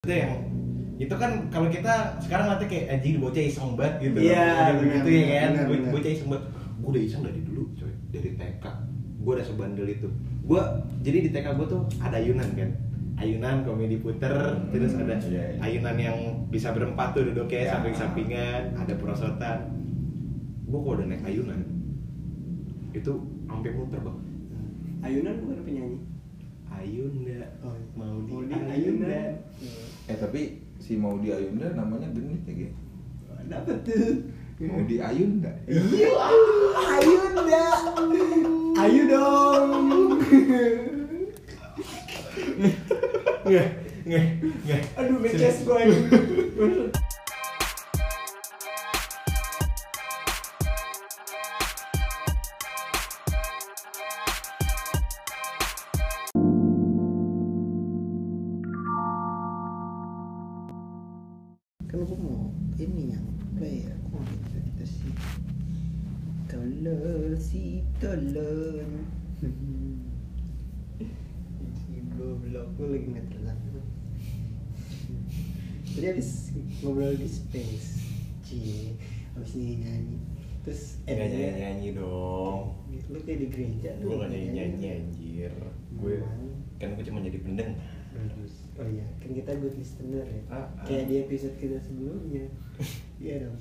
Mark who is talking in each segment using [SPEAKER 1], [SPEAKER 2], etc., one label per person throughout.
[SPEAKER 1] maksudnya yang itu kan kalau kita sekarang nanti kayak anjing bocah iseng banget
[SPEAKER 2] Iya,
[SPEAKER 1] gitu Udah
[SPEAKER 2] benar,
[SPEAKER 1] begitu ya
[SPEAKER 2] benar,
[SPEAKER 1] kan
[SPEAKER 2] benar,
[SPEAKER 1] Bo-
[SPEAKER 2] benar.
[SPEAKER 1] bocah iseng banget gue udah iseng dari dulu coy dari TK gue udah sebandel itu gue jadi di TK gue tuh ada ayunan kan ayunan komedi puter terus ada
[SPEAKER 2] Hmm,
[SPEAKER 3] iya, iya.
[SPEAKER 1] ayunan yang bisa berempat tuh duduknya
[SPEAKER 2] Ya.
[SPEAKER 3] Iya.
[SPEAKER 1] samping-sampingan ada perosotan gue kalau udah naik ayunan itu sampai muter bang
[SPEAKER 2] Ayunan bukan penyanyi.
[SPEAKER 1] Ayunda
[SPEAKER 2] Oh, iya.
[SPEAKER 1] mau di
[SPEAKER 2] Mau di
[SPEAKER 1] Ayunda,
[SPEAKER 2] Ayunda.
[SPEAKER 3] Eh tapi si Maudi Ayunda namanya genit ya gitu.
[SPEAKER 2] Dapat tuh.
[SPEAKER 3] Maudi Ayunda.
[SPEAKER 2] Iya, aduh, Ayunda. Ayu dong.
[SPEAKER 1] Nggak, nggak, nggak.
[SPEAKER 2] Aduh, beces gua ini.
[SPEAKER 4] kan gue mau ini yang player gue mau gitu gitu sih tolol si tolol goblok gue lagi ngeliat lagu tadi habis ngobrol di space cie habis nyanyi nyanyi terus
[SPEAKER 1] Nggak
[SPEAKER 4] endingnya-
[SPEAKER 1] nyanyi-nyanyi dong
[SPEAKER 4] lu kayak di gereja
[SPEAKER 1] Gue gak nyanyi-nyanyi anjir Gue Kan gue cuma jadi pendengar
[SPEAKER 4] Bagus. Oh iya, kan kita good listener ya.
[SPEAKER 1] Ah, ah.
[SPEAKER 4] Kayak di episode kita sebelumnya. iya dong.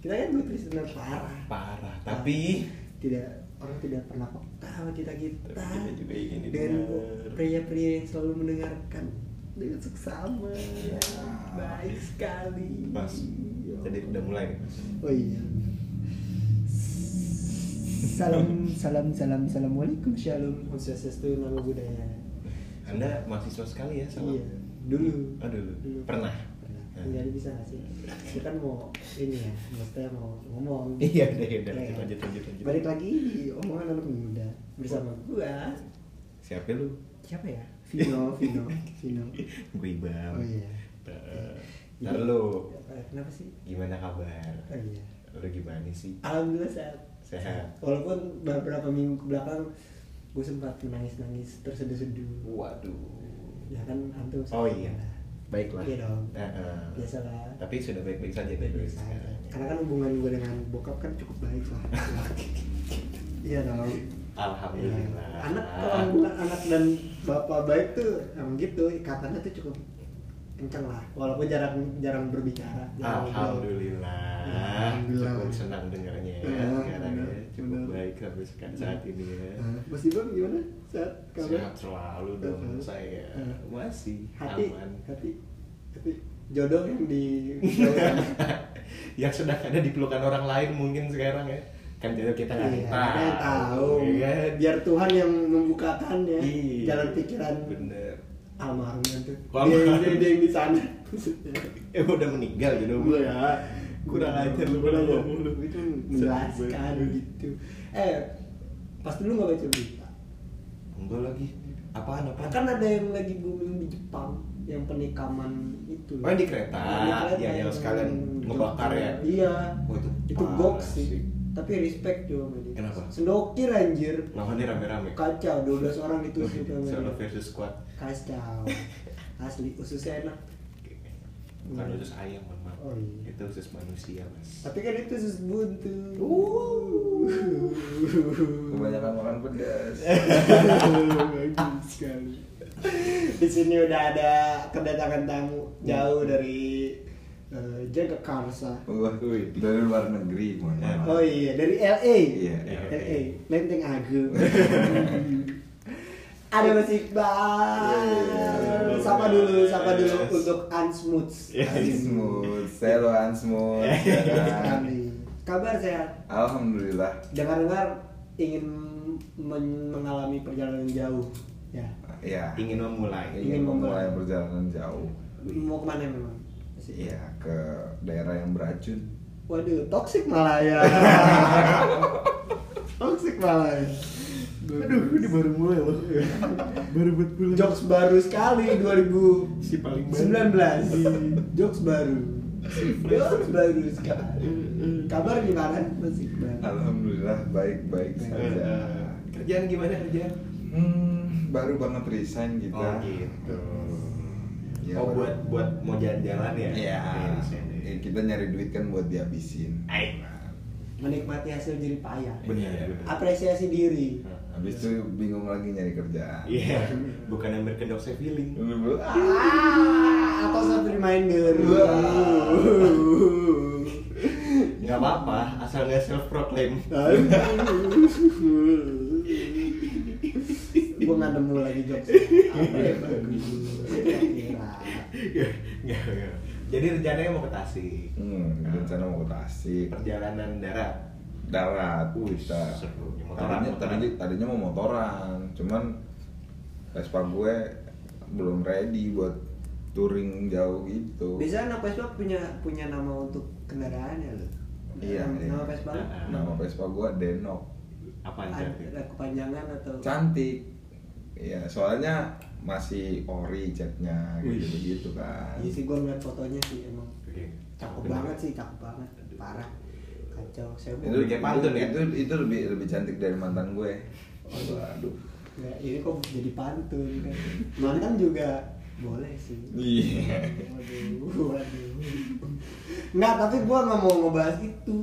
[SPEAKER 4] Kita kan good listener parah.
[SPEAKER 1] Parah Tapi
[SPEAKER 4] tidak orang tidak pernah peka sama kita kita.
[SPEAKER 1] Tapi kita juga ingin
[SPEAKER 4] Dan
[SPEAKER 1] didengar.
[SPEAKER 4] pria-pria yang selalu mendengarkan dengan seksama.
[SPEAKER 1] Ya.
[SPEAKER 4] Baik sekali.
[SPEAKER 1] Mas
[SPEAKER 4] Iya.
[SPEAKER 1] Jadi udah mulai nih mas
[SPEAKER 4] Oh iya. Salam, salam, salam, assalamualaikum, shalom, om swastiastu, nama budaya.
[SPEAKER 1] Anda mahasiswa sekali ya sama
[SPEAKER 4] Iya, dulu.
[SPEAKER 1] Oh dulu
[SPEAKER 4] Dulu.
[SPEAKER 1] Pernah
[SPEAKER 4] Pernah.
[SPEAKER 1] Nah.
[SPEAKER 4] Jadi bisa nggak sih? Dia kan mau ini ya, maksudnya mau ngomong.
[SPEAKER 1] Iya, udah, udah.
[SPEAKER 4] Ya.
[SPEAKER 1] Lanjut, lanjut, lanjut.
[SPEAKER 4] Balik lagi di omongan anak muda bersama gua.
[SPEAKER 1] Siapa lu?
[SPEAKER 4] Siapa ya? Vino, Vino, Vino.
[SPEAKER 1] Gue Ibam
[SPEAKER 4] Oh iya.
[SPEAKER 1] Eh, Ntar lu
[SPEAKER 4] Eh, Kenapa sih?
[SPEAKER 1] Gimana kabar?
[SPEAKER 4] Oh iya.
[SPEAKER 1] Lu gimana sih?
[SPEAKER 4] Alhamdulillah sehat.
[SPEAKER 1] Sehat.
[SPEAKER 4] Walaupun beberapa minggu ke belakang gue sempat menangis-nangis terseduh-seduh.
[SPEAKER 1] Waduh
[SPEAKER 4] Ya kan antum.
[SPEAKER 1] Oh iya. Baiklah.
[SPEAKER 4] Iya dong.
[SPEAKER 1] Eh, eh.
[SPEAKER 4] Biasalah.
[SPEAKER 1] Tapi sudah baik-baik saja nih
[SPEAKER 4] Baik-baik
[SPEAKER 1] Louis,
[SPEAKER 4] saja.
[SPEAKER 1] sekarang.
[SPEAKER 4] Karena kan hubungan gue dengan bokap kan cukup baik lah. Iya dong.
[SPEAKER 1] Alhamdulillah.
[SPEAKER 4] Iya. Anak kalau hubungan anak dan bapak baik tuh emang gitu ikatannya tuh cukup kenceng lah. Walaupun jarang jarang berbicara. jarang ngobrol.
[SPEAKER 1] Alhamdulillah.
[SPEAKER 4] Alhamdulillah.
[SPEAKER 1] Cukup senang dengarnya ya.
[SPEAKER 4] Iya,
[SPEAKER 1] sekarang ya.
[SPEAKER 4] benar,
[SPEAKER 1] Cukup
[SPEAKER 4] benar. Iya.
[SPEAKER 1] baik sampai sekarang saat ini ya.
[SPEAKER 4] Nah, Mas Ibam gimana saat kabar?
[SPEAKER 1] Sehat selalu dong
[SPEAKER 4] Betul.
[SPEAKER 1] saya.
[SPEAKER 4] Iya.
[SPEAKER 1] Masih
[SPEAKER 4] Hati,
[SPEAKER 1] aman.
[SPEAKER 4] hati, hati. Jodoh yang di Iya,
[SPEAKER 1] yang sudah ada di pelukan orang lain mungkin sekarang ya. Kan jodoh kita nggak tahu.
[SPEAKER 4] Iya, kita tahu.
[SPEAKER 1] ya kan?
[SPEAKER 4] Biar Tuhan yang membukakan ya
[SPEAKER 1] Iya.
[SPEAKER 4] jalan pikiran
[SPEAKER 1] Bener.
[SPEAKER 4] almarhum itu.
[SPEAKER 1] Almarhum.
[SPEAKER 4] Dia, dia, dia yang di sana. Maksudnya.
[SPEAKER 1] Eh udah meninggal jodoh
[SPEAKER 4] Gue ya
[SPEAKER 1] Kurang ajar lu
[SPEAKER 4] kurang ajar.
[SPEAKER 1] ngomong lu.
[SPEAKER 4] Gue cuma menjelaskan gitu. Eh, pasti lu nggak baca berita.
[SPEAKER 1] Enggak lagi. Apaan apaan?
[SPEAKER 4] Kan ada yang lagi booming di Jepang yang penikaman itu.
[SPEAKER 1] Oh, yang di kereta. Ya, yang sekalian ngebakar ya.
[SPEAKER 4] Iya.
[SPEAKER 1] Oh, itu
[SPEAKER 4] itu
[SPEAKER 1] parah
[SPEAKER 4] gok
[SPEAKER 1] sih.
[SPEAKER 4] sih. Tapi respect juga sama dia.
[SPEAKER 1] Kenapa?
[SPEAKER 4] Sendokir anjir.
[SPEAKER 1] Lawannya rame-rame.
[SPEAKER 4] Kacau 12 orang itu sih
[SPEAKER 1] Solo versus squad.
[SPEAKER 4] Kacau. Asli ususnya enak.
[SPEAKER 1] Bukan usus ayam, mohon maaf.
[SPEAKER 4] Hmm. Oh, iya.
[SPEAKER 1] Itu usus manusia, Mas.
[SPEAKER 4] Tapi kan itu sus buntu.
[SPEAKER 3] Kebanyakan makan pedas.
[SPEAKER 4] Eh. Bagus sekali. Di sini udah ada kedatangan tamu jauh dari eh, Jagakarsa.
[SPEAKER 3] Wah, dari luar negeri, mohon maaf.
[SPEAKER 4] Oh iya, dari LA.
[SPEAKER 3] Iya,
[SPEAKER 4] LA. Lenteng Agung. Ada Mas Iqbal. Sapa dulu, sapa dulu
[SPEAKER 1] Yes.
[SPEAKER 4] untuk Unsmoots.
[SPEAKER 1] Yes.
[SPEAKER 3] Ansmooth, Iya. Selo Ansmooth.
[SPEAKER 4] Eh. Iya.
[SPEAKER 3] ya kan?
[SPEAKER 4] Kami. Kabar sehat.
[SPEAKER 3] Alhamdulillah.
[SPEAKER 4] Dengar-dengar ingin men- mengalami perjalanan jauh. Ya.
[SPEAKER 3] Ya.
[SPEAKER 1] Ingin memulai.
[SPEAKER 4] ingin
[SPEAKER 3] ingin
[SPEAKER 4] memulai.
[SPEAKER 3] memulai perjalanan jauh.
[SPEAKER 4] Mau kemana memang?
[SPEAKER 3] Iya, ke daerah yang beracun.
[SPEAKER 4] Waduh, toxic malah ya. toxic malah ya. Aduh, ini baru mulai loh. baru buat bulan. Jokes baru sekali 2019.
[SPEAKER 1] Si paling Iya.
[SPEAKER 4] Jokes baru. Jokes baru sekali. Kabar gimana? Masih gimana?
[SPEAKER 3] Alhamdulillah baik-baik
[SPEAKER 1] Iya.
[SPEAKER 3] saja.
[SPEAKER 1] Kerjaan gimana kerjaan?
[SPEAKER 3] Hmm, baru banget resign kita.
[SPEAKER 1] Oh, gitu.
[SPEAKER 3] Iya,
[SPEAKER 1] oh
[SPEAKER 3] baru.
[SPEAKER 1] buat buat mau jalan-jalan ya
[SPEAKER 3] Iya.
[SPEAKER 1] desain deh.
[SPEAKER 3] Eh, Kita nyari duit kan buat dihabisin.
[SPEAKER 1] Ay.
[SPEAKER 4] menikmati hasil jerih payah
[SPEAKER 1] bener
[SPEAKER 3] Iya.
[SPEAKER 1] bener.
[SPEAKER 4] apresiasi diri
[SPEAKER 3] Habis itu bingung lagi nyari kerjaan.
[SPEAKER 1] iya bukan yang berkedok saya feeling
[SPEAKER 3] Lu bilang, "Ah,
[SPEAKER 4] Ah, atau self reminder
[SPEAKER 1] nggak apa-apa asal nggak self proclaim
[SPEAKER 4] gue nggak nemu lagi jokes apa ya bagus kira-kira
[SPEAKER 1] Nggak, nggak. jadi rencananya mau ke Tasik
[SPEAKER 3] Hmm,
[SPEAKER 1] Ah.
[SPEAKER 3] rencana mau ke Tasik.
[SPEAKER 1] perjalanan darat
[SPEAKER 3] Darat
[SPEAKER 1] Wih,
[SPEAKER 3] kita.
[SPEAKER 1] seru. Ya, motoran,
[SPEAKER 3] Tadinya,
[SPEAKER 1] motoran.
[SPEAKER 3] tadinya, tadinya mau motoran, cuman Vespa gue belum ready buat touring jauh gitu.
[SPEAKER 4] biasanya anak Vespa punya punya nama untuk kendaraannya loh
[SPEAKER 3] Iya,
[SPEAKER 4] nama,
[SPEAKER 3] iya.
[SPEAKER 4] nama Vespa lo?
[SPEAKER 1] Nah,
[SPEAKER 3] Nama Vespa gue Denok.
[SPEAKER 1] apa aja
[SPEAKER 3] iya.
[SPEAKER 4] ada kepanjangan atau
[SPEAKER 3] Cantik. Iya, soalnya masih ori catnya gitu-gitu kan.
[SPEAKER 4] Iya sih gue ngeliat fotonya sih emang
[SPEAKER 1] Oke.
[SPEAKER 4] cakep
[SPEAKER 1] Bener.
[SPEAKER 4] banget sih cakep banget parah kacau saya
[SPEAKER 3] itu
[SPEAKER 1] Kayak pantun ya?
[SPEAKER 3] itu, itu lebih lebih cantik dari mantan gue aduh
[SPEAKER 4] Ya, ini kok jadi pantun kan mantan juga boleh sih
[SPEAKER 3] iya
[SPEAKER 4] waduh waduh nggak tapi gue nggak mau ngebahas itu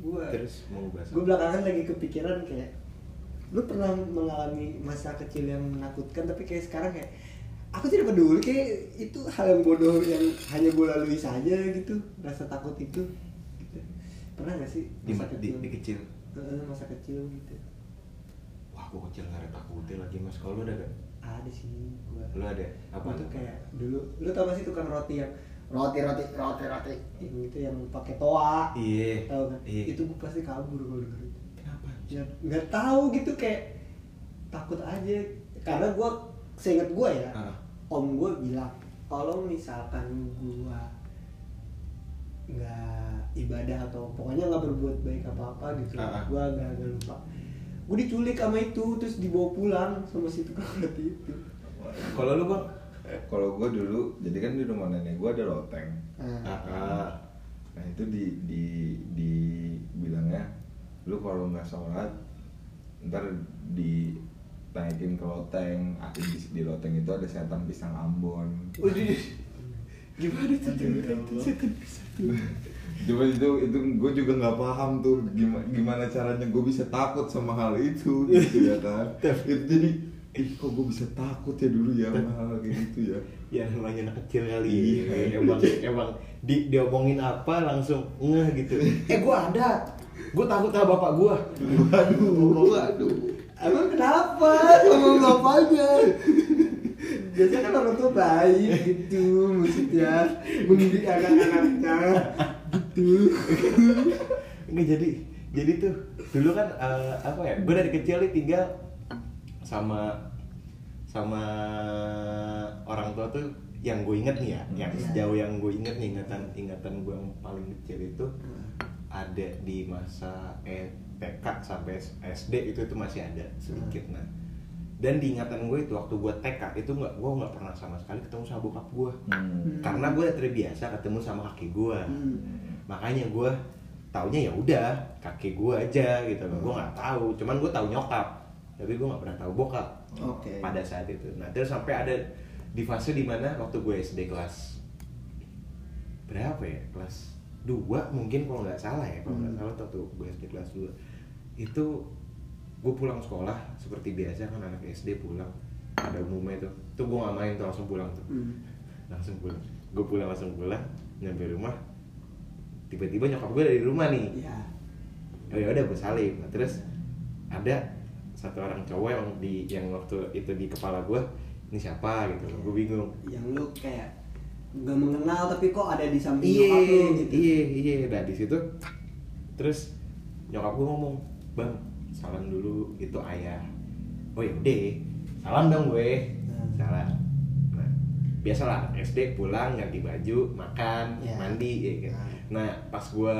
[SPEAKER 4] gue
[SPEAKER 1] terus mau bahas
[SPEAKER 4] gue belakangan lagi kepikiran kayak lu pernah mengalami masa kecil yang menakutkan tapi kayak sekarang kayak aku tidak peduli kayak itu hal yang bodoh yang hanya gue lalui saja gitu rasa takut itu gitu. pernah gak sih
[SPEAKER 1] Di- di- di kecil?
[SPEAKER 4] Eh, masa kecil gitu
[SPEAKER 1] wah aku kecil nggak ada takutnya lagi mas kalau lu ada gak
[SPEAKER 4] ada sih gue
[SPEAKER 1] lu ada apa
[SPEAKER 4] apa tuh kayak dulu lu tau gak sih tukang roti yang roti roti roti roti yang itu yang pakai toa
[SPEAKER 1] Iya.
[SPEAKER 4] tau kan
[SPEAKER 1] Iya.
[SPEAKER 4] itu gue pasti kabur kalau denger itu
[SPEAKER 1] kenapa
[SPEAKER 4] ya nggak tahu gitu kayak takut aja karena gue seingat gue ya
[SPEAKER 1] Ah.
[SPEAKER 4] om gue bilang kalau misalkan gue nggak ibadah atau pokoknya nggak berbuat baik apa apa gitu
[SPEAKER 1] Ah, ah.
[SPEAKER 4] gue nggak nggak lupa gue diculik sama itu terus dibawa pulang sama si tukang roti itu
[SPEAKER 1] kalau lu bang
[SPEAKER 3] kalau gue dulu jadi kan di rumah nenek gue ada loteng
[SPEAKER 4] nah,
[SPEAKER 1] Ah.
[SPEAKER 3] nah itu di di di bilangnya lu kalau nggak sholat ntar di naikin ke loteng Ah, di, di loteng itu ada setan pisang ambon
[SPEAKER 4] Waduh, gimana tuh cerita
[SPEAKER 1] ya
[SPEAKER 4] itu setan
[SPEAKER 3] Cuma itu itu gue juga nggak paham tuh gimana gimana caranya gue bisa takut sama hal itu gitu ya kan. Itu jadi ih kok gue bisa takut ya dulu ya sama hal kayak gitu ya.
[SPEAKER 1] ya namanya anak kecil kali
[SPEAKER 3] Iya.
[SPEAKER 1] emang emang di diomongin apa langsung ngeh gitu eh gua ada gua takut sama bapak gua
[SPEAKER 3] Waduh, waduh.
[SPEAKER 4] Emang kenapa sama bapaknya? Biasanya kan orang tua baik gitu maksudnya mendidik anak-anaknya gitu.
[SPEAKER 1] Enggak jadi jadi tuh dulu kan eh, apa ya gue dari kecil nih tinggal sama sama orang tua tuh yang gue inget nih ya yang sejauh yang gue inget nih ingatan ingatan gue yang paling kecil itu ada di masa eh, TK sampai SD itu itu masih ada sedikit nah dan di ingatan gue itu waktu gue TK itu nggak gue nggak pernah sama sekali ketemu sama bokap gue
[SPEAKER 3] Hmm.
[SPEAKER 1] karena gue terbiasa ketemu sama kaki gue
[SPEAKER 4] Hmm.
[SPEAKER 1] makanya gue taunya ya udah kakek gue aja gitu loh gue nggak tahu cuman gue tahu nyokap tapi gue nggak pernah tahu bokap
[SPEAKER 4] Oke.
[SPEAKER 1] pada saat itu nah terus sampai ada di fase dimana waktu gue SD kelas berapa ya kelas 2 mungkin kalau nggak salah ya kalau nggak
[SPEAKER 4] Hmm.
[SPEAKER 1] salah waktu gue SD kelas 2 itu gue pulang sekolah seperti biasa kan anak SD pulang pada umumnya tuh tuh gue nggak main tuh langsung pulang tuh
[SPEAKER 4] Hmm.
[SPEAKER 1] langsung pulang gue pulang langsung pulang nyampe rumah tiba-tiba nyokap gue dari rumah nih
[SPEAKER 4] Ya.
[SPEAKER 1] oh ya udah gue salim Nah, terus ada satu orang cowok yang di yang waktu itu di kepala gue ini siapa gitu gue bingung
[SPEAKER 4] Yang lu kayak nggak mengenal tapi kok ada di samping
[SPEAKER 1] iya
[SPEAKER 4] nyokap lu gitu.
[SPEAKER 1] iya iya nah di situ terus nyokap gue ngomong bang salam dulu itu ayah oh yaudah salam dong gue
[SPEAKER 4] Hmm.
[SPEAKER 1] salam nah biasalah anak SD pulang ganti baju makan
[SPEAKER 4] Ya.
[SPEAKER 1] mandi ya kan.
[SPEAKER 4] Hmm.
[SPEAKER 1] nah pas gue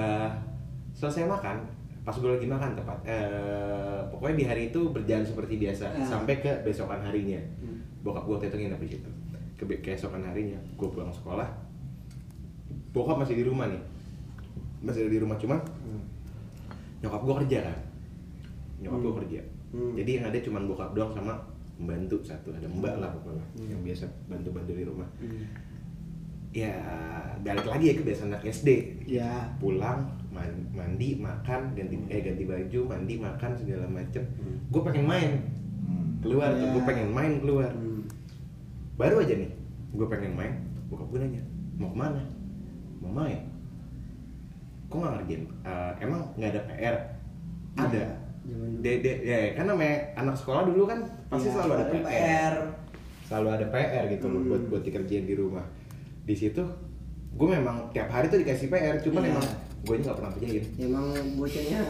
[SPEAKER 1] selesai makan pas gue lagi makan tepat eh, pokoknya di hari itu berjalan seperti biasa
[SPEAKER 4] Ya.
[SPEAKER 1] sampai Eh, ke besokan harinya
[SPEAKER 4] Hmm.
[SPEAKER 1] bokap gue waktu itu nginep di situ ke ke besokan harinya gue pulang sekolah bokap masih di rumah nih masih ada di rumah cuma
[SPEAKER 4] Hmm.
[SPEAKER 1] nyokap gua kerja kan nyokap gua
[SPEAKER 4] Hmm.
[SPEAKER 1] kerja
[SPEAKER 4] Hmm.
[SPEAKER 1] jadi yang ada cuma bokap doang sama pembantu satu ada mbak lah pokoknya
[SPEAKER 4] Hmm.
[SPEAKER 1] yang biasa bantu-bantu di rumah
[SPEAKER 4] Hmm.
[SPEAKER 1] ya balik lagi ya kebiasaan anak SD
[SPEAKER 4] ya
[SPEAKER 1] pulang man- mandi makan ganti
[SPEAKER 4] Hmm.
[SPEAKER 1] eh ganti baju mandi makan segala macem gue pengen main
[SPEAKER 3] Hmm.
[SPEAKER 1] keluar tuh
[SPEAKER 4] Ya.
[SPEAKER 1] gue pengen main keluar
[SPEAKER 4] Hmm.
[SPEAKER 1] baru aja nih gue pengen main bokap gue nanya mau kemana mau main kok nggak ngerjain Eh, emang nggak ada PR ada
[SPEAKER 4] Zaman dulu.
[SPEAKER 1] dede ya kan namanya anak sekolah dulu kan pasti
[SPEAKER 4] Ya,
[SPEAKER 1] selalu ada
[SPEAKER 4] ada
[SPEAKER 1] PR. selalu ada PR gitu loh buat buat dikerjain di rumah di situ gue memang tiap hari tuh dikasih PR cuman
[SPEAKER 4] Iya.
[SPEAKER 1] emang gue nggak pernah kerjain
[SPEAKER 4] emang bocahnya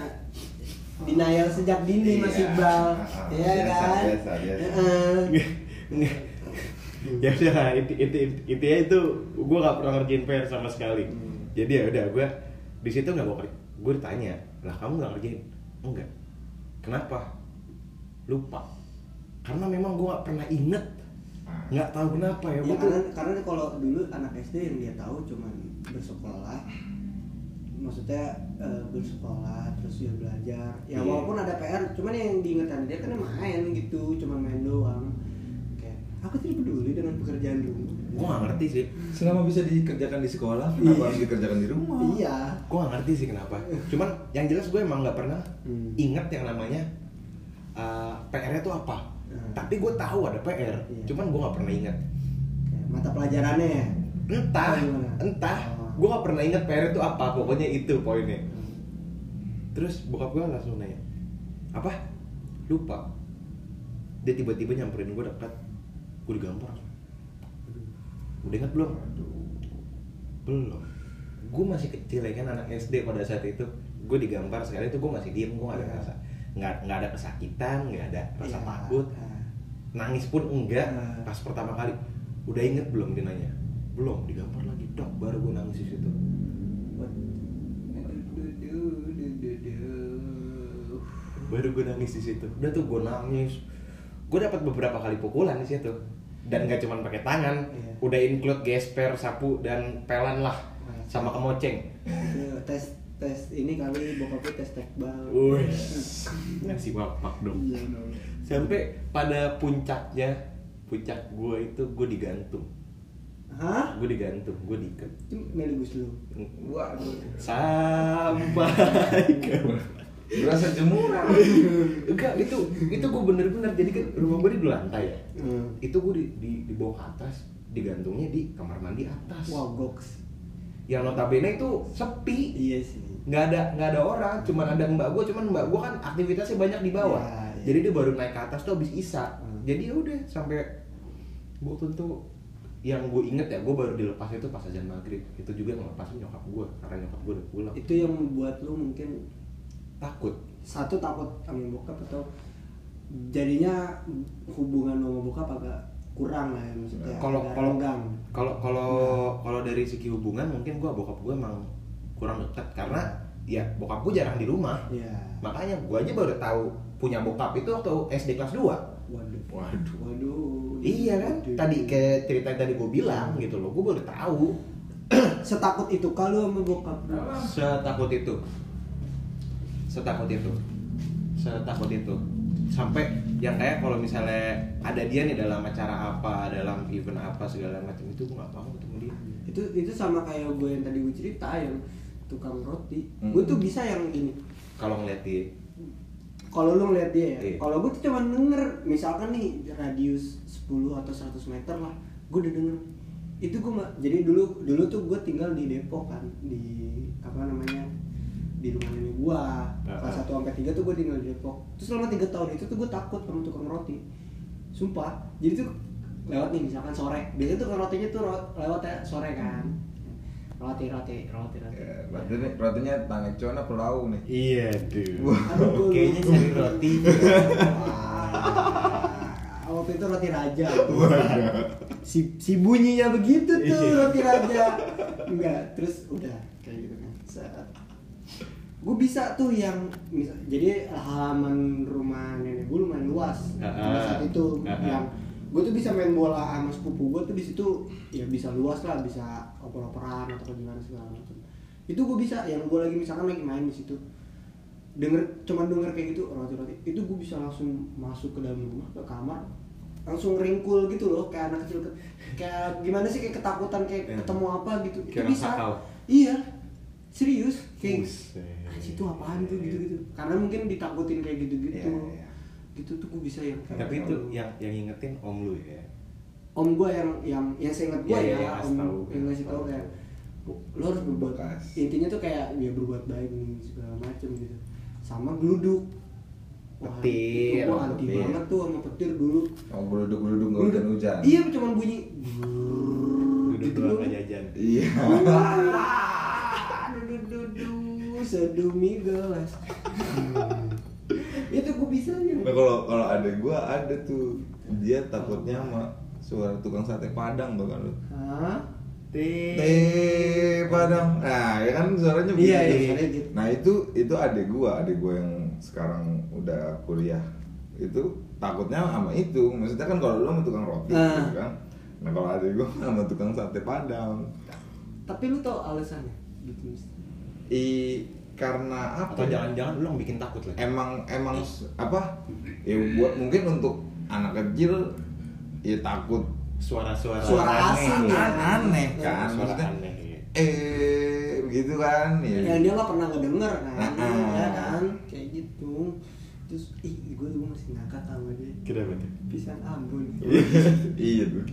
[SPEAKER 4] denial sejak dini
[SPEAKER 3] Iya.
[SPEAKER 4] Mas Iqbal
[SPEAKER 3] Ah, ah,
[SPEAKER 4] ya
[SPEAKER 3] biasa,
[SPEAKER 4] kan
[SPEAKER 3] biasa, biasa.
[SPEAKER 4] Heeh.
[SPEAKER 1] Nggak. ya udah itu itu itu ya itu gue gak pernah ngerjain PR sama sekali
[SPEAKER 4] Hmm.
[SPEAKER 1] jadi ya udah gue di situ nggak mau gue ditanya lah kamu nggak ngerjain enggak kenapa lupa karena memang gue gak pernah inget
[SPEAKER 3] Ah.
[SPEAKER 1] nggak tahu kenapa ya,
[SPEAKER 4] Ya,
[SPEAKER 1] gue tuh
[SPEAKER 4] karena, karena kalau dulu anak SD yang dia tahu cuman bersekolah maksudnya eh, bersekolah terus dia belajar ya
[SPEAKER 1] Iya.
[SPEAKER 4] walaupun ada PR cuman yang diingetan dia kan main gitu cuman main doang kayak aku tidak peduli dengan pekerjaan rumah
[SPEAKER 1] gue gak ngerti sih
[SPEAKER 3] Selama bisa dikerjakan di sekolah, kenapa harus dikerjakan di rumah?
[SPEAKER 4] iya
[SPEAKER 1] gue gak ngerti sih kenapa cuman yang jelas gue emang nggak pernah
[SPEAKER 4] Hmm.
[SPEAKER 1] inget yang namanya uh, PR-nya tuh apa
[SPEAKER 4] Hmm.
[SPEAKER 1] tapi gue tahu ada PR
[SPEAKER 4] Iya.
[SPEAKER 1] cuman gue gak pernah inget
[SPEAKER 4] kayak mata pelajarannya ya
[SPEAKER 1] entah
[SPEAKER 4] Oh, gimana?
[SPEAKER 1] entah
[SPEAKER 4] Oh.
[SPEAKER 1] gue gak pernah inget PR itu apa pokoknya itu poinnya terus bokap gue langsung nanya apa lupa dia tiba-tiba nyamperin gue dekat gue digampar udah inget belum belum gue masih kecil ya kan anak SD pada saat itu gue digampar sekali itu gue masih diem gue gak ada
[SPEAKER 4] Iya.
[SPEAKER 1] rasa nggak nggak ada kesakitan nggak ada rasa
[SPEAKER 4] Iya.
[SPEAKER 1] takut nangis pun enggak
[SPEAKER 4] Nah.
[SPEAKER 1] pas pertama kali udah inget belum dia nanya belum digampar lagi dok baru gue nangis di situ
[SPEAKER 4] What? Du-du-du-du-du-du.
[SPEAKER 1] baru gue nangis di situ udah tuh gue nangis gue dapat beberapa kali pukulan di situ dan gak cuman pakai tangan
[SPEAKER 4] Iya.
[SPEAKER 1] udah include gesper sapu dan pelan lah
[SPEAKER 4] Wah.
[SPEAKER 1] sama kemoceng
[SPEAKER 4] Itu tes tes ini kali bokapnya tes tekbal Hmm.
[SPEAKER 1] Wih, ngasih wapak dong
[SPEAKER 4] Iya, dong.
[SPEAKER 1] sampai pada puncaknya puncak gue itu gue digantung
[SPEAKER 4] Hah?
[SPEAKER 1] gue digantung gue diikat
[SPEAKER 4] Itu melibus lu.
[SPEAKER 3] Waduh.
[SPEAKER 1] sampai ke
[SPEAKER 3] Berasa jemuran.
[SPEAKER 1] enggak itu itu gue bener-bener jadi kan rumah gue di dua lantai ya
[SPEAKER 4] Hmm.
[SPEAKER 1] itu gue di, di di bawah ke atas digantungnya di kamar mandi atas
[SPEAKER 4] Wow, goks.
[SPEAKER 1] yang notabene itu sepi
[SPEAKER 4] Iya sih.
[SPEAKER 1] nggak ada nggak ada orang cuman ada mbak gue cuman mbak gue kan aktivitasnya banyak di bawah
[SPEAKER 4] Ya, ya.
[SPEAKER 1] jadi dia baru naik ke atas tuh habis isa
[SPEAKER 4] Hmm.
[SPEAKER 1] jadi ya udah sampai gue tentu yang gue inget ya gue baru dilepas itu pas azan maghrib itu juga ngelepasin nyokap gue karena nyokap gue udah pulang
[SPEAKER 4] Itu yang membuat lu mungkin
[SPEAKER 1] takut
[SPEAKER 4] satu takut sama bokap atau jadinya hubungan lu sama bokap agak kurang lah ya maksudnya.
[SPEAKER 1] kalau
[SPEAKER 4] Agak
[SPEAKER 1] kalau
[SPEAKER 4] renggang.
[SPEAKER 1] kalau kalau kalau dari segi hubungan mungkin gua bokap gua emang kurang dekat karena ya bokap gua jarang di rumah
[SPEAKER 4] Iya.
[SPEAKER 1] makanya gua aja baru tahu punya bokap itu waktu SD kelas 2
[SPEAKER 4] Waduh.
[SPEAKER 3] Waduh.
[SPEAKER 4] Waduh.
[SPEAKER 1] iya kan tadi kayak cerita yang tadi gua bilang gitu loh gua baru tahu
[SPEAKER 4] setakut itu kalau sama bokap lu.
[SPEAKER 1] setakut itu setakut itu setakut itu sampai yang kayak kalau misalnya ada dia nih dalam acara apa dalam event apa segala macam itu gua nggak mau ketemu dia
[SPEAKER 4] itu itu sama kayak gue yang tadi gue cerita yang tukang roti
[SPEAKER 3] Hmm.
[SPEAKER 4] gue tuh bisa yang ini
[SPEAKER 1] kalau ngeliat dia
[SPEAKER 4] kalau lu ngeliat dia ya
[SPEAKER 1] Iya.
[SPEAKER 4] kalau gue tuh cuma denger misalkan nih radius 10 atau 100 meter lah gue udah denger itu gue ma- jadi dulu dulu tuh gue tinggal di Depok kan di apa namanya di rumah nenek gue
[SPEAKER 1] Ah,
[SPEAKER 4] kelas
[SPEAKER 1] ah.
[SPEAKER 4] 1 sampai 3 tuh gue tinggal di Depok terus selama 3 tahun itu tuh gue takut sama tukang roti sumpah jadi tuh lewat nih misalkan sore biasanya tukang rotinya tuh ro- lewat ya sore kan roti roti roti roti
[SPEAKER 3] Ya, rotinya, rotinya tangan cona pulau nih.
[SPEAKER 1] Iya dude.
[SPEAKER 4] Aduh, gua
[SPEAKER 1] Kayaknya
[SPEAKER 4] lupa.
[SPEAKER 1] cari roti.
[SPEAKER 4] Wah, Ah, waktu itu roti raja si, si bunyinya begitu tuh
[SPEAKER 1] Iya.
[SPEAKER 4] roti raja enggak terus udah kayak gitu kan gue bisa tuh yang misal, jadi halaman rumah nenek gue lumayan luas
[SPEAKER 1] Ah,
[SPEAKER 4] pada saat itu
[SPEAKER 1] ah, ah.
[SPEAKER 4] yang gue tuh bisa main bola sama sepupu gue tuh di situ ya bisa luas lah bisa oper-operan atau gimana segala macam itu gue bisa yang gue lagi misalkan lagi main di situ denger cuman denger kayak gitu roti roti itu gue bisa langsung masuk ke dalam rumah ke kamar langsung ringkul gitu loh kayak anak kecil ke- kayak gimana sih kayak ketakutan kayak
[SPEAKER 1] Iya.
[SPEAKER 4] ketemu apa gitu itu
[SPEAKER 1] Kayak
[SPEAKER 4] bisa
[SPEAKER 1] nakal.
[SPEAKER 4] iya serius kayak
[SPEAKER 1] Buset.
[SPEAKER 4] "Ah, itu apaan tuh gitu gitu karena mungkin ditakutin kayak gitu gitu
[SPEAKER 3] Iya, iya.
[SPEAKER 4] gitu tuh gue bisa yang kayak
[SPEAKER 1] tapi itu yang yang ngingetin om lu ya
[SPEAKER 4] om gue yang yang yang saya ingat gue
[SPEAKER 1] Iya, iya,
[SPEAKER 4] ya,
[SPEAKER 1] yang ngasih
[SPEAKER 4] om
[SPEAKER 1] tahu.
[SPEAKER 4] yang ngasih tahu kayak lo harus berbuat
[SPEAKER 3] Bekas.
[SPEAKER 4] intinya tuh kayak dia berbuat baik dan segala macem gitu sama geluduk Wah,
[SPEAKER 1] Petir,
[SPEAKER 4] itu gua anti
[SPEAKER 3] petir.
[SPEAKER 4] banget tuh sama petir dulu
[SPEAKER 3] Oh, geruduk-geruduk nggak
[SPEAKER 4] Geluduk-
[SPEAKER 3] hujan-hujan.
[SPEAKER 4] iya cuman bunyi
[SPEAKER 1] duduk
[SPEAKER 4] gitu
[SPEAKER 1] doang
[SPEAKER 4] doang.
[SPEAKER 1] nggak jajan
[SPEAKER 3] Iya.
[SPEAKER 4] Wah, wah, dudu, dudu, sedumi gelas itu gue bisa ya
[SPEAKER 3] Nah, kalau kalau ada gua ada tuh dia takutnya sama suara tukang sate Padang tuh kan lu.
[SPEAKER 4] Hah?
[SPEAKER 3] Teh Padang. Nah, ya kan suaranya begitu.
[SPEAKER 4] Iya, iya, suaranya gitu.
[SPEAKER 3] Nah, itu itu adik gua, adik gua yang sekarang udah kuliah. Itu takutnya sama itu. Maksudnya kan kalau lu sama tukang roti
[SPEAKER 4] Ah.
[SPEAKER 3] gitu kan. Nah, kalau adik gua sama tukang sate Padang.
[SPEAKER 4] tapi lu tau alasannya gitu
[SPEAKER 3] I karena apa?
[SPEAKER 1] atau
[SPEAKER 3] ya?
[SPEAKER 1] jangan-jangan lu yang bikin takut lagi
[SPEAKER 3] emang emang s- apa ya buat mungkin untuk anak kecil ya takut
[SPEAKER 1] suara-suara
[SPEAKER 4] Suara
[SPEAKER 1] aneh.
[SPEAKER 4] asing ya.
[SPEAKER 3] aneh
[SPEAKER 1] Iya,
[SPEAKER 3] kan
[SPEAKER 1] suara
[SPEAKER 3] maksudnya
[SPEAKER 1] aneh, iya.
[SPEAKER 3] eh begitu kan
[SPEAKER 4] yang
[SPEAKER 3] ya
[SPEAKER 4] Iya, dia nggak pernah ngedenger kan
[SPEAKER 3] Nah,
[SPEAKER 4] ya
[SPEAKER 3] ah.
[SPEAKER 4] kan kayak gitu terus ih gue dulu masih ngakak sama dia
[SPEAKER 1] kenapa tuh
[SPEAKER 4] pisang ambon
[SPEAKER 3] iya tuh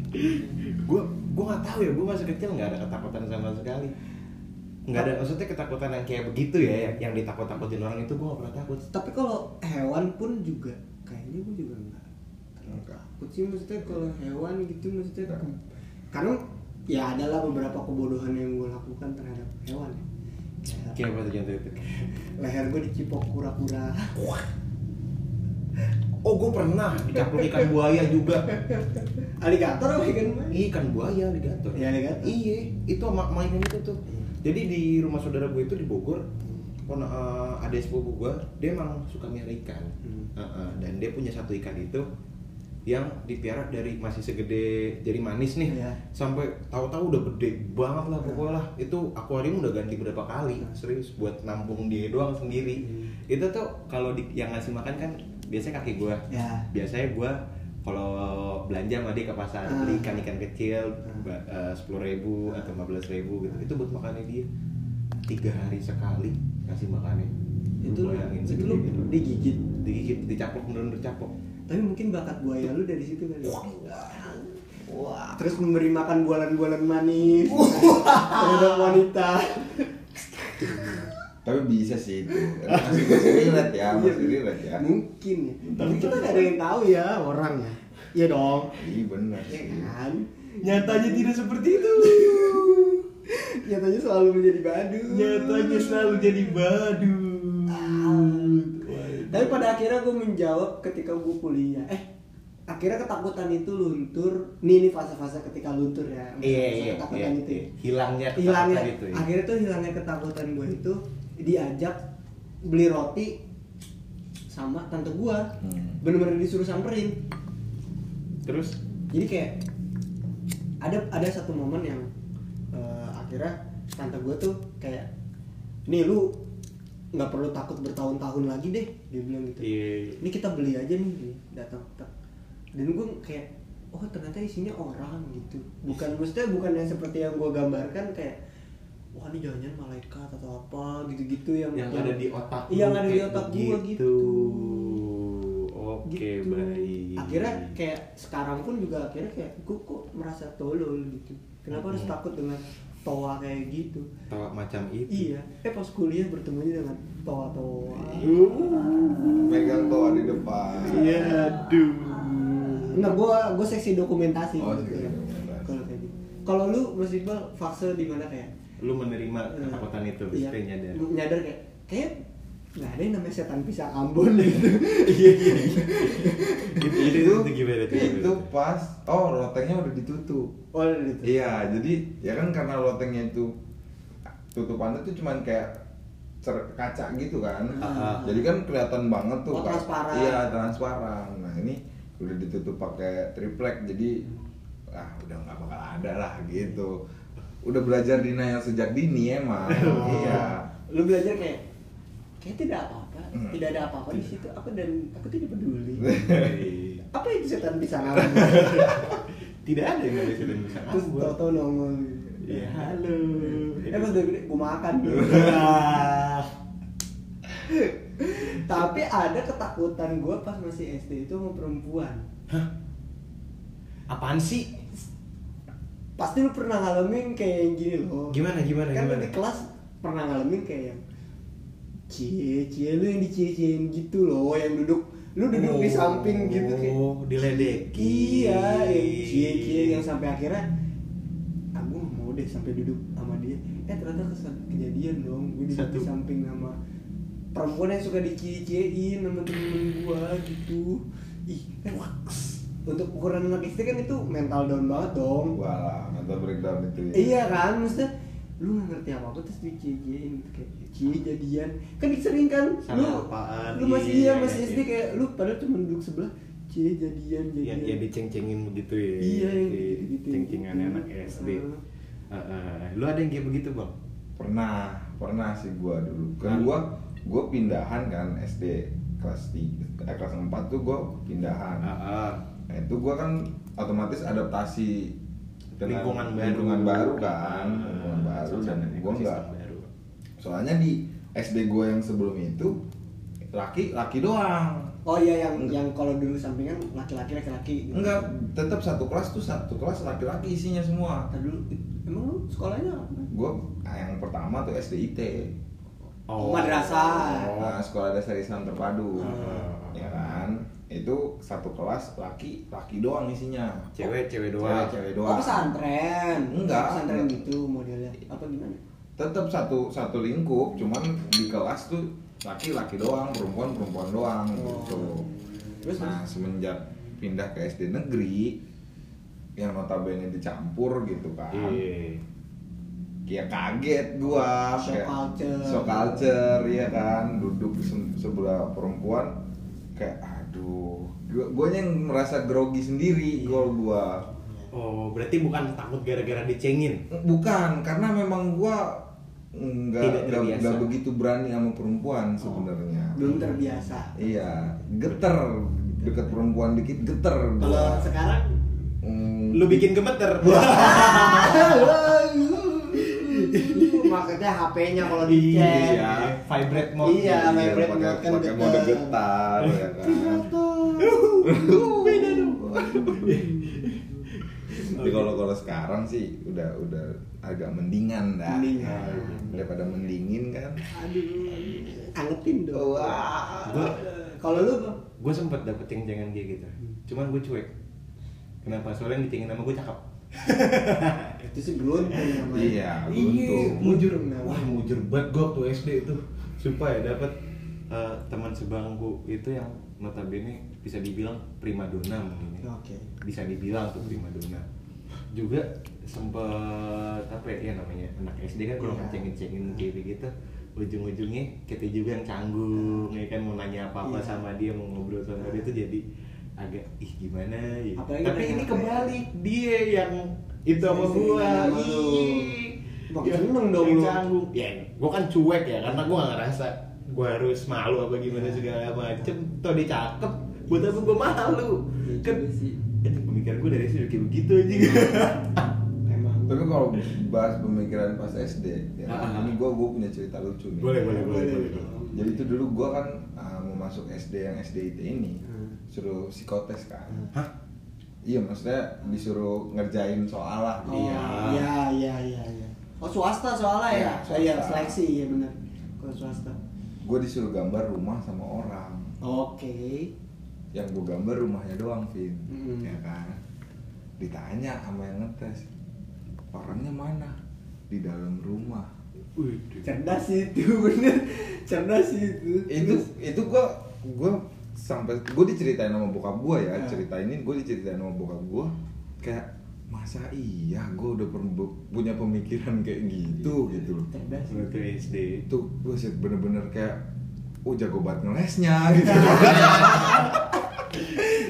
[SPEAKER 1] gue gue nggak tahu ya gue masa kecil nggak ada ketakutan sama sekali nggak ada maksudnya ketakutan yang kayak begitu ya yang, yang ditakut-takutin orang itu gue nggak pernah takut
[SPEAKER 4] tapi kalau hewan pun juga kayaknya gue juga nggak terlalu
[SPEAKER 3] Nggak.
[SPEAKER 4] takut sih maksudnya kalau hewan gitu maksudnya
[SPEAKER 3] Nggak.
[SPEAKER 4] ke- karena ya adalah beberapa kebodohan yang gue lakukan terhadap hewan ya. Kayak
[SPEAKER 1] kayak apa tuh contoh itu
[SPEAKER 4] leher gue dicipok kura-kura
[SPEAKER 1] oh gue pernah dicaplok ikan buaya juga
[SPEAKER 4] alligator apa ikan buaya?
[SPEAKER 1] iya ikan buaya alligator
[SPEAKER 4] Iya, alligator.
[SPEAKER 1] iya itu sama mainan itu tuh
[SPEAKER 4] Iya.
[SPEAKER 1] jadi di rumah saudara gue itu di Bogor pon eh, ada sepupu gue dia emang suka miara ikan
[SPEAKER 4] Hmm.
[SPEAKER 1] Eh, eh, dan dia punya satu ikan itu yang dipiara dari masih segede jari manis nih
[SPEAKER 4] Iya.
[SPEAKER 1] sampai tahu-tahu udah gede banget lah pokoknya lah itu akuarium udah ganti berapa kali
[SPEAKER 4] Iya.
[SPEAKER 1] serius buat nampung dia doang sendiri
[SPEAKER 4] Hmm.
[SPEAKER 1] itu tuh kalau di- yang ngasih makan kan biasanya kaki gue
[SPEAKER 4] ya
[SPEAKER 1] biasanya gua kalau belanja sama dia ke pasar
[SPEAKER 4] Ah.
[SPEAKER 1] beli ikan ikan kecil eh,
[SPEAKER 4] Ah.
[SPEAKER 1] sepuluh ribu atau lima belas ribu gitu itu buat makannya dia tiga hari sekali kasih makannya
[SPEAKER 4] itu
[SPEAKER 1] Lu
[SPEAKER 4] lu,
[SPEAKER 1] bayangin
[SPEAKER 4] itu
[SPEAKER 1] segede
[SPEAKER 4] lu
[SPEAKER 1] gitu.
[SPEAKER 4] digigit
[SPEAKER 1] digigit dicaplok bener dicaplok
[SPEAKER 4] Tapi mungkin bakat buaya lu dari situ kali. Wah. Terus memberi makan bualan-bualan manis terhadap wanita.
[SPEAKER 3] tapi bisa sih itu masih masih relate ya masih relate
[SPEAKER 4] Iya,
[SPEAKER 3] ya
[SPEAKER 4] Mungkin ya. Tapi kita nggak ada yang tahu ya orang ya. Iya dong.
[SPEAKER 3] iya benar
[SPEAKER 4] Ya
[SPEAKER 3] sih
[SPEAKER 4] kan.
[SPEAKER 1] nyatanya tidak seperti itu
[SPEAKER 4] Nyatanya selalu menjadi badu.
[SPEAKER 1] jadi badu
[SPEAKER 4] Ah. Tapi pada akhirnya gue menjawab ketika gue kuliah. Eh, akhirnya ketakutan itu luntur. Nih ini fase-fase ketika luntur ya. Masa-masa
[SPEAKER 1] iya iya iya
[SPEAKER 4] Ketakutan itu. ya.
[SPEAKER 1] hilangnya
[SPEAKER 4] hilangnya
[SPEAKER 1] ketakutan itu ya.
[SPEAKER 4] akhirnya tuh hilangnya ketakutan gue itu diajak beli roti sama tante gue
[SPEAKER 3] Hmm.
[SPEAKER 4] bener-bener disuruh samperin
[SPEAKER 1] terus
[SPEAKER 4] jadi kayak ada ada satu momen yang eh, akhirnya tante gue tuh kayak nih lu nggak perlu takut bertahun-tahun lagi deh dia bilang gitu
[SPEAKER 1] Iya.
[SPEAKER 4] ini kita beli aja nih dia datang tek. dan gue kayak oh ternyata isinya orang gitu bukan maksudnya bukan yang seperti yang gue gambarkan kayak wah ini jangan-jangan malaikat atau apa gitu-gitu yang
[SPEAKER 1] yang ada di otak lu
[SPEAKER 4] yang ada di
[SPEAKER 1] kayak
[SPEAKER 4] otak
[SPEAKER 1] begitu.
[SPEAKER 4] gue gitu
[SPEAKER 1] oke
[SPEAKER 4] gitu.
[SPEAKER 1] baik
[SPEAKER 4] akhirnya kayak sekarang pun juga akhirnya kayak gue kok merasa tolol gitu kenapa harus
[SPEAKER 1] Hmm.
[SPEAKER 4] takut dengan toa kayak gitu
[SPEAKER 1] tawa macam itu
[SPEAKER 4] iya eh pas kuliah bertemunya dengan toa-toa
[SPEAKER 3] megang toa di depan
[SPEAKER 4] Iya.
[SPEAKER 1] Iya, aduh
[SPEAKER 4] Enggak, gue gue Nah, seksi dokumentasi
[SPEAKER 3] Oh,
[SPEAKER 4] gitu
[SPEAKER 1] iya,
[SPEAKER 3] seksi
[SPEAKER 4] ya.
[SPEAKER 3] dokumentasi.
[SPEAKER 4] kalau kayak gitu kalau lu Mas Iqbal fase di mana kayak
[SPEAKER 1] lu menerima
[SPEAKER 4] eh,
[SPEAKER 1] ketakutan itu
[SPEAKER 4] iya,
[SPEAKER 1] iya. nyadar
[SPEAKER 4] lu nyadar kayak kayak nggak ada yang namanya setan pisang Ambon gitu iya iya
[SPEAKER 1] itu itu,
[SPEAKER 3] itu
[SPEAKER 1] itu gimana tuh gimana
[SPEAKER 3] itu
[SPEAKER 1] tuh?
[SPEAKER 3] pas oh lotengnya udah ditutup
[SPEAKER 4] oh gitu
[SPEAKER 3] Iya, jadi ya kan karena lotengnya itu tutupannya tuh cuman kayak cer- kaca gitu kan.
[SPEAKER 1] Ah.
[SPEAKER 3] Jadi kan kelihatan banget
[SPEAKER 4] Oh,
[SPEAKER 3] tuh. Kak.
[SPEAKER 4] transparan.
[SPEAKER 3] Iya, transparan. Nah, ini udah ditutup pakai triplek jadi ah udah nggak bakal ada lah gitu. Udah belajar dina yang sejak dini emang.
[SPEAKER 1] Oh.
[SPEAKER 3] iya.
[SPEAKER 4] Gitu. lu belajar kayak kayak tidak apa-apa
[SPEAKER 3] Hmm.
[SPEAKER 4] tidak ada apa-apa di situ aku dan aku tidak peduli
[SPEAKER 1] Iya.
[SPEAKER 4] apa itu setan bisa
[SPEAKER 1] tidak ada yang ada setan bisa
[SPEAKER 4] terus
[SPEAKER 1] ngambek.
[SPEAKER 4] tau-tau nongol gitu.
[SPEAKER 1] Iya, halo.
[SPEAKER 4] eh pas udah gede gue makan gitu.
[SPEAKER 1] Wah.
[SPEAKER 4] tapi ada ketakutan gue pas masih SD itu sama perempuan
[SPEAKER 1] Hah? Apaan sih?
[SPEAKER 4] pasti lu pernah ngalamin kayak yang gini loh
[SPEAKER 1] Gimana, gimana,
[SPEAKER 4] kan lu
[SPEAKER 1] gimana?
[SPEAKER 4] di kelas pernah ngalamin kayak yang cie cie lu yang dicie ciein gitu loh yang duduk lu duduk di
[SPEAKER 1] Oh,
[SPEAKER 4] samping gitu kayak
[SPEAKER 1] diledekin.
[SPEAKER 4] iya yang cie cie yang sampai akhirnya aku nggak mau deh sampai duduk sama dia eh ternyata kes- kejadian dong gue duduk
[SPEAKER 1] Satu.
[SPEAKER 4] di samping sama perempuan yang suka dicie ciein sama temen gua gitu ih waks. untuk ukuran anak istri kan itu mental down banget dong
[SPEAKER 3] Walah, mental breakdown itu ya.
[SPEAKER 4] Iya kan, maksudnya lu gak ngerti apa apa terus diciein gitu kayak cie jadian kan sering kan
[SPEAKER 1] Sama
[SPEAKER 4] lu
[SPEAKER 1] apaan,
[SPEAKER 4] lu masih
[SPEAKER 1] iya,
[SPEAKER 4] iya masih
[SPEAKER 1] iya,
[SPEAKER 4] SD
[SPEAKER 1] iya.
[SPEAKER 4] kayak lu padahal cuma duduk sebelah cie jadian
[SPEAKER 1] Iya,
[SPEAKER 4] jadian
[SPEAKER 1] iya diceng-cengin begitu ya.
[SPEAKER 4] Iya, yang
[SPEAKER 1] Di-
[SPEAKER 4] gitu-gituin
[SPEAKER 1] ceng-cengannya
[SPEAKER 4] gitu.
[SPEAKER 1] anak SD.
[SPEAKER 4] Heeh.
[SPEAKER 1] Eh, eh, lu ada yang kayak begitu, Bang?
[SPEAKER 3] Pernah, pernah sih gua dulu.
[SPEAKER 1] Hmm.
[SPEAKER 3] Kan gua gua pindahan kan SD kelas 3, eh, kelas 4 tuh gua pindahan.
[SPEAKER 1] Ah, ah.
[SPEAKER 3] Nah, itu gua kan otomatis adaptasi dengan
[SPEAKER 1] lingkungan baru.
[SPEAKER 3] lingkungan baru
[SPEAKER 1] Ah,
[SPEAKER 3] kan, lingkungan baru dan
[SPEAKER 1] suasana
[SPEAKER 3] gua
[SPEAKER 1] ekosistem
[SPEAKER 3] enggak.
[SPEAKER 1] baru.
[SPEAKER 3] Soalnya di SD gua yang sebelum itu laki laki doang.
[SPEAKER 4] oh iya yang yang kalau dulu sampingan laki-laki laki-laki gitu.
[SPEAKER 3] Enggak, tetap satu kelas tuh satu kelas laki-laki isinya semua.
[SPEAKER 4] Nah, dulu emang lu sekolahnya apa?
[SPEAKER 3] Gua ah, yang pertama tuh SDIT.
[SPEAKER 1] Oh.
[SPEAKER 4] Madrasah.
[SPEAKER 1] Oh.
[SPEAKER 3] Nah, sekolah dasar Islam terpadu.
[SPEAKER 1] Ah.
[SPEAKER 3] Ya kan? Itu satu kelas laki, laki doang isinya.
[SPEAKER 1] Cewek, cewek doang.
[SPEAKER 3] Cewek, cewek
[SPEAKER 4] Oh
[SPEAKER 3] doang.
[SPEAKER 4] pesantren,
[SPEAKER 3] Enggak.
[SPEAKER 4] pesantren gitu modelnya apa gimana?
[SPEAKER 3] Tetap satu satu lingkup, cuman di kelas tuh laki-laki doang, perempuan-perempuan doang gitu.
[SPEAKER 4] Oh. Terus,
[SPEAKER 3] nah, semenjak pindah ke SD negeri yang notabene dicampur gitu kan.
[SPEAKER 1] Iya.
[SPEAKER 3] ya kaget gua
[SPEAKER 4] Shock
[SPEAKER 3] Kayak-
[SPEAKER 4] culture.
[SPEAKER 3] shock culture ya kan duduk di se- sebelah perempuan kayak aduh gua guanya yang merasa grogi
[SPEAKER 4] Iya.
[SPEAKER 3] sendiri gol gua
[SPEAKER 1] Oh, berarti bukan takut gara-gara dicengin.
[SPEAKER 3] bukan karena memang gua
[SPEAKER 1] Tidak
[SPEAKER 3] nggak nggak
[SPEAKER 1] terbiasa. Oh.
[SPEAKER 3] nggak begitu berani sama perempuan sebenarnya
[SPEAKER 4] belum terbiasa.
[SPEAKER 3] iya geter deket perempuan dikit geter
[SPEAKER 4] Kalau
[SPEAKER 3] gua
[SPEAKER 4] sekarang,
[SPEAKER 3] Hmm,
[SPEAKER 1] Lu bikin gemeter.
[SPEAKER 4] maksudnya HP-nya kalau dicek.
[SPEAKER 1] Iya, vibrate mode.
[SPEAKER 4] Iya,
[SPEAKER 3] iya,
[SPEAKER 4] vibrate
[SPEAKER 3] pakai
[SPEAKER 4] mode kan
[SPEAKER 3] pakai
[SPEAKER 4] getar.
[SPEAKER 3] mode getar ya kan
[SPEAKER 1] Beda dong.
[SPEAKER 3] Tapi kalau kalau sekarang sih udah udah agak mendingan dah.
[SPEAKER 4] Mendingan.
[SPEAKER 3] Nah, daripada mendingin kan.
[SPEAKER 4] Aduh, angetin dong.
[SPEAKER 3] Wah.
[SPEAKER 1] Gua-
[SPEAKER 4] Kalau lu Bang?
[SPEAKER 1] gue sempet dapet ceng-cengan kayak gitu cuman gue cuek kenapa soalnya yang dicengin sama gue cakep
[SPEAKER 4] itu sih gelonting namanya.
[SPEAKER 3] Iya, beruntung.
[SPEAKER 1] mujur
[SPEAKER 4] Nah,
[SPEAKER 1] wah mujur banget gue waktu SD itu sumpah ya dapet eh, teman sebangku itu yang notabene bisa dibilang primadona mungkin ya.
[SPEAKER 4] Oke.
[SPEAKER 1] bisa dibilang tuh primadona juga sempet apa ya, ya namanya anak SD kan kalau
[SPEAKER 4] Iya.
[SPEAKER 1] ngecengin-cengin kayak gitu ujung-ujungnya kita juga yang canggung ya kan mau nanya apa-apa
[SPEAKER 4] Iya.
[SPEAKER 1] sama dia mau ngobrol sama dia tuh jadi agak ih gimana ya.
[SPEAKER 4] Apalagi
[SPEAKER 1] tapi
[SPEAKER 4] mereka
[SPEAKER 1] ini
[SPEAKER 4] apa ya?
[SPEAKER 1] kebalik dia yang itu sama
[SPEAKER 4] Sering-sering
[SPEAKER 1] gua gitu. Ya,
[SPEAKER 4] sama lu. Bang, seneng dong
[SPEAKER 1] yang
[SPEAKER 4] lu.
[SPEAKER 1] canggung ya gua kan cuek ya karena gua gak ngerasa gua harus malu apa gimana segala macem toh dia cakep buat apa gua malu
[SPEAKER 4] Iya
[SPEAKER 1] kan
[SPEAKER 4] juga sih.
[SPEAKER 1] eh, pemikiran gua dari situ kayak begitu aja
[SPEAKER 4] Emang.
[SPEAKER 3] Tapi kalau bahas pemikiran pas SD, ya,
[SPEAKER 1] Ah.
[SPEAKER 3] ini gue gue punya cerita lucu nih.
[SPEAKER 1] boleh boleh boleh boleh
[SPEAKER 3] Jadi itu dulu gue kan ah, mau masuk SD yang SDIT ini,
[SPEAKER 4] Hmm.
[SPEAKER 3] suruh psikotes kan.
[SPEAKER 1] hah
[SPEAKER 3] Iya, maksudnya disuruh ngerjain soal lah.
[SPEAKER 4] Oh,
[SPEAKER 1] Iya.
[SPEAKER 4] Iya, iya, iya, iya. Oh, swasta soalnya ya?
[SPEAKER 3] Iya,
[SPEAKER 4] Oh, iya,
[SPEAKER 3] swasta.
[SPEAKER 4] seleksi ya benar. Kalau swasta.
[SPEAKER 3] Gue disuruh gambar rumah sama orang.
[SPEAKER 4] Oke.
[SPEAKER 3] yang gue gambar rumahnya doang Vin
[SPEAKER 4] Mm.
[SPEAKER 3] ya kan ditanya sama yang ngetes orangnya mana di dalam rumah
[SPEAKER 1] Waduh.
[SPEAKER 4] Cerdas itu, bener. Cerdas itu.
[SPEAKER 3] itu itu gue gue sampai gue diceritain sama bokap gue ya
[SPEAKER 4] Ya.
[SPEAKER 3] cerita ini gue diceritain sama bokap gue kayak masa iya gue udah per- punya pemikiran
[SPEAKER 4] Iya.
[SPEAKER 3] kayak gitu gitu loh
[SPEAKER 4] cerdas.
[SPEAKER 1] Waktu SD
[SPEAKER 3] itu gue bener-bener kayak oh jago banget ngelesnya
[SPEAKER 4] Iya.
[SPEAKER 3] gitu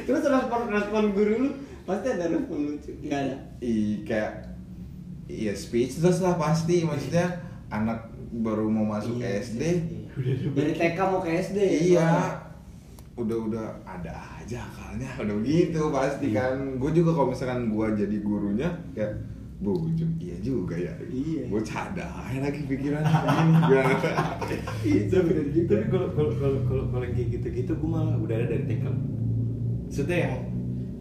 [SPEAKER 4] Terus respon respon guru lu pasti ada respon lucu. Gak ada.
[SPEAKER 3] i kayak iya speechless lah pasti maksudnya anak baru mau masuk
[SPEAKER 4] Iya,
[SPEAKER 3] SD
[SPEAKER 4] iya, iya. Dari TK mau ke SD.
[SPEAKER 3] iya
[SPEAKER 4] soalnya.
[SPEAKER 3] udah udah ada aja akalnya udah begitu pasti kan gue juga kalau misalkan gue jadi gurunya kayak bu ju- iya juga ya
[SPEAKER 4] Iya.
[SPEAKER 3] gue cadangnya lagi pikiran ini gimana
[SPEAKER 4] Iya,
[SPEAKER 1] tapi
[SPEAKER 4] bener juga.
[SPEAKER 1] tapi kalau kalau kalau kalau kalau yang kayak gitu-gitu gue malah udah ada dari TK maksudnya yang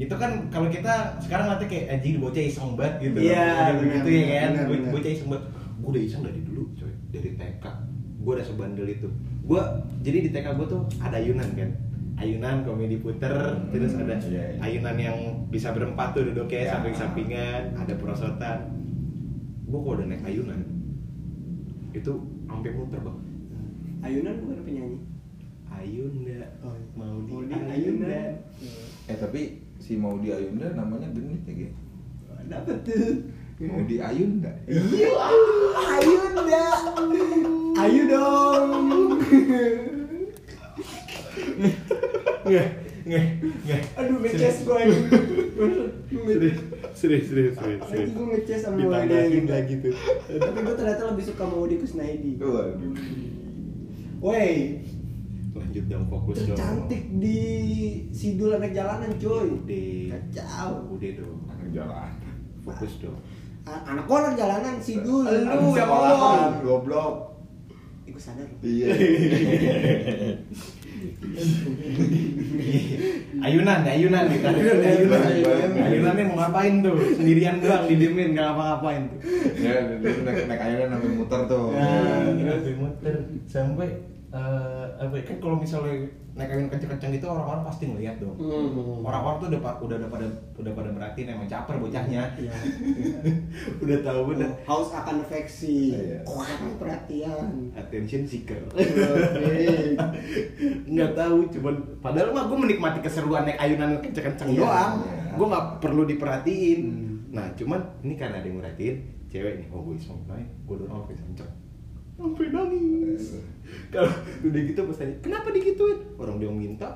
[SPEAKER 1] itu kan kalau kita sekarang nanti kayak anjing bocah iseng banget gitu
[SPEAKER 4] Iya,
[SPEAKER 1] Udah
[SPEAKER 4] benar,
[SPEAKER 1] begitu ya
[SPEAKER 4] benar,
[SPEAKER 1] kan
[SPEAKER 4] benar,
[SPEAKER 1] Bo-
[SPEAKER 4] benar.
[SPEAKER 1] bocah iseng banget gue udah iseng dari dulu coy dari TK gue udah sebandel itu gue jadi di TK gue tuh ada ayunan kan ayunan komedi puter
[SPEAKER 3] Hmm,
[SPEAKER 1] terus ada
[SPEAKER 3] iya, iya.
[SPEAKER 1] ayunan yang bisa berempat tuh duduknya
[SPEAKER 3] Ya.
[SPEAKER 1] samping-sampingan ada perosotan gue kalau udah naik ayunan itu sampai muter bang
[SPEAKER 4] Ayunan bukan penyanyi.
[SPEAKER 1] Ayunda
[SPEAKER 4] Oh, iya.
[SPEAKER 1] Maudi,
[SPEAKER 4] Maudi
[SPEAKER 1] Ayunda.
[SPEAKER 4] Ayunda.
[SPEAKER 3] eh tapi si Maudi Ayunda namanya genit ya gitu
[SPEAKER 4] Dapat tuh.
[SPEAKER 3] Maudi Ayunda
[SPEAKER 4] Iya, Ayunda. Ayu dong.
[SPEAKER 1] Nggak, nggak, nggak.
[SPEAKER 4] Aduh, ngeces gua ini.
[SPEAKER 1] Serius, serius, serius, serius.
[SPEAKER 4] Nanti gue ngeces sama Maudi
[SPEAKER 1] Ditambahin
[SPEAKER 4] Ayunda.
[SPEAKER 1] lagi tuh.
[SPEAKER 4] Tapi gue ternyata lebih suka Maudi Kusnaidi.
[SPEAKER 3] waduh
[SPEAKER 4] Woi,
[SPEAKER 1] Lanjut dong fokus dong.
[SPEAKER 4] tercantik di Sidul anak jalanan coy.
[SPEAKER 1] Udah.
[SPEAKER 4] Kacau.
[SPEAKER 1] Udah dong.
[SPEAKER 3] anak jalan
[SPEAKER 1] Fokus dong.
[SPEAKER 4] A- Anak gua anak jalanan Sidul.
[SPEAKER 1] Lu
[SPEAKER 3] Anak
[SPEAKER 1] yang
[SPEAKER 3] sekolahan,
[SPEAKER 1] ngomong.
[SPEAKER 3] goblok
[SPEAKER 4] Ih, gua sadar.
[SPEAKER 3] iya
[SPEAKER 1] Ayunan, ayunan, ayunan, ayunan, ayunan. Ayunannya mau ngapain tuh? Sendirian doang didiemin nggak ngapa-ngapain.
[SPEAKER 3] ya dia naik naik ayunan sampai muter tuh iya.
[SPEAKER 1] Nah, sampai muter sampai eh, apa ya? kan kalau misalnya naik ayunan kenceng-kenceng gitu orang-orang pasti ngeliat dong.
[SPEAKER 4] Hmm.
[SPEAKER 1] Orang-orang tuh udah pa- udah udah pada udah pada merhatiin emang caper bocahnya.
[SPEAKER 4] Iya.
[SPEAKER 1] udah tahu bener.
[SPEAKER 4] Haus akan afeksi.
[SPEAKER 3] Iya.
[SPEAKER 4] Kurang perhatian.
[SPEAKER 1] Attention seeker.
[SPEAKER 4] Oke.
[SPEAKER 1] nggak tahu cuman padahal mah gue menikmati keseruan naik ayunan kenceng-kenceng
[SPEAKER 4] Iya,
[SPEAKER 1] doang
[SPEAKER 3] iya.
[SPEAKER 1] gue nggak perlu diperhatiin
[SPEAKER 4] Hmm.
[SPEAKER 1] nah cuman ini karena ada yang merhatiin cewek nih oh gue iseng naik gue dorong oh, sampai kenceng sampai nangis
[SPEAKER 4] Iya.
[SPEAKER 1] kalau udah gitu pas tanya kenapa digituin orang dia minta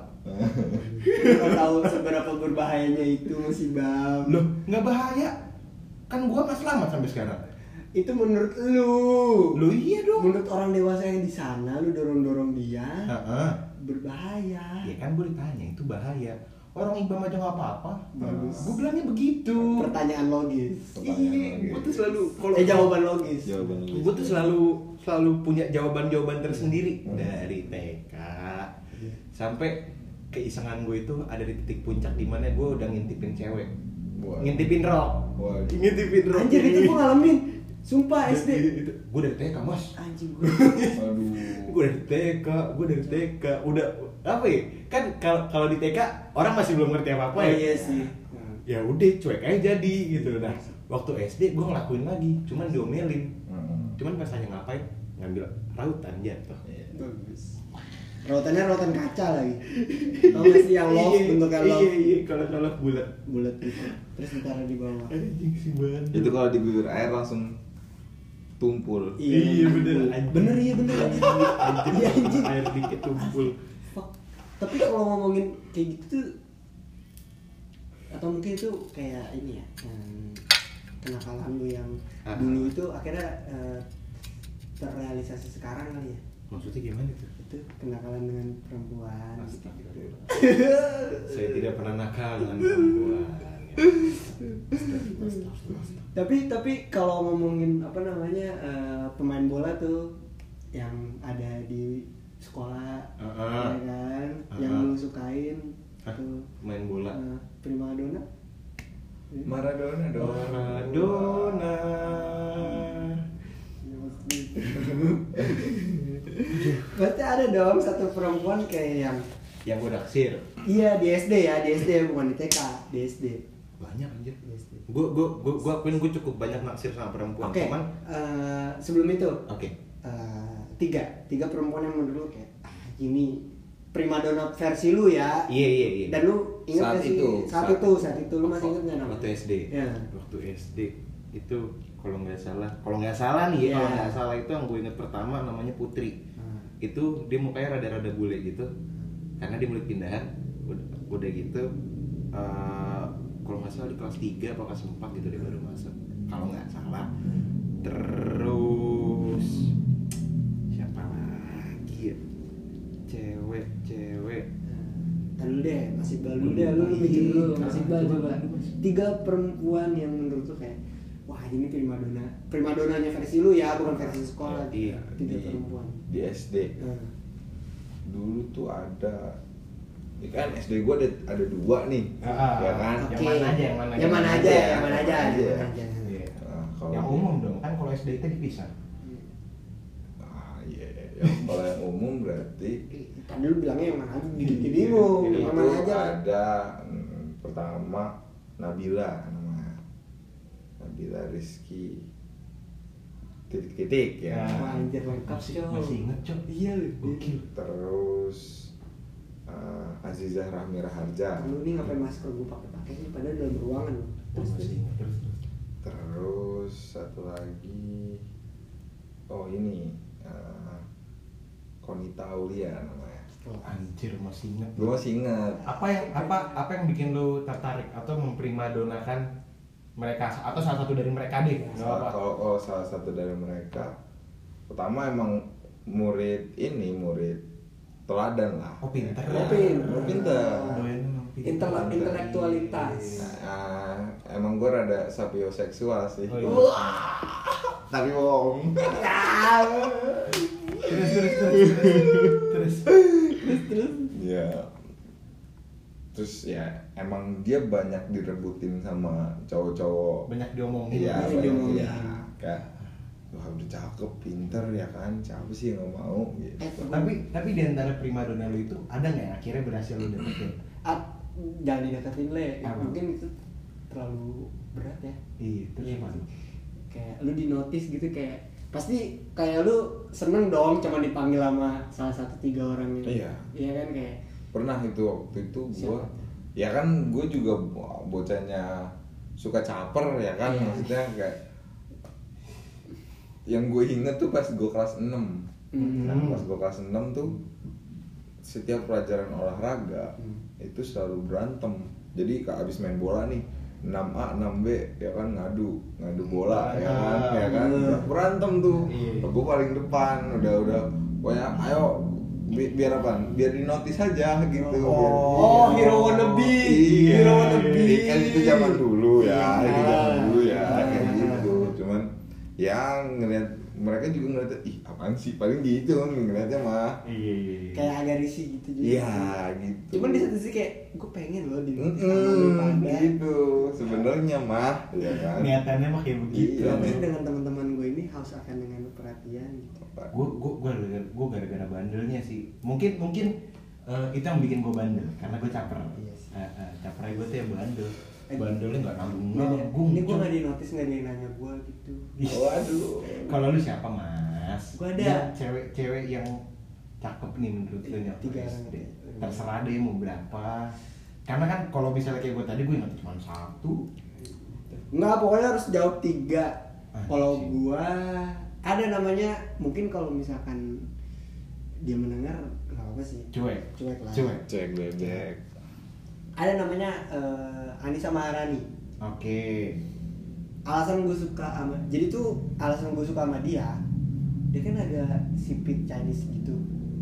[SPEAKER 4] Gak tahu seberapa berbahayanya itu musibah.
[SPEAKER 1] loh nggak bahaya kan gue nggak selamat sampai sekarang
[SPEAKER 4] Itu menurut lu.
[SPEAKER 1] lo iya dong
[SPEAKER 4] Menurut orang dewasa yang di sana lu dorong-dorong dia
[SPEAKER 1] Heeh.
[SPEAKER 4] berbahaya.
[SPEAKER 1] ya kan gue ditanya itu bahaya orang ibam aja nggak apa-apa
[SPEAKER 4] Bagus.
[SPEAKER 1] gue bilangnya begitu
[SPEAKER 4] Pertanyaan logis.
[SPEAKER 1] Iya, gue tuh selalu kalau
[SPEAKER 4] Eh jawaban logis.
[SPEAKER 3] jawaban lu.
[SPEAKER 1] gue tuh selalu selalu punya jawaban-jawaban tersendiri dari TK sampai keisengan gue itu ada di titik puncak dimana gue udah ngintipin cewek
[SPEAKER 3] Wah.
[SPEAKER 1] ngintipin rock
[SPEAKER 3] Waduh.
[SPEAKER 1] ngintipin rock
[SPEAKER 4] Anjir itu gua ngalamin. Sumpah SD.
[SPEAKER 1] gue dari TK mas
[SPEAKER 4] Anjing gua.
[SPEAKER 3] aduh
[SPEAKER 1] gue dari TK gue dari TK udah apa ya kan kalau kalau di TK orang masih belum ngerti apa apa
[SPEAKER 4] Oh
[SPEAKER 1] ya
[SPEAKER 4] iya sih.
[SPEAKER 1] ya udah cuek aja jadi gitu nah waktu SD gue ngelakuin lagi cuman diomelin
[SPEAKER 3] Hmm.
[SPEAKER 1] cuman pas tanya ngapain ngambil rautan jatuh
[SPEAKER 3] Iya.
[SPEAKER 4] Bagus. Rotannya rotan kaca lagi. Tau gak sih Oh, yang love
[SPEAKER 1] Iya,
[SPEAKER 4] bentuknya love?
[SPEAKER 1] iya iya kalau kalau bulat
[SPEAKER 4] Bulat gitu. Terus ditaruh di bawah.
[SPEAKER 1] anjing sih banget
[SPEAKER 3] itu kalau diguyur air langsung tumpul
[SPEAKER 1] Iya, iya, bener.
[SPEAKER 4] Bener iya bener anjing. Iya anjing.
[SPEAKER 1] air dikit tumpul
[SPEAKER 4] Fuck. Tapi kalau ngomongin kayak gitu tuh atau mungkin itu kayak ini ya em, kenakalan lu yang
[SPEAKER 1] Ah.
[SPEAKER 4] dulu itu akhirnya eh, terrealisasi sekarang kali ya
[SPEAKER 1] maksudnya gimana tuh
[SPEAKER 4] itu kenakalan dengan perempuan gitu.
[SPEAKER 1] Astagfirullah. saya tidak pernah nakal dengan perempuan
[SPEAKER 4] tapi tapi kalau ngomongin apa namanya eh, pemain bola tuh yang ada di sekolah
[SPEAKER 1] Ah, ah.
[SPEAKER 4] ya kan
[SPEAKER 1] Ah,
[SPEAKER 4] yang
[SPEAKER 1] ah.
[SPEAKER 4] lu sukain
[SPEAKER 1] Hah,
[SPEAKER 4] tuh
[SPEAKER 1] main bola
[SPEAKER 4] eh, primadona
[SPEAKER 3] Maradona dong
[SPEAKER 1] Maradona
[SPEAKER 4] Berarti ada dong satu perempuan kayak yang
[SPEAKER 1] yang gue naksir
[SPEAKER 4] Iya di SD ya, di SD ya bukan di TK, di SD.
[SPEAKER 1] banyak anjir
[SPEAKER 4] Di SD.
[SPEAKER 1] gue gue gue gue akuin gue cukup banyak naksir sama perempuan
[SPEAKER 4] Oke,
[SPEAKER 1] cuman
[SPEAKER 4] eh, sebelum itu
[SPEAKER 1] oke
[SPEAKER 4] eh, tiga, tiga perempuan yang menurut lu kayak ah, ini primadona versi lu ya.
[SPEAKER 1] iya iya iya
[SPEAKER 4] Dan lu ingat
[SPEAKER 3] Saat
[SPEAKER 4] gak sih
[SPEAKER 3] itu,
[SPEAKER 4] saat,
[SPEAKER 3] saat-
[SPEAKER 4] itu, saat itu lu masih ingat nggak namanya?
[SPEAKER 1] waktu SD
[SPEAKER 4] Iya.
[SPEAKER 1] waktu SD itu kalau nggak salah kalau nggak salah nih ya, kalau
[SPEAKER 4] Iya.
[SPEAKER 1] nggak salah itu yang gue inget pertama namanya Putri
[SPEAKER 4] Hmm.
[SPEAKER 1] itu dia mukanya rada-rada bule gitu karena dia mulut pindahan udah, udah gitu eh, kalau nggak salah di kelas 3 atau kelas 4 gitu dia baru masuk kalau nggak salah terus siapa lagi ya cewek cewek
[SPEAKER 4] Nah, lu deh
[SPEAKER 1] Hmm.
[SPEAKER 4] lu lu mikir dulu
[SPEAKER 5] Iya,
[SPEAKER 4] mas Iqbal
[SPEAKER 5] coba,
[SPEAKER 4] coba
[SPEAKER 5] Mas.
[SPEAKER 4] tiga perempuan yang menurut lu kayak wah ini primadona primadonanya versi lu ya bukan versi sekolah
[SPEAKER 1] Iya,
[SPEAKER 4] tiga
[SPEAKER 3] di,
[SPEAKER 4] perempuan
[SPEAKER 3] di SD
[SPEAKER 4] Nah,
[SPEAKER 3] dulu tuh ada ya kan SD gue ada ada dua nih
[SPEAKER 1] Ah,
[SPEAKER 3] ya kan
[SPEAKER 1] Yang
[SPEAKER 4] Nah, oke.
[SPEAKER 1] mana aja, yang mana aja.
[SPEAKER 4] yang mana aja
[SPEAKER 3] Iya,
[SPEAKER 4] yang mana aja
[SPEAKER 3] yang
[SPEAKER 4] yang
[SPEAKER 3] mana
[SPEAKER 4] mana
[SPEAKER 3] aja.
[SPEAKER 4] aja
[SPEAKER 1] Iya.
[SPEAKER 3] Nah, kalau-
[SPEAKER 1] Yang umum dong, kan kalau SD itu dipisah.
[SPEAKER 3] ah iya yang kalau yang umum berarti
[SPEAKER 4] Eh, tadi lu bilangnya yang mana aja
[SPEAKER 1] Hmm.
[SPEAKER 4] bikin jadi bingung
[SPEAKER 1] Jadi
[SPEAKER 4] yang
[SPEAKER 3] itu
[SPEAKER 4] mana Oh, aja
[SPEAKER 3] ada mm, pertama Nabila namanya Nabila Rizky titik-titik ya
[SPEAKER 1] Nah.
[SPEAKER 4] wah anjir lengkap sih Cok.
[SPEAKER 1] Masih inget, Cok.
[SPEAKER 4] iya lu
[SPEAKER 1] Gokil.
[SPEAKER 3] terus eh, Azizah Rahmi Raharja
[SPEAKER 1] Hmm.
[SPEAKER 4] lu nih ngapain masker gue pakai pakai sih padahal dalam ruangan lu terus terus.
[SPEAKER 1] Masih inget. Terus, terus.
[SPEAKER 3] terus satu lagi oh ini eh, Konita Aulia namanya
[SPEAKER 1] Anjir, masih inget.
[SPEAKER 3] gue masih ingat
[SPEAKER 1] apa yang apa apa yang bikin lu tertarik atau memprimadonakan mereka atau salah satu dari mereka deh nggak apa
[SPEAKER 3] Salah- eh, kalau kalau salah satu dari mereka pertama emang murid ini murid teladan lah
[SPEAKER 1] Oh, pinter.
[SPEAKER 3] Ya,
[SPEAKER 1] Oh,
[SPEAKER 4] pinter.
[SPEAKER 3] oh, pinter.
[SPEAKER 4] Eh, Intelek- intelektualitas
[SPEAKER 1] Iya.
[SPEAKER 3] Ah, emang gue rada sapioseksual sih
[SPEAKER 1] Oh, iya.
[SPEAKER 3] Wah, tapi bohong
[SPEAKER 1] terus terus terus terus terus.
[SPEAKER 3] ya terus ya emang dia banyak direbutin sama cowok-cowok
[SPEAKER 1] banyak diomongin
[SPEAKER 3] Iya,
[SPEAKER 4] Iya,
[SPEAKER 3] banyak
[SPEAKER 4] diomongin.
[SPEAKER 3] iya. Kayak, wah udah cakep, pinter ya kan, siapa sih yang gak mau gitu.
[SPEAKER 4] Eh, gua-
[SPEAKER 1] tapi tapi di antara primadona lu itu ada nggak yang akhirnya berhasil lu dapetin
[SPEAKER 4] At- jangan dideketin le
[SPEAKER 1] Apa?
[SPEAKER 4] mungkin itu terlalu berat ya
[SPEAKER 1] iya terus
[SPEAKER 4] Iya,
[SPEAKER 1] apa?
[SPEAKER 4] gitu. kayak lu di notice gitu kayak pasti kayak lu seneng dong cuma dipanggil sama salah satu tiga orang ini
[SPEAKER 3] Iya.
[SPEAKER 4] iya kan kayak
[SPEAKER 3] Pernah itu waktu itu gue,
[SPEAKER 4] Siapa?
[SPEAKER 3] ya kan gue juga bo- bocahnya suka caper ya kan,
[SPEAKER 4] Iya.
[SPEAKER 3] maksudnya kayak yang gue inget tuh pas gue kelas 6
[SPEAKER 4] Hmm.
[SPEAKER 3] Nah pas gue kelas 6 tuh setiap pelajaran olahraga
[SPEAKER 4] Hmm.
[SPEAKER 3] itu selalu berantem Jadi kayak abis main bola nih 6A, 6B, ya kan ngadu Ngadu bola, ya kan,
[SPEAKER 4] Ah,
[SPEAKER 3] ya kan Berantem tuh,
[SPEAKER 1] Iya.
[SPEAKER 3] gue paling depan Udah, udah, pokoknya ayo bi- biar apa? Biar di notice aja gitu. Biar-
[SPEAKER 4] Oh,
[SPEAKER 3] iya.
[SPEAKER 4] hero wannabe.
[SPEAKER 3] Iya.
[SPEAKER 4] Hero wannabe.
[SPEAKER 3] Iya, Kan itu zaman dulu ya,
[SPEAKER 4] Iya.
[SPEAKER 3] itu zaman dulu ya, kayak
[SPEAKER 4] Iya.
[SPEAKER 3] gitu. Cuman yang ngeliat mereka juga ngeliatnya ih apaan sih paling gitu kan ngeliatnya mah
[SPEAKER 1] iya iya iya.
[SPEAKER 4] kayak agak risih gitu juga
[SPEAKER 3] iya gitu
[SPEAKER 4] cuman di satu sisi kayak gue pengen loh di notice sama lu
[SPEAKER 3] Mm-mm,
[SPEAKER 4] pada
[SPEAKER 3] gitu sebenarnya mah ya kan
[SPEAKER 1] niatannya mah kayak begitu
[SPEAKER 3] Iya.
[SPEAKER 4] Tapi Gitu. dengan teman-teman gue ini haus akan dengan perhatian gitu.
[SPEAKER 1] gue gue gue gara-gara gue gara-gara bandelnya sih mungkin mungkin eh, itu yang bikin gue bandel karena gue caper
[SPEAKER 4] Iya sih.
[SPEAKER 1] Eh, eh, capernya gue tuh yang bandel
[SPEAKER 4] Eh,
[SPEAKER 1] bandelnya nggak nanggung
[SPEAKER 4] Ini-
[SPEAKER 1] nanggung
[SPEAKER 4] ini gue
[SPEAKER 1] Cok.
[SPEAKER 4] gak di notice gak ada yang nanya gue gitu.
[SPEAKER 1] Ih,
[SPEAKER 3] waduh
[SPEAKER 1] kalau lu siapa mas
[SPEAKER 4] Gua ada.
[SPEAKER 1] Yang cewek-cewek yang cakep nih menurut lu nyokap
[SPEAKER 4] Iya, Tiga orang.
[SPEAKER 1] SD. terserah deh mau berapa karena kan kalau misalnya kayak gue tadi gue ingat cuma satu
[SPEAKER 4] Enggak, pokoknya harus jawab tiga.
[SPEAKER 1] Ah,
[SPEAKER 4] Kalau
[SPEAKER 1] sih.
[SPEAKER 4] gue ada namanya mungkin kalau misalkan dia mendengar nggak apa sih.
[SPEAKER 1] cuek
[SPEAKER 4] Cuek lah.
[SPEAKER 1] cuek
[SPEAKER 3] cek bebek
[SPEAKER 4] Ada namanya eh, Anissa Maharani.
[SPEAKER 1] oke
[SPEAKER 4] Alasan gue suka sama jadi tuh alasan gue suka sama dia dia kan agak sipit Chinese gitu.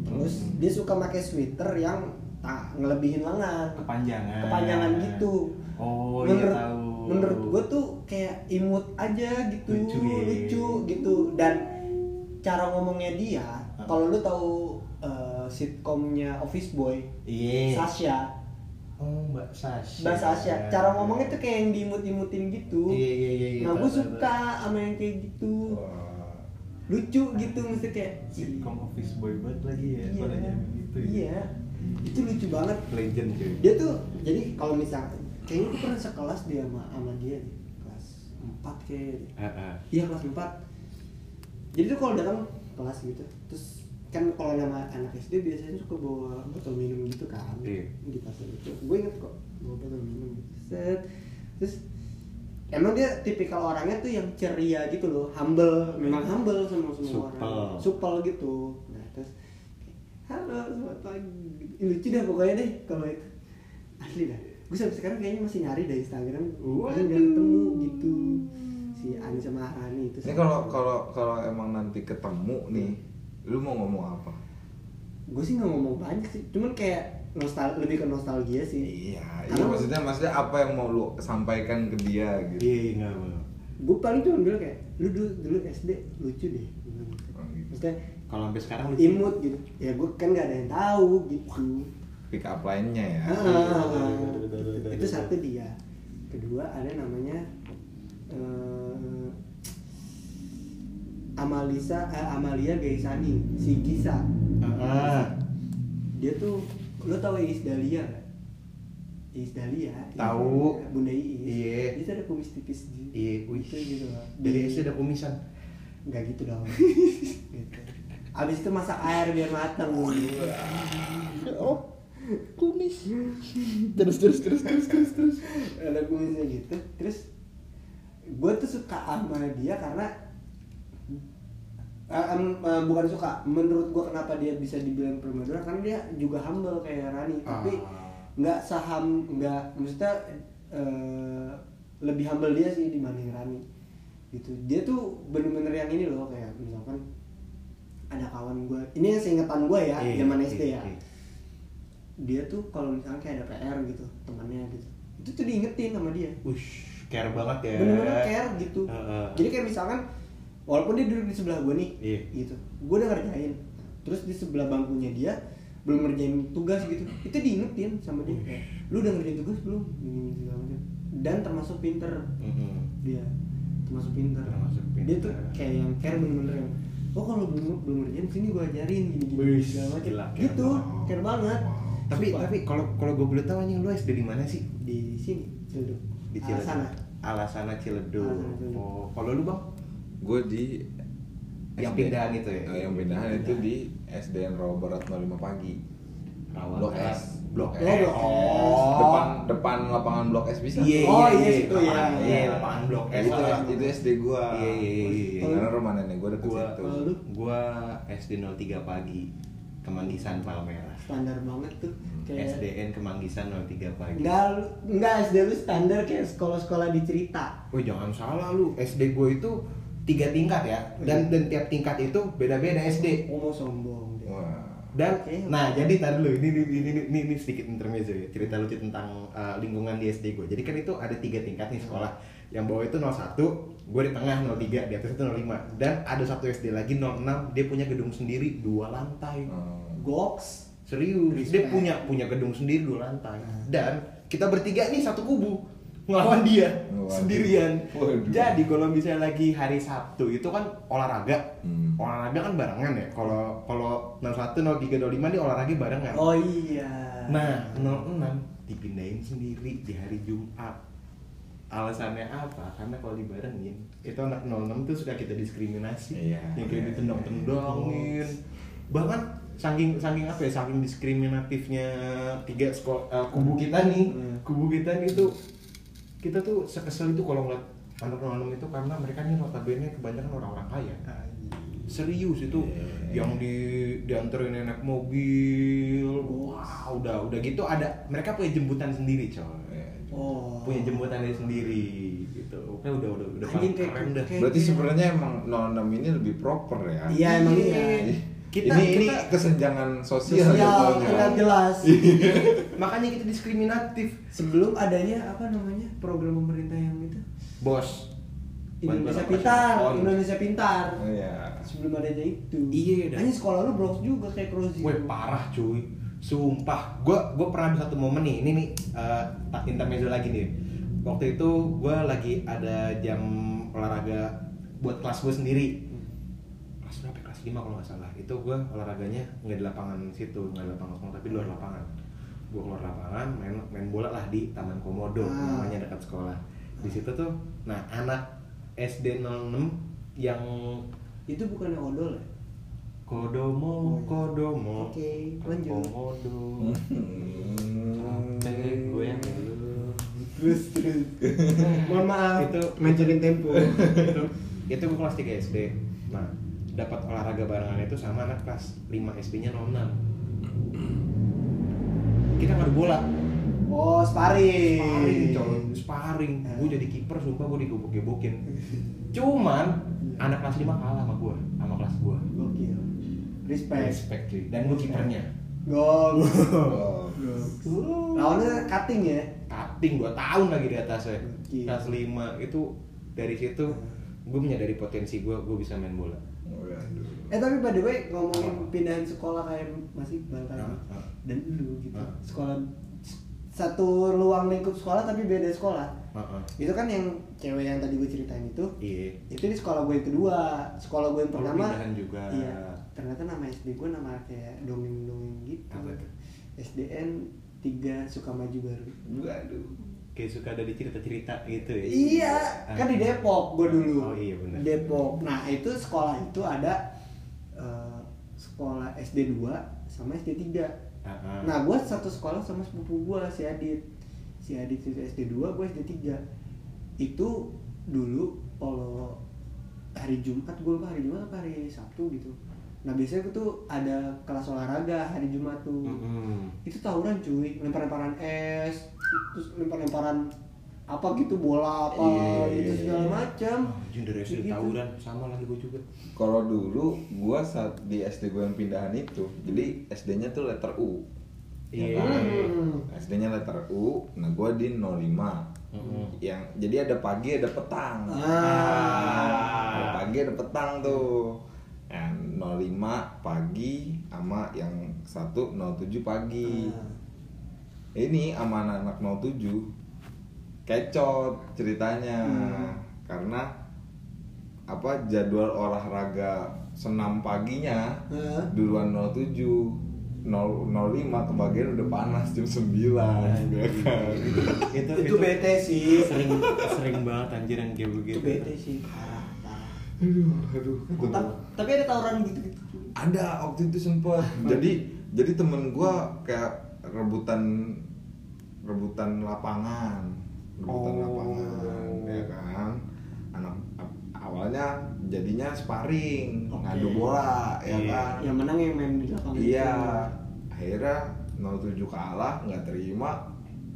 [SPEAKER 4] Terus
[SPEAKER 1] Hmm.
[SPEAKER 4] dia suka pakai sweater yang tak ngelebihin lengan.
[SPEAKER 1] kepanjangan
[SPEAKER 4] kepanjangan gitu.
[SPEAKER 1] oh iya
[SPEAKER 4] menurut,
[SPEAKER 1] tahu
[SPEAKER 4] Menurut gue tuh kayak imut aja gitu,
[SPEAKER 1] Lucu
[SPEAKER 4] lucu,
[SPEAKER 1] ya.
[SPEAKER 4] gitu dan cara ngomongnya dia,
[SPEAKER 1] Ah.
[SPEAKER 4] kalau lu tahu eh, sitkomnya Office Boy,
[SPEAKER 1] iya
[SPEAKER 4] Sasha,
[SPEAKER 1] Oh, Mbak Sasha.
[SPEAKER 4] Mbak Sasha, cara ngomongnya tuh kayak yang diimut-imutin gitu.
[SPEAKER 1] Iya, iya, iya, iya,
[SPEAKER 4] Nah,
[SPEAKER 1] tahu,
[SPEAKER 4] gue
[SPEAKER 1] tahu,
[SPEAKER 4] suka sama yang kayak gitu.
[SPEAKER 3] Wah.
[SPEAKER 4] Lucu gitu mesti kayak
[SPEAKER 1] Oh. sitcom office boy banget lagi ya.
[SPEAKER 4] Iya.
[SPEAKER 1] Padanya begitu. ya.
[SPEAKER 4] Iya. Itu lucu banget.
[SPEAKER 1] Legend cuy.
[SPEAKER 4] Dia tuh jadi kalau misalkan kayaknya gue pernah sekelas dia sama, sama dia deh. kelas 4 kayaknya. deh.
[SPEAKER 1] Heeh.
[SPEAKER 4] Iya kelas 4 Jadi tuh kalau datang kelas gitu Terus kan kalau nama anak SD biasanya suka bawa botol minum gitu kan
[SPEAKER 1] Iya.
[SPEAKER 4] Di pasar itu Gue inget kok bawa botol minum gitu Set Terus Emang dia tipikal orangnya tuh yang ceria gitu loh, humble, memang humble sama semua orang,
[SPEAKER 1] Supel.
[SPEAKER 4] supel gitu. Nah terus, halo selamat pagi. Gitu. Ih, Lucu dah pokoknya deh kalau itu, asli dah. Gue sampai sekarang kayaknya masih nyari dari Instagram, gue nggak ketemu gitu si Anissa Maharani itu.
[SPEAKER 3] ini Eh, kalau kalau kalau emang nanti ketemu nih lu mau ngomong apa
[SPEAKER 4] gue sih nggak ngomong banyak sih, cuman kayak nostal lebih ke nostalgia sih
[SPEAKER 3] Iya, iya maksudnya maksudnya apa yang mau lu sampaikan ke dia gitu.
[SPEAKER 1] iya nggak mau
[SPEAKER 4] gue paling cuma bilang kayak lu dulu, dulu SD lucu deh Gua bilang gitu.
[SPEAKER 3] Oh, gitu.
[SPEAKER 4] maksudnya
[SPEAKER 1] kalau sampai sekarang lucu.
[SPEAKER 4] imut gitu ya gue kan nggak ada yang tahu gitu
[SPEAKER 3] Pick up lainnya ya.
[SPEAKER 4] Ah,
[SPEAKER 1] Iya, betul, betul, betul, betul,
[SPEAKER 4] itu
[SPEAKER 1] betul.
[SPEAKER 4] satu dia kedua ada namanya eh, Amalisa eh, Amalia Gaisani si Gisa
[SPEAKER 1] ah
[SPEAKER 4] dia tuh lo tau Iis Dahlia nggak? Iis Dahlia Iis
[SPEAKER 1] Tahu.
[SPEAKER 4] Dahlia, Bunda Iis
[SPEAKER 1] Iya.
[SPEAKER 4] dia tuh ada kumis tipis di
[SPEAKER 1] iya wih
[SPEAKER 4] gitu gitu loh
[SPEAKER 1] dari
[SPEAKER 4] Di-
[SPEAKER 1] SD udah kumisan
[SPEAKER 4] nggak gitu dong gitu. abis itu masak air biar matang
[SPEAKER 1] oh kumis terus terus terus terus terus terus
[SPEAKER 4] ada kumisnya gitu terus gue tuh suka sama dia karena eh, em, eh, bukan suka menurut gue kenapa dia bisa dibilang permadura karena dia juga humble kayak Rani tapi
[SPEAKER 1] Ah.
[SPEAKER 4] nggak saham nggak maksudnya eh, lebih humble dia sih dibanding Rani gitu dia tuh bener-bener yang ini loh kayak misalkan ada kawan gue ini yang seingetan gue ya
[SPEAKER 1] Iya,
[SPEAKER 4] zaman
[SPEAKER 1] iya,
[SPEAKER 4] SD
[SPEAKER 1] iya.
[SPEAKER 4] ya dia tuh kalau misalkan kayak ada PR gitu temannya gitu itu tuh diingetin sama dia
[SPEAKER 1] Ush, care banget ya. Ah,
[SPEAKER 4] bener-bener care gitu
[SPEAKER 1] Heeh.
[SPEAKER 4] jadi kayak misalkan walaupun dia duduk di sebelah gue nih
[SPEAKER 1] Iya.
[SPEAKER 4] gitu gue udah ngerjain terus di sebelah bangkunya dia belum ngerjain tugas gitu itu diingetin sama dia
[SPEAKER 1] Iya.
[SPEAKER 4] kayak lu udah ngerjain tugas belum Gini, gini, segala macam. dan termasuk pinter
[SPEAKER 1] Mm-mm.
[SPEAKER 4] dia termasuk pinter
[SPEAKER 1] Termasuk pinter.
[SPEAKER 4] dia tuh kayak yang care bener-bener yang oh kalau belum belum ngerjain sini gue ajarin gini gini
[SPEAKER 1] Wih,
[SPEAKER 4] segala macam
[SPEAKER 1] gila, care
[SPEAKER 4] gitu
[SPEAKER 1] banget.
[SPEAKER 4] care banget
[SPEAKER 1] Tapi
[SPEAKER 4] Sumpah.
[SPEAKER 1] tapi kalau kalau gue boleh tahu anjing lu SD di mana sih?
[SPEAKER 4] di sini Ciledug
[SPEAKER 1] Di
[SPEAKER 4] Arah sana
[SPEAKER 1] Alasana Ciledug.
[SPEAKER 4] Alasana Ciledug.
[SPEAKER 1] Oh, kalau lu Bang?
[SPEAKER 3] Gue di
[SPEAKER 1] Yang
[SPEAKER 3] SD.
[SPEAKER 1] pindahan itu ya?
[SPEAKER 3] Eh, yang pindahan itu di SDN Rawa Barat 05 pagi.
[SPEAKER 1] Rawa
[SPEAKER 3] Blok
[SPEAKER 1] Barat.
[SPEAKER 3] S. Blok
[SPEAKER 4] Oh,
[SPEAKER 3] S.
[SPEAKER 4] Blok S.
[SPEAKER 1] Eh, Oh.
[SPEAKER 3] Depan depan lapangan Blok S bisa.
[SPEAKER 1] Iya,
[SPEAKER 4] Oh,
[SPEAKER 1] iya,
[SPEAKER 4] iya,
[SPEAKER 1] iya,
[SPEAKER 4] situ,
[SPEAKER 1] lapangan-
[SPEAKER 4] iya.
[SPEAKER 1] Iya, lapangan Blok S.
[SPEAKER 3] itu,
[SPEAKER 1] lah.
[SPEAKER 3] itu SD gua.
[SPEAKER 1] Iya, iya, iya, iya.
[SPEAKER 3] Karena rumah nenek gua deket
[SPEAKER 1] Gua
[SPEAKER 3] situ.
[SPEAKER 4] Lalu?
[SPEAKER 1] gua SD 03 pagi. Kemanggisan Palmerah.
[SPEAKER 4] standar banget tuh kayak
[SPEAKER 1] SDN Kemanggisan 03 pagi.
[SPEAKER 4] Enggak, lu- enggak SD lu standar kayak sekolah-sekolah di cerita.
[SPEAKER 1] Wih jangan salah lu, SD gue itu tiga tingkat ya dan dan tiap tingkat itu beda-beda SD
[SPEAKER 4] Oh, mau sombong deh.
[SPEAKER 3] Wah.
[SPEAKER 1] dan
[SPEAKER 4] Oke.
[SPEAKER 1] nah jadi tar dulu ini ini, ini ini ini sedikit intermezzo ya cerita lucu tentang uh, lingkungan di SD gue jadi kan itu ada tiga tingkat nih sekolah yang bawah itu 01 gue di tengah 03 di atas itu 05 dan ada satu SD lagi 06 dia punya gedung sendiri dua lantai
[SPEAKER 4] Oh.
[SPEAKER 3] Hmm.
[SPEAKER 4] Goks.
[SPEAKER 1] serius dia
[SPEAKER 4] Respect.
[SPEAKER 1] punya punya gedung sendiri dua lantai dan kita bertiga nih satu kubu ngelawan dia
[SPEAKER 3] Waduh.
[SPEAKER 1] sendirian
[SPEAKER 3] Waduh.
[SPEAKER 1] jadi kalau misalnya lagi hari Sabtu itu kan olahraga
[SPEAKER 3] Hmm.
[SPEAKER 1] olahraga kan barengan ya kalau kalau 01 03 05 nih olahraga barengan
[SPEAKER 4] Oh iya.
[SPEAKER 1] nah 06 dipindahin sendiri di hari Jumat alasannya apa? Karena kalau dibarengin itu anak 06 tuh suka kita diskriminasi
[SPEAKER 3] Iya,
[SPEAKER 1] yang kayak
[SPEAKER 3] iya,
[SPEAKER 1] ditendang-tendangin bahkan saking saking apa ya saking diskriminatifnya tiga sekolah kubu kita nih
[SPEAKER 4] Hmm.
[SPEAKER 1] kubu kita nih tuh kita tuh sekesel itu kalau ngeliat anak 06 itu karena mereka nih notabene kebanyakan orang-orang kaya
[SPEAKER 4] Ah. gitu.
[SPEAKER 1] serius itu
[SPEAKER 3] Iya.
[SPEAKER 1] yang di dianterin nenek mobil wow udah udah gitu ada mereka punya jemputan sendiri coy
[SPEAKER 3] Iya.
[SPEAKER 4] Oh.
[SPEAKER 1] punya jemputannya sendiri gitu oke udah udah udah
[SPEAKER 4] Anjing,
[SPEAKER 1] paling
[SPEAKER 4] kayak-
[SPEAKER 1] keren dah
[SPEAKER 4] kayak-
[SPEAKER 3] Berarti sebenarnya emang 06 ini lebih proper ya.
[SPEAKER 4] Iya emang iya.
[SPEAKER 1] Iya. Kita-
[SPEAKER 3] ini ini
[SPEAKER 1] kita-
[SPEAKER 3] kesenjangan
[SPEAKER 1] Iya,
[SPEAKER 3] sosial ya,
[SPEAKER 4] Sosial,
[SPEAKER 3] jatuhnya.
[SPEAKER 4] kita jelas.
[SPEAKER 1] makanya kita diskriminatif
[SPEAKER 4] Sebelum adanya apa namanya? program pemerintah yang itu
[SPEAKER 1] bos
[SPEAKER 4] Indonesia
[SPEAKER 1] Bantuan
[SPEAKER 4] Pintar,
[SPEAKER 1] operasi respon.
[SPEAKER 4] Oh, Indonesia Pintar.
[SPEAKER 3] Oh, Iya.
[SPEAKER 4] Sebelum adanya itu.
[SPEAKER 1] Iya, dah.
[SPEAKER 4] Hanya sekolah lu Bronx juga kayak Crozi.
[SPEAKER 1] Weh parah cuy Sumpah Gue gua pernah di satu momen nih Ini nih eh, tak intermezzo lagi nih Waktu itu gue lagi ada jam olahraga Buat kelas gue sendiri Kelas berapa ya? Kelas 5 kalau nggak salah Itu gue olahraganya nggak di lapangan situ nggak di lapangan kosong Tapi di luar lapangan Gue keluar lapangan main, main bola lah di Taman Komodo
[SPEAKER 4] Ah.
[SPEAKER 1] Namanya dekat sekolah Di situ tuh Nah anak SD 06 Yang
[SPEAKER 4] Itu bukannya odol ya?
[SPEAKER 1] Kodomo, kodomo
[SPEAKER 4] Oke, lanjut.
[SPEAKER 1] Komodo Hmm. Capek gue yang dulu.
[SPEAKER 4] Terus terus. Mohon maaf.
[SPEAKER 1] Itu
[SPEAKER 4] mentioning tempo.
[SPEAKER 1] itu itu gue kelas 3 SD. Nah, dapat olahraga barengan itu sama anak kelas 5 SD-nya 06. Kita ngadu bola.
[SPEAKER 4] Oh, sparring. Eh.
[SPEAKER 1] Sparring, coy. Sparring. Gue jadi kiper sumpah gue digebok-gebokin. Cuman anak kelas 5 kalah sama gue, sama kelas gue.
[SPEAKER 4] Gokil. Respect.
[SPEAKER 1] Respect cuy. Dan gue kipernya.
[SPEAKER 4] Gol.
[SPEAKER 3] Oh.
[SPEAKER 4] Lawannya cutting ya.
[SPEAKER 1] Cutting 2 tahun lagi di atasnya
[SPEAKER 4] Gila.
[SPEAKER 1] Kelas 5 itu dari situ
[SPEAKER 4] Hmm.
[SPEAKER 1] gue menyadari potensi gue, gue bisa main bola
[SPEAKER 3] Waduh.
[SPEAKER 4] Eh tapi by the way ngomongin pindahan sekolah kayak Mas Iqbal tadi
[SPEAKER 1] Ah, ah.
[SPEAKER 4] dan lu gitu.
[SPEAKER 1] Ah.
[SPEAKER 4] Sekolah satu ruang lingkup sekolah tapi beda sekolah.
[SPEAKER 1] Ah, ah.
[SPEAKER 4] Itu kan yang cewek yang tadi gue ceritain itu
[SPEAKER 1] Iya
[SPEAKER 4] itu di sekolah gue yang kedua sekolah gue yang
[SPEAKER 1] Oh,
[SPEAKER 4] pertama
[SPEAKER 1] pindahan juga.
[SPEAKER 4] iya ternyata nama SD gue nama kayak dongeng dongeng gitu
[SPEAKER 1] Apa tuh?
[SPEAKER 4] SDN 3 Sukamaju baru
[SPEAKER 3] Waduh.
[SPEAKER 1] Kayak suka ada di cerita-cerita gitu ya
[SPEAKER 4] iya
[SPEAKER 1] Ah.
[SPEAKER 4] kan di Depok gue
[SPEAKER 1] Oh
[SPEAKER 4] dulu
[SPEAKER 1] iya benar.
[SPEAKER 4] Depok nah itu sekolah itu ada eh, sekolah SD 2 sama SD 3
[SPEAKER 1] Ah, ah.
[SPEAKER 4] Nah, gue satu sekolah sama sepupu gue si Adit. Si Adit itu SD 2, gue SD 3. Itu dulu kalau hari Jumat, gue lupa hari Jumat apa hari Sabtu gitu. Nah, biasanya gue tuh ada kelas olahraga hari Jumat tuh.
[SPEAKER 1] Mm-mm.
[SPEAKER 4] Itu tawuran cuy, lempar-lemparan es, terus lempar-lemparan apa gitu bola apa
[SPEAKER 3] Iya,
[SPEAKER 4] gitu
[SPEAKER 3] iya,
[SPEAKER 4] segala
[SPEAKER 3] iya.
[SPEAKER 4] macam.
[SPEAKER 1] Ah, Anjing dari
[SPEAKER 4] Kayak
[SPEAKER 1] SD
[SPEAKER 4] gitu.
[SPEAKER 1] tawuran sama lagi gue juga.
[SPEAKER 3] Kalau dulu gua saat di SD gua yang pindahan itu, jadi SD-nya tuh letter U.
[SPEAKER 1] Iya.
[SPEAKER 3] Ya
[SPEAKER 4] Hmm.
[SPEAKER 3] kan? SD-nya letter U, nah gua di 05.
[SPEAKER 1] Mm-mm.
[SPEAKER 3] Yang jadi ada pagi ada petang.
[SPEAKER 1] Ah.
[SPEAKER 3] Ada Nah, pagi ada petang tuh. Yang 05 pagi sama yang satu 07 pagi.
[SPEAKER 4] Hmm.
[SPEAKER 3] Ini sama anak-anak 07 kecot ceritanya. Karena apa jadwal olahraga senam paginya
[SPEAKER 4] Hah?
[SPEAKER 3] duluan 07 nol- 05 kebagian udah panas jam 9 ya kan?
[SPEAKER 1] itu, Gitu.
[SPEAKER 4] Itu bete sih.
[SPEAKER 1] Sering sering banget anjir yang kayak
[SPEAKER 4] Itu
[SPEAKER 1] begitu.
[SPEAKER 4] bete sih, parah, parah.
[SPEAKER 3] aduh aduh kata gua.
[SPEAKER 4] Ta- Tapi ada gitu, tawuran gitu-gitu. cuy.
[SPEAKER 3] ada waktu itu sempet jadi jadi temen gua kayak rebutan rebutan lapangan rebutan
[SPEAKER 1] Oh.
[SPEAKER 3] lapangan ya kan anak ap- awalnya jadinya sparring
[SPEAKER 4] Oke.
[SPEAKER 3] ngadu bola ya
[SPEAKER 1] Iya.
[SPEAKER 3] kan
[SPEAKER 4] Yang menang yang main di lapangan.
[SPEAKER 3] Iya, akhirnya 07 kalah, nggak terima,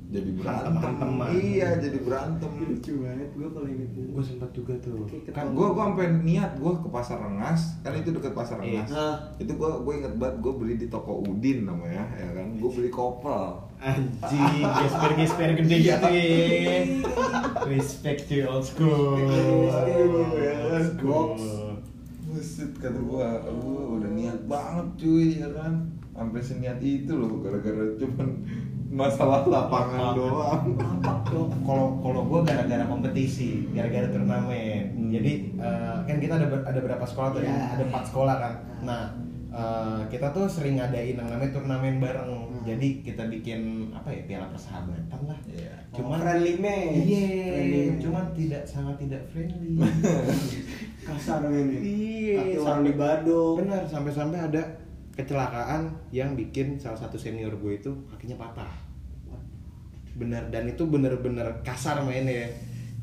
[SPEAKER 3] jadi berantem.
[SPEAKER 1] Hantem-hanteman.
[SPEAKER 3] Iya, jadi berantem.
[SPEAKER 4] lucu banget gue kalau inget
[SPEAKER 1] Gue sempat juga tuh.
[SPEAKER 4] Oke,
[SPEAKER 3] Kan gue gua sampai niat gue ke pasar Rengas, kan itu deket pasar
[SPEAKER 1] Iya.
[SPEAKER 3] Rengas.
[SPEAKER 4] Ah.
[SPEAKER 3] Itu gue gue inget banget gue beli di toko Udin namanya, ya kan? Gue beli kopel.
[SPEAKER 1] Anjing, gesper-gesper gede
[SPEAKER 4] Iya.
[SPEAKER 1] gitu ya. Respect to old school.
[SPEAKER 3] Yes,
[SPEAKER 1] Old school.
[SPEAKER 3] goks. Buset kata gue, lu udah niat banget cuy, ya kan? Sampai seniat itu loh, gara-gara cuman masalah lapangan doang.
[SPEAKER 1] Tuh, kalau kalau gue gara-gara kompetisi, gara-gara turnamen.
[SPEAKER 3] Hmm.
[SPEAKER 1] Jadi eh, kan kita ada ber- ada berapa sekolah tuh?
[SPEAKER 4] Iya.
[SPEAKER 1] Ada empat sekolah kan. Nah eh, kita tuh sering ngadain yang namanya turnamen bareng.
[SPEAKER 4] Hmm.
[SPEAKER 1] Jadi kita bikin apa ya piala persahabatan lah.
[SPEAKER 3] Iya.
[SPEAKER 1] Cuman
[SPEAKER 4] cuman friendly match Friendly
[SPEAKER 1] Iya,
[SPEAKER 4] match.
[SPEAKER 1] cuman tidak sangat tidak friendly.
[SPEAKER 4] kasar ya. ini
[SPEAKER 1] Iya,
[SPEAKER 4] kaki orang
[SPEAKER 1] sampai-
[SPEAKER 4] di badung
[SPEAKER 1] Benar, sampai-sampai ada kecelakaan yang bikin salah satu senior gue itu kakinya patah. Benar, dan itu benar-benar kasar mainnya. ya.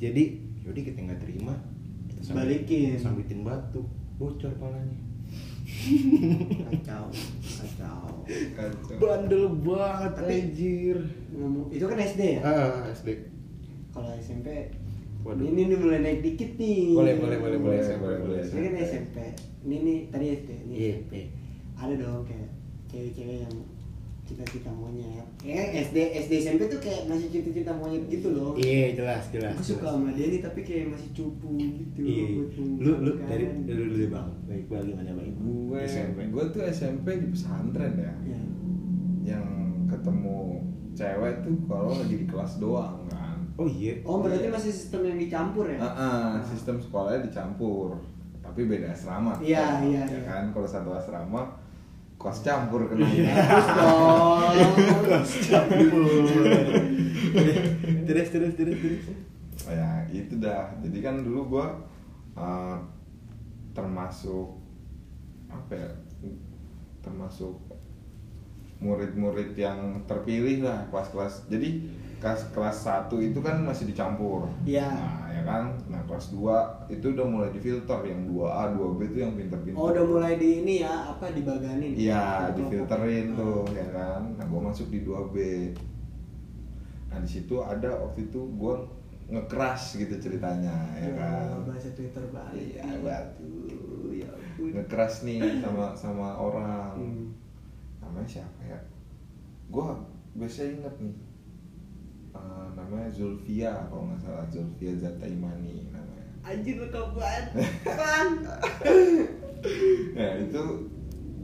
[SPEAKER 1] Jadi, yaudah kita nggak terima. Kita sambit-
[SPEAKER 4] Balikin.
[SPEAKER 1] Sambitin batu, bocor palanya.
[SPEAKER 4] kacau kacau
[SPEAKER 3] Kacau.
[SPEAKER 1] Bandel banget,
[SPEAKER 4] Tapi-
[SPEAKER 1] anjir.
[SPEAKER 4] ngomong itu kan SD ya
[SPEAKER 1] Ah, SD.
[SPEAKER 4] kalau SMP
[SPEAKER 1] Waduh.
[SPEAKER 4] ini nih mulai naik dikit nih
[SPEAKER 1] Boleh, boleh, boleh, boleh,
[SPEAKER 3] Boleh,
[SPEAKER 1] SMP,
[SPEAKER 3] boleh,
[SPEAKER 1] boleh.
[SPEAKER 3] boleh.
[SPEAKER 4] ini kan SMP ini nih tadi SD ini
[SPEAKER 1] Iya.
[SPEAKER 4] SMP ada dong kayak cewek-cewek yang cita-cita monyet ya SD SD SMP tuh kayak masih cita-cita monyet gitu loh
[SPEAKER 1] Iya, jelas, jelas.
[SPEAKER 4] Aku suka
[SPEAKER 1] jelas.
[SPEAKER 4] sama dia nih tapi kayak masih cupu gitu.
[SPEAKER 1] Iya,
[SPEAKER 4] buat
[SPEAKER 1] lu lu
[SPEAKER 4] pembukaan.
[SPEAKER 1] dari dulu dulu bang, baik bang gimana bang?
[SPEAKER 3] gue
[SPEAKER 1] SMP.
[SPEAKER 3] gue tuh SMP di pesantren ya
[SPEAKER 4] Iya.
[SPEAKER 3] yang ketemu cewek tuh kalau lagi di kelas doang kan
[SPEAKER 1] Oh iya.
[SPEAKER 4] Oh berarti masih sistem yang dicampur ya?
[SPEAKER 3] Ah, ah, sistem sekolahnya dicampur tapi beda asrama
[SPEAKER 4] Iya, iya,
[SPEAKER 3] ya
[SPEAKER 4] iya.
[SPEAKER 3] kan kalau satu asrama kos campur kena ya.
[SPEAKER 4] Terus dong.
[SPEAKER 1] terus terus terus terus.
[SPEAKER 3] ya itu dah jadi kan dulu gua eh, termasuk apa ya termasuk murid-murid yang terpilih lah kelas-kelas jadi kelas kelas 1 itu kan masih dicampur
[SPEAKER 4] Iya.
[SPEAKER 3] nah ya kan nah kelas 2 itu udah mulai difilter yang 2A 2B itu yang pinter-pinter
[SPEAKER 4] Oh udah mulai di ini ya apa dibaganin?
[SPEAKER 3] Iya,
[SPEAKER 4] Kelompok.
[SPEAKER 3] difilterin tuh, ya kan. Nah, gue masuk di 2B. Nah, di situ ada waktu itu gue ngekeras gitu ceritanya, ya
[SPEAKER 4] Oh,
[SPEAKER 3] kan.
[SPEAKER 4] Iya, Bahasa Twitter balik.
[SPEAKER 3] Iya, batu.
[SPEAKER 4] Ya ampun.
[SPEAKER 3] Ngekeras nih sama sama orang.
[SPEAKER 4] Hmm.
[SPEAKER 3] Namanya siapa ya? Gue biasanya inget nih Eh, namanya Zulfia kalau nggak salah Zulfia Zataimani namanya
[SPEAKER 4] Anjir lu kau buat Bang
[SPEAKER 3] ya itu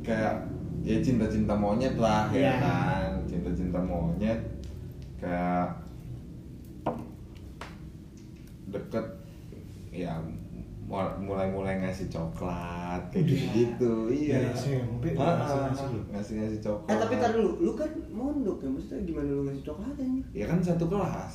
[SPEAKER 3] kayak ya cinta-cinta monyet lah
[SPEAKER 4] Iya.
[SPEAKER 3] ya kan cinta-cinta monyet kayak deket ya mul- mulai-mulai ngasih coklat kayak
[SPEAKER 4] Iya.
[SPEAKER 3] gitu iya
[SPEAKER 1] Dari SMP udah ngasih-ngasih lu.
[SPEAKER 3] ngasih ngasih coklat
[SPEAKER 4] Eh tapi tar dulu, lu kan mondok ya, maksudnya gimana lu ngasih coklat anjir?
[SPEAKER 3] ya kan satu kelas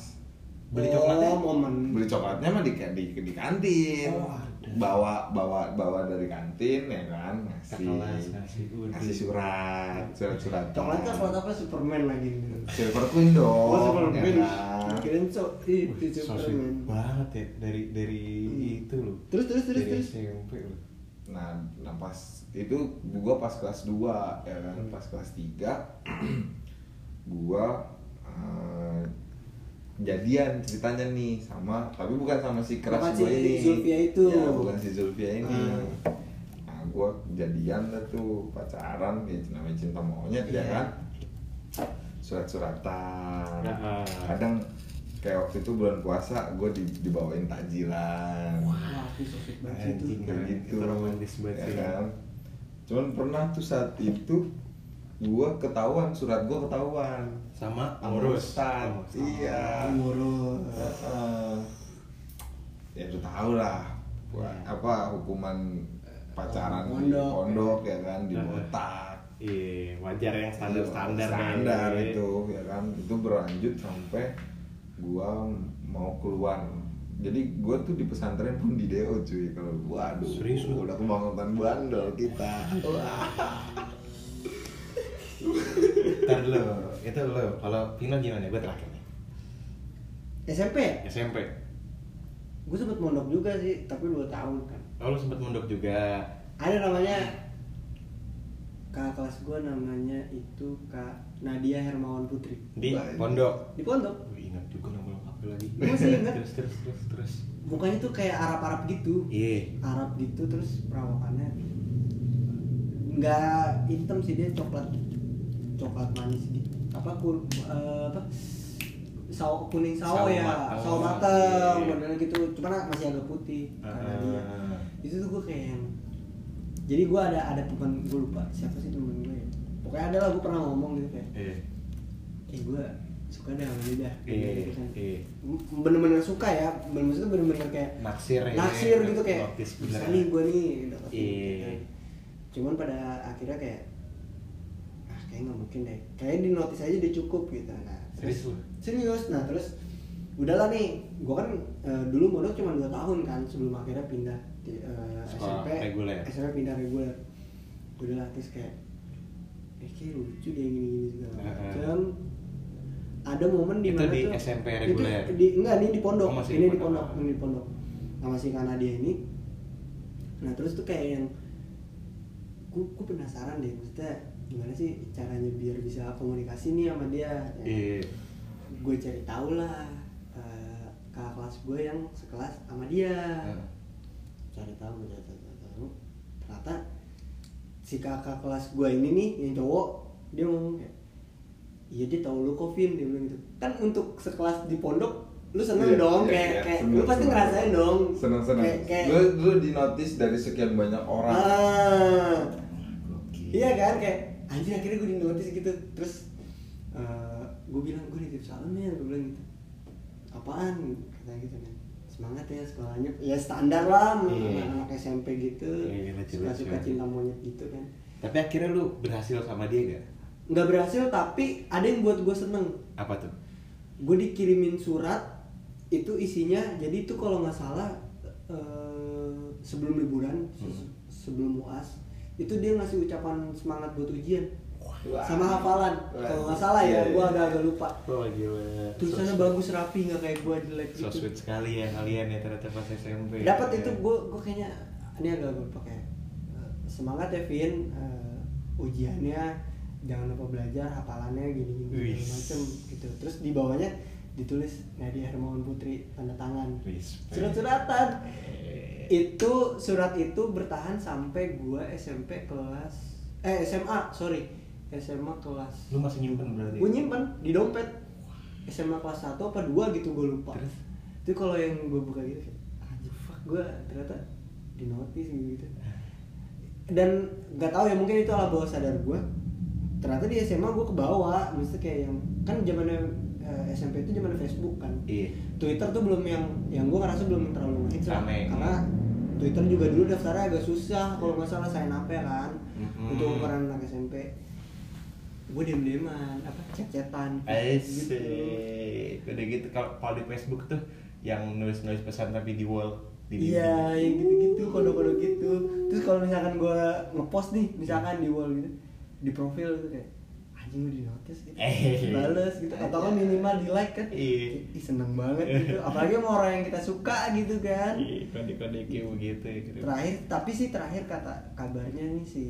[SPEAKER 1] Beli coklatnya?
[SPEAKER 4] Oh, momen
[SPEAKER 3] beli coklatnya mah di di, di kantin
[SPEAKER 1] Oh, ada.
[SPEAKER 3] bawa bawa bawa dari kantin ya kan
[SPEAKER 1] Ke
[SPEAKER 4] Iya.
[SPEAKER 3] ngasih
[SPEAKER 1] kelas, ngasih, udah.
[SPEAKER 3] ngasih surat surat surat
[SPEAKER 4] Coklat kan coklat apa Superman lagi gitu
[SPEAKER 3] silver queen dong
[SPEAKER 4] Oh, Superman
[SPEAKER 3] ya kan?
[SPEAKER 4] Kirain cok, itu
[SPEAKER 1] Wih, so sweet
[SPEAKER 4] Superman
[SPEAKER 1] banget ya dari dari
[SPEAKER 4] Hmm.
[SPEAKER 1] itu loh.
[SPEAKER 4] Terus, terus, terus,
[SPEAKER 1] dari
[SPEAKER 4] terus.
[SPEAKER 1] SMP loh.
[SPEAKER 3] nah, nah pas itu gua pas kelas 2 ya
[SPEAKER 4] Hmm.
[SPEAKER 3] kan pas kelas 3 gua eh, jadian ceritanya nih sama tapi bukan sama si keras
[SPEAKER 4] Sama
[SPEAKER 3] gua
[SPEAKER 4] si
[SPEAKER 3] ini
[SPEAKER 4] Zulfia itu.
[SPEAKER 3] ya, bukan si Zulfia ini
[SPEAKER 4] Ah.
[SPEAKER 3] nah gua jadian dah tuh pacaran ya namanya cinta monyet
[SPEAKER 4] Iya.
[SPEAKER 3] ya kan surat-suratan
[SPEAKER 1] Ah,
[SPEAKER 4] Nah,
[SPEAKER 1] ah.
[SPEAKER 3] kadang kayak waktu itu bulan puasa gue dibawain takjilan
[SPEAKER 4] Wah, itu so sweet banget sih itu
[SPEAKER 1] Anjing,
[SPEAKER 3] kayak
[SPEAKER 1] kan?
[SPEAKER 3] gitu
[SPEAKER 1] Itu romantis banget
[SPEAKER 3] ya
[SPEAKER 1] sih.
[SPEAKER 3] kan? cuman pernah tuh saat itu gua ketahuan surat gua ketahuan
[SPEAKER 1] Sama
[SPEAKER 3] Urusan.
[SPEAKER 1] Urus.
[SPEAKER 3] iya
[SPEAKER 4] Ngurus
[SPEAKER 3] Heeh. ya lu tahu lah
[SPEAKER 1] Iya.
[SPEAKER 3] buat apa hukuman pacaran di
[SPEAKER 4] Pondok.
[SPEAKER 3] pondok ya kan di
[SPEAKER 1] Heeh.
[SPEAKER 3] botak Iya,
[SPEAKER 1] Iya, wajar yang
[SPEAKER 4] Iya,
[SPEAKER 1] standar-standar gitu.
[SPEAKER 3] standar
[SPEAKER 1] deh.
[SPEAKER 3] itu ya kan itu berlanjut sampai gua mau keluar jadi gua tuh di pesantren pun di DO cuy kalau waduh
[SPEAKER 1] Serius lu?
[SPEAKER 3] udah kebangetan bandel kita Wah.
[SPEAKER 1] Ntar dulu, itu lo. Kalau Pino gimana? Gue terakhir nih.
[SPEAKER 4] SMP ya?
[SPEAKER 1] SMP.
[SPEAKER 4] Gue sempet mondok juga sih, tapi 2 tahun kan
[SPEAKER 1] Oh, lo sempet mondok juga.
[SPEAKER 4] Ada namanya Kakak kelas gue namanya itu Kak Nadia Hermawan Putri
[SPEAKER 1] di
[SPEAKER 3] Baik.
[SPEAKER 1] pondok.
[SPEAKER 4] Di pondok
[SPEAKER 1] Gue ingat juga nama lengkap lu lagi.
[SPEAKER 4] Lu masih ingat?
[SPEAKER 1] Terus terus terus terus.
[SPEAKER 4] mukanya tuh kayak Arab-Arab gitu
[SPEAKER 1] Iya.
[SPEAKER 4] Arab gitu terus perawakannya nggak hitam sih dia coklat coklat manis gitu apa kur eh, apa sawo kuning
[SPEAKER 1] Sawo
[SPEAKER 4] sawo, ya
[SPEAKER 1] mateng.
[SPEAKER 4] sawo mateng
[SPEAKER 1] Iya.
[SPEAKER 4] modelnya gitu cuman masih agak putih karena dia
[SPEAKER 1] Ah.
[SPEAKER 4] itu tuh gue kayak yang jadi gue ada ada teman gue lupa siapa sih temen gue ya pokoknya ada lah gue pernah ngomong gitu kayak
[SPEAKER 1] Iya.
[SPEAKER 4] eh gue suka deh sama dia dah
[SPEAKER 1] Iya,
[SPEAKER 4] Gitu kan.
[SPEAKER 1] iya.
[SPEAKER 4] bener-bener suka ya bener maksudnya bener-bener kayak
[SPEAKER 1] Naksir ya.
[SPEAKER 4] naksir gitu kayak
[SPEAKER 1] Notis
[SPEAKER 4] bisa
[SPEAKER 1] beneran.
[SPEAKER 4] nih gue nih dapetin
[SPEAKER 1] Iya.
[SPEAKER 4] gitu kan. cuman pada akhirnya kayak ah kayak nggak mungkin deh kayak di notis aja dia cukup gitu nah terus-
[SPEAKER 1] Serius lu?
[SPEAKER 4] serius nah terus udahlah nih gue kan eh, dulu mondok cuma 2 tahun kan sebelum akhirnya pindah di, eh,
[SPEAKER 1] Sekolah
[SPEAKER 4] SMP
[SPEAKER 1] reguler.
[SPEAKER 4] SMP pindah reguler udahlah terus kayak eh kayak lucu deh gini gini segala
[SPEAKER 1] Heeh.
[SPEAKER 4] macam ada momen di
[SPEAKER 1] Itu
[SPEAKER 4] mana
[SPEAKER 1] di
[SPEAKER 4] tuh
[SPEAKER 1] SMP
[SPEAKER 4] itu
[SPEAKER 1] reguler?
[SPEAKER 4] di, enggak ini di pondok
[SPEAKER 1] Oh, masih
[SPEAKER 4] ini
[SPEAKER 1] di
[SPEAKER 4] di
[SPEAKER 1] pondok.
[SPEAKER 4] pondok ini di pondok sama si Kanadia ini nah terus tuh kayak yang gue penasaran deh maksudnya gimana sih caranya biar bisa komunikasi nih sama dia ya
[SPEAKER 1] Iya.
[SPEAKER 4] gue cari tahu lah eh, kakak kelas gue yang sekelas sama dia
[SPEAKER 3] Hmm.
[SPEAKER 1] Heeh.
[SPEAKER 4] cari tahu gue cari tahu, cari tahu ternyata si kakak kelas gue ini nih yang cowok dia ngomong kayak iya dia tahu lu kok Vin dia bilang gitu kan untuk sekelas di pondok lu seneng
[SPEAKER 3] Iya,
[SPEAKER 4] dong
[SPEAKER 3] iya,
[SPEAKER 4] kayak
[SPEAKER 3] iya,
[SPEAKER 4] kayak
[SPEAKER 3] seneng,
[SPEAKER 4] lu pasti
[SPEAKER 3] seneng.
[SPEAKER 4] ngerasain dong
[SPEAKER 3] seneng seneng
[SPEAKER 4] kayak, kayak
[SPEAKER 3] lu lu di notice dari sekian banyak orang
[SPEAKER 4] Ah.
[SPEAKER 3] Gokil.
[SPEAKER 4] Iya kan kayak anjir akhirnya gue di notice gitu terus gue bilang gue nitip salam ya gue bilang gitu apaan katanya gitu kan semangat ya sekolahnya ya standar lah
[SPEAKER 1] Iya.
[SPEAKER 4] anak-anak SMP gitu
[SPEAKER 1] Iya, lucu-lucu.
[SPEAKER 4] suka suka cinta monyet gitu kan
[SPEAKER 1] Tapi akhirnya lu berhasil sama dia gak?
[SPEAKER 4] nggak berhasil tapi ada yang buat gue seneng
[SPEAKER 1] Apa tuh?
[SPEAKER 4] gue dikirimin surat itu isinya jadi itu kalau nggak salah eh, sebelum liburan se-
[SPEAKER 1] Hmm.
[SPEAKER 4] sebelum uas itu dia ngasih ucapan semangat buat ujian
[SPEAKER 3] Wah.
[SPEAKER 4] sama hafalan
[SPEAKER 3] Wah.
[SPEAKER 4] kalau nggak salah ya
[SPEAKER 3] Iya,
[SPEAKER 4] gue
[SPEAKER 3] iya.
[SPEAKER 4] agak-agak lupa
[SPEAKER 1] Wah gila.
[SPEAKER 4] tulisannya bagus rapi nggak kayak gue jelek
[SPEAKER 1] So
[SPEAKER 4] gitu
[SPEAKER 1] sweet sekali ya kalian ya ternyata pas SMP.
[SPEAKER 4] dapat
[SPEAKER 1] Ya.
[SPEAKER 4] itu gue gue kayaknya ini agak gue pakai eh, semangat ya Vin eh, ujiannya jangan lupa belajar hafalannya gini gini
[SPEAKER 1] Wis.
[SPEAKER 4] macam gitu terus di bawahnya ditulis Nadia Hermawan Putri tanda tangan
[SPEAKER 1] Respect.
[SPEAKER 4] surat-suratan
[SPEAKER 1] Eh.
[SPEAKER 4] itu surat itu bertahan sampai gua SMP kelas eh SMA sorry SMA kelas
[SPEAKER 1] Lu masih nyimpen berarti?
[SPEAKER 4] gue nyimpen di dompet SMA kelas 1 apa 2 gitu gue lupa
[SPEAKER 1] Terus?
[SPEAKER 4] itu kalau yang gue buka gitu kayak anjir fuck gue ternyata di notice gitu, gitu dan nggak tahu ya mungkin itu ala bawah sadar gue ternyata di SMA gue kebawa maksudnya kayak yang kan zamannya eh, SMP itu zaman Facebook kan
[SPEAKER 1] Iya.
[SPEAKER 4] Twitter tuh belum yang yang gue ngerasa belum terlalu ngehits lah.
[SPEAKER 1] Rame.
[SPEAKER 4] karena Twitter juga dulu daftarnya agak susah kalau nggak salah sign up ya kan
[SPEAKER 1] Mhm.
[SPEAKER 4] untuk ukuran anak SMP gue diem dieman apa gitu. cecetan
[SPEAKER 1] Asik. Udah gitu kalau kalau di Facebook tuh yang nulis-nulis pesan tapi di wall di
[SPEAKER 4] Iya, yang gitu-gitu, kode-kode gitu. Terus kalau misalkan gua ngepost nih, misalkan di wall gitu, di profil gitu kayak anjing lu di notice gitu,
[SPEAKER 1] Eh.
[SPEAKER 4] bales gitu, atau kan minimal di like kan,
[SPEAKER 1] Iya.
[SPEAKER 4] Ih, seneng banget gitu. Apalagi sama orang yang kita suka gitu kan.
[SPEAKER 1] Iya, kode-kode kayak begitu ya. gitu.
[SPEAKER 4] Terakhir, tapi sih terakhir kata kabarnya nih si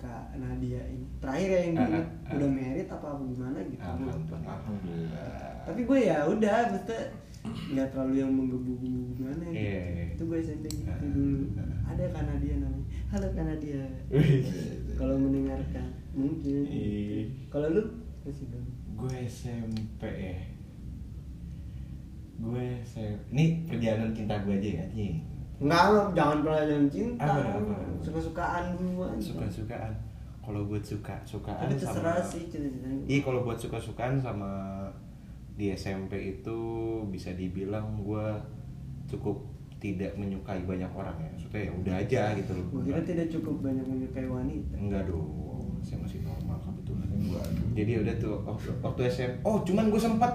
[SPEAKER 4] Kak Nadia ini, terakhir ya yang
[SPEAKER 1] Ah,
[SPEAKER 4] bilang,
[SPEAKER 1] ah, ah.
[SPEAKER 4] udah merit apa apa gimana gitu.
[SPEAKER 1] Alhamdulillah.
[SPEAKER 3] Alhamdulillah.
[SPEAKER 4] Tapi gue ya udah, maksudnya nggak terlalu yang menggebu-gebu gimana gitu.
[SPEAKER 1] Iya, iya, iya.
[SPEAKER 4] Itu gue SMP gitu
[SPEAKER 1] Ah,
[SPEAKER 4] dulu.
[SPEAKER 1] ah.
[SPEAKER 4] Ada Kanadia namanya. Halo Kanadia.
[SPEAKER 1] Wih.
[SPEAKER 4] Kalau mendengarkan mungkin.
[SPEAKER 1] Iya.
[SPEAKER 4] Kalau lu masih belum.
[SPEAKER 1] Gue SMP ya. Gue SMP. Ini perjalanan cinta gue aja ya, anjing.
[SPEAKER 4] Enggak, lu jangan pernah jangan cinta.
[SPEAKER 1] Apa, apa, apa?
[SPEAKER 4] Suka-sukaan dulu aja.
[SPEAKER 1] Suka-sukaan. Kalau buat suka-sukaan
[SPEAKER 4] Tapi terserah
[SPEAKER 1] sama-
[SPEAKER 4] sih cerita
[SPEAKER 1] Iya kalau buat suka-sukaan sama di SMP itu bisa dibilang gue cukup tidak menyukai banyak orang ya. Maksudnya ya udah aja gitu loh.
[SPEAKER 4] Gue kira tidak cukup banyak menyukai wanita.
[SPEAKER 1] Enggak dong, saya masih normal kebetulan.
[SPEAKER 3] Waduh.
[SPEAKER 1] Jadi ya udah tuh waktu, waktu SMP. Oh cuman gue sempat.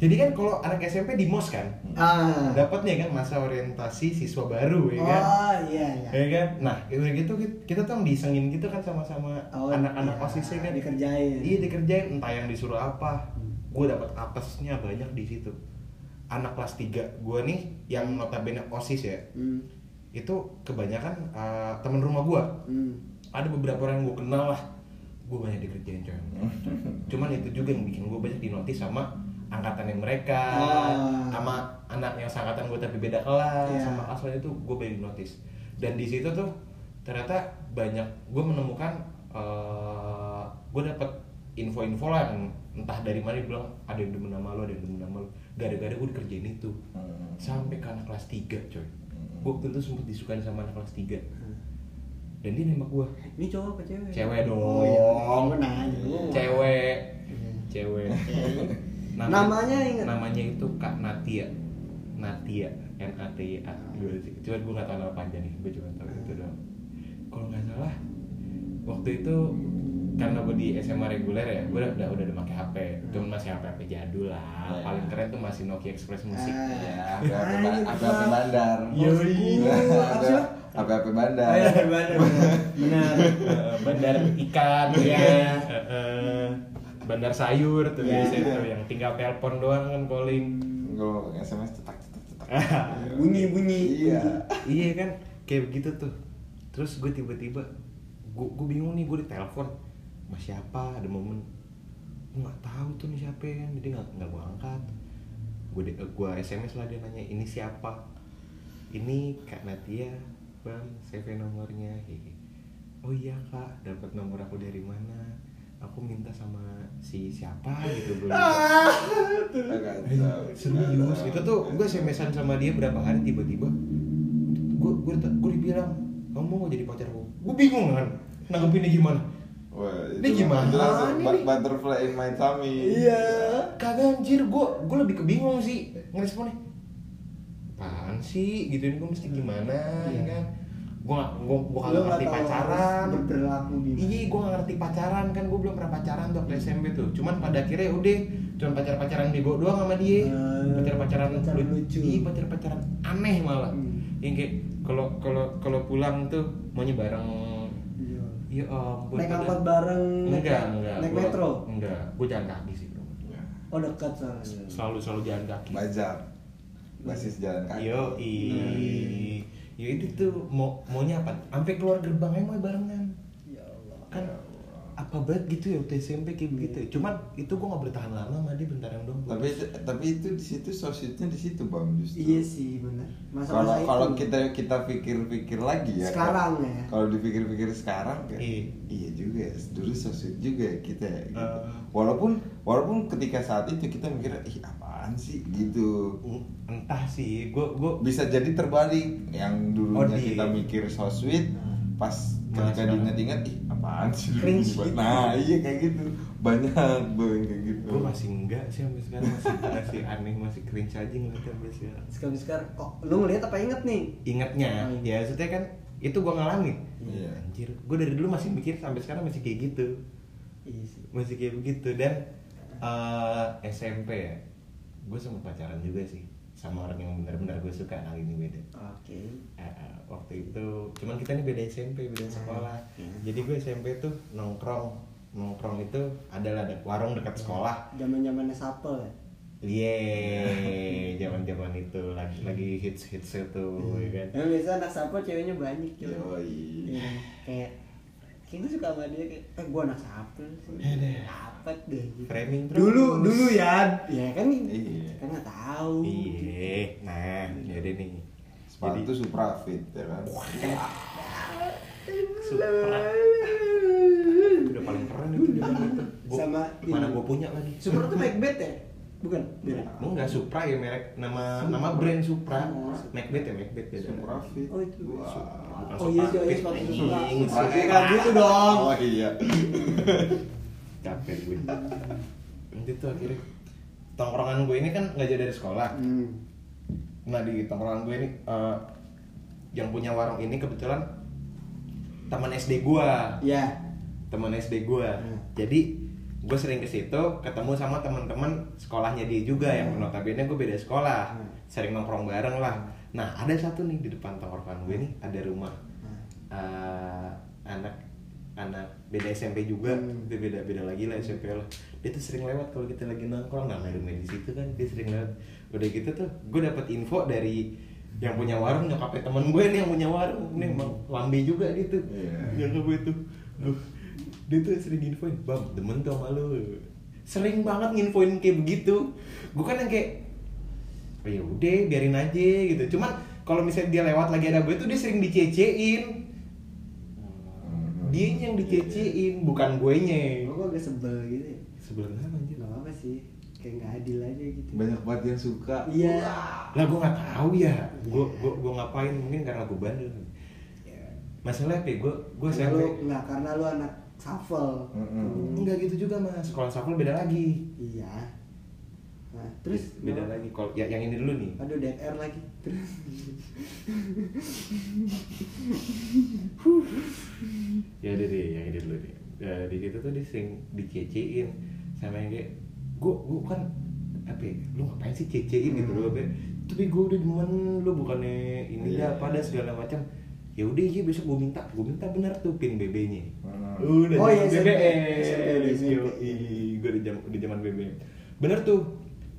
[SPEAKER 1] Jadi kan kalau anak SMP di mos kan,
[SPEAKER 4] Ah.
[SPEAKER 1] dapatnya kan masa orientasi siswa baru ya kan.
[SPEAKER 4] Oh iya iya.
[SPEAKER 1] Ya kan? Nah, udah gitu kita- kita tuh disengin gitu kan sama-sama
[SPEAKER 4] Oh,
[SPEAKER 1] anak-anak
[SPEAKER 4] iya.
[SPEAKER 1] OSIS kan
[SPEAKER 4] Dikerjain. Hmm.
[SPEAKER 1] Iya, dikerjain entah yang disuruh apa. Gue dapat apesnya banyak di situ. Anak kelas 3 gue nih yang notabene OSIS ya.
[SPEAKER 4] Hmm.
[SPEAKER 1] Itu kebanyakan eh, temen rumah gue.
[SPEAKER 4] Hmm.
[SPEAKER 1] Ada beberapa orang yang gue kenal lah. Gue banyak dikerjain coy. Cuman itu juga yang bikin gue banyak dinotis sama angkatannya mereka,
[SPEAKER 4] Ah.
[SPEAKER 1] sama anak yang seangkatan gue tapi beda kelas,
[SPEAKER 4] Iya.
[SPEAKER 1] sama kelas lain itu gue banyak notice dan di situ tuh ternyata banyak gue menemukan eh gue dapet info-info lah yang entah dari mana bilang ada yang demen nama lo ada yang demen nama lo gara-gara gue dikerjain itu
[SPEAKER 3] Hmm.
[SPEAKER 1] sampai ke anak kelas 3 coy
[SPEAKER 3] Hmm.
[SPEAKER 1] gue waktu itu sempet disukain sama anak kelas 3 dan dia nembak gue
[SPEAKER 4] Ini cowok apa cewek?
[SPEAKER 1] cewek dong
[SPEAKER 4] Oh, iya. Gua nanya.
[SPEAKER 1] cewek cewek
[SPEAKER 4] Namanya ingat?
[SPEAKER 1] namanya itu kak Natia Natia N A T I A Gua sih. cuman gue nggak tahu nama panjang nih gue cuma tahu itu doang kalau nggak salah waktu itu karena gue di SMA reguler ya gue udah udah udah pakai HP cuman masih HP HP jadul lah
[SPEAKER 3] Ya.
[SPEAKER 1] paling keren tuh masih Nokia Express Music
[SPEAKER 3] Ya,
[SPEAKER 4] Ah.
[SPEAKER 3] apa-apa
[SPEAKER 4] Ayo,
[SPEAKER 3] ba-
[SPEAKER 4] Pak.
[SPEAKER 3] apa-apa bandar.
[SPEAKER 1] Yoi.
[SPEAKER 4] Apa
[SPEAKER 1] Iya.
[SPEAKER 4] sih, Pak? Ah, iya.
[SPEAKER 3] Apa-apa bandar.
[SPEAKER 4] Ayo, benar, benar. Benar.
[SPEAKER 1] Eh, bandar ikan ya
[SPEAKER 4] Iya.
[SPEAKER 1] Eh, eh, bandar sayur tuh
[SPEAKER 4] Iya.
[SPEAKER 1] biasanya tuh yang tinggal telepon doang kan calling
[SPEAKER 3] Kalau SMS cetak cetak cetak.
[SPEAKER 4] Bunyi bunyi.
[SPEAKER 3] Iya.
[SPEAKER 1] iya kan kayak begitu tuh terus gue tiba-tiba gue gue bingung nih gue ditelepon sama siapa ada momen gue nggak tahu tuh nih siapa ya kan jadi nggak nggak gue angkat gue di- gue sms lah dia nanya ini siapa ini kak Natia bang save nomornya Hehe. oh iya kak dapat nomor aku dari mana aku minta sama si siapa gitu gue serius itu tuh gue smsan sama dia berapa hari tiba-tiba gue gue gue dibilang kamu mau jadi pacar gue gue bingung kan nanggepinnya gimana
[SPEAKER 3] Wah,
[SPEAKER 1] Ini gimana
[SPEAKER 3] Itu
[SPEAKER 4] Ah,
[SPEAKER 3] langsung
[SPEAKER 1] nih?
[SPEAKER 3] bu- butterfly in my tummy.
[SPEAKER 4] Iya.
[SPEAKER 1] kagak anjir gue gue lebih kebingung sih ngeresponnya apaan sih gitu ini gue mesti gimana ya kan gue gue gue
[SPEAKER 4] Iya. Lu
[SPEAKER 1] kagak
[SPEAKER 4] nggak
[SPEAKER 1] ngerti
[SPEAKER 4] tahu
[SPEAKER 1] pacaran
[SPEAKER 4] harus berperilaku gimana.
[SPEAKER 1] iya gue nggak ngerti pacaran kan gue belum pernah pacaran tuh waktu SMP tuh cuman pada akhirnya udah cuman pacar pacaran bego doang sama dia
[SPEAKER 4] Ah,
[SPEAKER 1] pacar Eh, pacaran
[SPEAKER 4] pacaran lucu.
[SPEAKER 1] pacar pacaran aneh malah
[SPEAKER 4] Hmm.
[SPEAKER 1] yang kayak kalau kalau kalau pulang tuh maunya bareng
[SPEAKER 4] Iya.
[SPEAKER 1] ya ampun
[SPEAKER 4] Naik
[SPEAKER 1] padahal-
[SPEAKER 4] angkot bareng, naik-
[SPEAKER 1] enggak enggak
[SPEAKER 4] naik
[SPEAKER 1] Gua-
[SPEAKER 4] metro?
[SPEAKER 1] enggak gue jalan kaki sih bro
[SPEAKER 3] Ya.
[SPEAKER 4] Oh dekat soalnya.
[SPEAKER 1] selalu selalu jalan kaki
[SPEAKER 3] Bazar. Basis jalan kaki. Nah,
[SPEAKER 1] yo i iya. yo itu tuh mau maunya apa sampai keluar gerbang aja mau barengan
[SPEAKER 4] Ya Allah.
[SPEAKER 1] kan apa apa banget gitu ya waktu SMP kayak begitu ya. cuman itu gue nggak boleh tahan lama sama dia bentar yang doang
[SPEAKER 3] tapi tapi itu di situ sosisnya di situ bang justru
[SPEAKER 4] Iya sih benar.
[SPEAKER 3] kalau
[SPEAKER 4] Masa-masa itu.
[SPEAKER 3] kalau kita kita pikir-pikir lagi ya
[SPEAKER 4] Sekarang
[SPEAKER 3] kalau-
[SPEAKER 4] ya.
[SPEAKER 3] kalau dipikir-pikir sekarang kan
[SPEAKER 1] Iya.
[SPEAKER 3] iya juga ya, dulu so sweet juga ya kita ya, gitu.
[SPEAKER 1] Eh.
[SPEAKER 3] walaupun walaupun ketika saat itu kita mikir ih apaan sih gitu
[SPEAKER 1] Hmm, entah sih gue gue
[SPEAKER 3] bisa jadi terbalik yang dulunya
[SPEAKER 1] Oh, di-
[SPEAKER 3] kita mikir so sweet pas
[SPEAKER 1] Nah,
[SPEAKER 3] ketika
[SPEAKER 1] sekarang.
[SPEAKER 3] diingat-ingat ih apaan sih dulu
[SPEAKER 4] Cringe
[SPEAKER 3] dibuat?"
[SPEAKER 4] gitu.
[SPEAKER 3] nah iya kayak gitu banyak bang kayak gitu
[SPEAKER 1] gue masih enggak sih sampai sekarang masih masih aneh masih cringe aja ngeliatnya sampai sekarang
[SPEAKER 4] Sekarang sekarang kok lu ngeliat apa inget nih?
[SPEAKER 1] ingatnya
[SPEAKER 4] Oh,
[SPEAKER 1] ya maksudnya kan itu gue ngalamin
[SPEAKER 3] Iya.
[SPEAKER 1] anjir gue dari dulu masih mikir sampai sekarang masih kayak gitu
[SPEAKER 4] Iya sih.
[SPEAKER 1] masih kayak begitu dan eh, SMP ya gue sempat pacaran juga sih sama orang yang benar-benar gue suka kali ini beda
[SPEAKER 4] Oke.
[SPEAKER 1] Eh, eh, waktu itu cuman kita ini beda SMP beda sekolah
[SPEAKER 4] Hmm.
[SPEAKER 1] jadi gue SMP tuh nongkrong nongkrong itu adalah ada warung dekat sekolah
[SPEAKER 4] Zaman-zamannya sapel ya. Hmm.
[SPEAKER 1] Yeay, zaman zaman itu lagi lagi hits hits itu ya kan.
[SPEAKER 4] Emang biasa anak sapel ceweknya banyak cuy.
[SPEAKER 3] Yoi.
[SPEAKER 4] Iya, Kayak Kayaknya suka sama dia kayak, eh gue anak sapel sih. Dapat deh. gitu.
[SPEAKER 1] Framing terus.
[SPEAKER 4] Dulu, dulu ya. Ya kan,
[SPEAKER 3] Iya.
[SPEAKER 4] kan nggak tahu.
[SPEAKER 1] Iya, nah
[SPEAKER 4] Hmm.
[SPEAKER 1] jadi nih.
[SPEAKER 3] sepatu suprafit ya kan
[SPEAKER 1] Supra. Udah paling keren itu di zaman itu. Gua-
[SPEAKER 4] Sama
[SPEAKER 1] mana
[SPEAKER 4] ini.
[SPEAKER 1] gue punya lagi.
[SPEAKER 4] Super tuh Macbeth ya? Bukan? Iya. Beda.
[SPEAKER 1] Enggak Supra ya merek nama nama brand Supra.
[SPEAKER 4] Oh.
[SPEAKER 1] Macbeth ya Macbeth ya.
[SPEAKER 3] suprafit
[SPEAKER 4] Oh, itu.
[SPEAKER 3] Wah.
[SPEAKER 1] Bukan
[SPEAKER 4] Oh iya,
[SPEAKER 1] Supra,
[SPEAKER 4] iya,
[SPEAKER 1] Fit,
[SPEAKER 4] sepatu
[SPEAKER 1] anjing.
[SPEAKER 4] Supra.
[SPEAKER 1] Supra.
[SPEAKER 4] Oke, kan gitu dong.
[SPEAKER 3] Oh iya.
[SPEAKER 1] Capek gue. Nanti tuh akhirnya tongkrongan gue ini kan nggak jadi dari sekolah.
[SPEAKER 4] Hmm.
[SPEAKER 1] Nah di tongkrongan gue ini eh, yang punya warung ini kebetulan teman SD gua,
[SPEAKER 4] Ya.
[SPEAKER 1] teman SD gua.
[SPEAKER 4] Hmm.
[SPEAKER 1] Jadi gue sering ke situ ketemu sama teman-teman sekolahnya dia juga yang notabene gue beda sekolah,
[SPEAKER 4] Hmm.
[SPEAKER 1] sering nongkrong bareng lah. Nah ada satu nih di depan tongkrongan gue nih ada rumah eh, anak anak beda SMP juga,
[SPEAKER 4] Hmm.
[SPEAKER 1] dia beda beda lagi lah SMP lah. Dia tuh sering lewat kalau kita lagi nongkrong, namanya rumah di situ kan dia sering lewat. Udah gitu tuh, gue dapet info dari yang punya warung nyokapnya temen gue nih yang punya warung nih emang lambe juga dia tuh
[SPEAKER 3] Iya.
[SPEAKER 1] nyokap gue tuh Duh, dia tuh sering infoin bam demen tuh sama lu sering banget nginfoin kayak begitu gue kan yang kayak "Oh, ya udah biarin aja gitu cuman kalau misalnya dia lewat lagi ada gue tuh dia sering dicecein dia yang dicecein bukan gue nya
[SPEAKER 4] Gue Nah, kok agak sebel gitu ya.
[SPEAKER 1] sebenarnya anjir
[SPEAKER 4] Gak apa-apa sih. Kayak nggak adil aja gitu.
[SPEAKER 3] Banyak banget yang suka.
[SPEAKER 4] Iya.
[SPEAKER 1] lah gue nggak tahu ya gue gue gue ngapain mungkin karena gue bandel
[SPEAKER 4] Iya.
[SPEAKER 1] masalahnya kayak gue gue
[SPEAKER 4] Karena
[SPEAKER 1] sampai
[SPEAKER 4] Iya, lu nggak karena lu anak shuffle.
[SPEAKER 3] Mm-mm.
[SPEAKER 1] Enggak gitu juga mas, sekolah sapul beda lagi.
[SPEAKER 4] Iya. Nah, terus
[SPEAKER 1] beda
[SPEAKER 4] kenapa?
[SPEAKER 1] lagi. Kalau ya, yang ini dulu nih.
[SPEAKER 4] Aduh, dead air lagi. Terus
[SPEAKER 1] Ya udah deh, yang ini dulu deh. Ya, di situ tuh dia sering dicecein sama yang kayak gua gua kan apa ya, lu ngapain sih cecein gitu loh apa ya, tapi gua udah demen lu bukannya ini dah
[SPEAKER 3] Iya.
[SPEAKER 1] pada segala macam ya udah iya besok gua minta gua minta bener tuh pin BB nya
[SPEAKER 3] Hmm.
[SPEAKER 1] udah
[SPEAKER 4] Oh, iya,
[SPEAKER 1] BBM
[SPEAKER 4] SMP, SMP.
[SPEAKER 1] gue iya, di zaman di zaman BBM bener tuh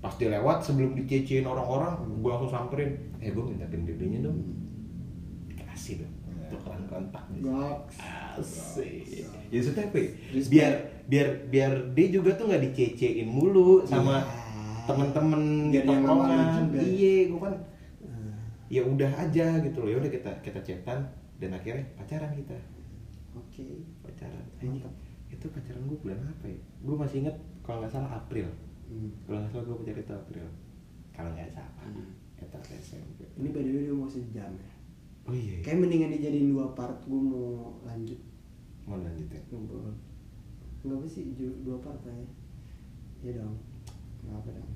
[SPEAKER 1] pasti lewat sebelum dicecein orang-orang gua langsung samperin eh gua minta pin BB nya dong dikasih dong
[SPEAKER 3] Iya.
[SPEAKER 1] tukeran kontak
[SPEAKER 4] Goks.
[SPEAKER 1] Asik. Ya maksudnya apa ya?
[SPEAKER 4] Respect.
[SPEAKER 1] Biar biar biar dia juga tuh nggak dicecein mulu sama
[SPEAKER 4] Iya.
[SPEAKER 1] temen-temen di
[SPEAKER 4] Biar dia nggak malu
[SPEAKER 1] tongkrongan.
[SPEAKER 4] juga.
[SPEAKER 1] Iya, gue kan
[SPEAKER 4] Ah,
[SPEAKER 1] ya udah aja gitu loh. Ya udah kita kita cetan dan akhirnya pacaran kita.
[SPEAKER 4] Oke.
[SPEAKER 1] Pacaran. Anjing. Itu pacaran gue bulan apa ya? Gue masih inget kalau nggak salah April.
[SPEAKER 4] Hmm.
[SPEAKER 1] Kalau nggak salah gue pacaran itu April. Kalau nggak salah. Itu SMP.
[SPEAKER 4] Ini by the way udah mau sejam ya.
[SPEAKER 1] Oh iya. iya.
[SPEAKER 4] Kayak mendingan dijadiin dua part, gue mau lanjut
[SPEAKER 1] Mau lanjut ya?
[SPEAKER 4] ngobrol. Enggak apa sih ju- dua part lah ya. Ya dong. Enggak apa dong.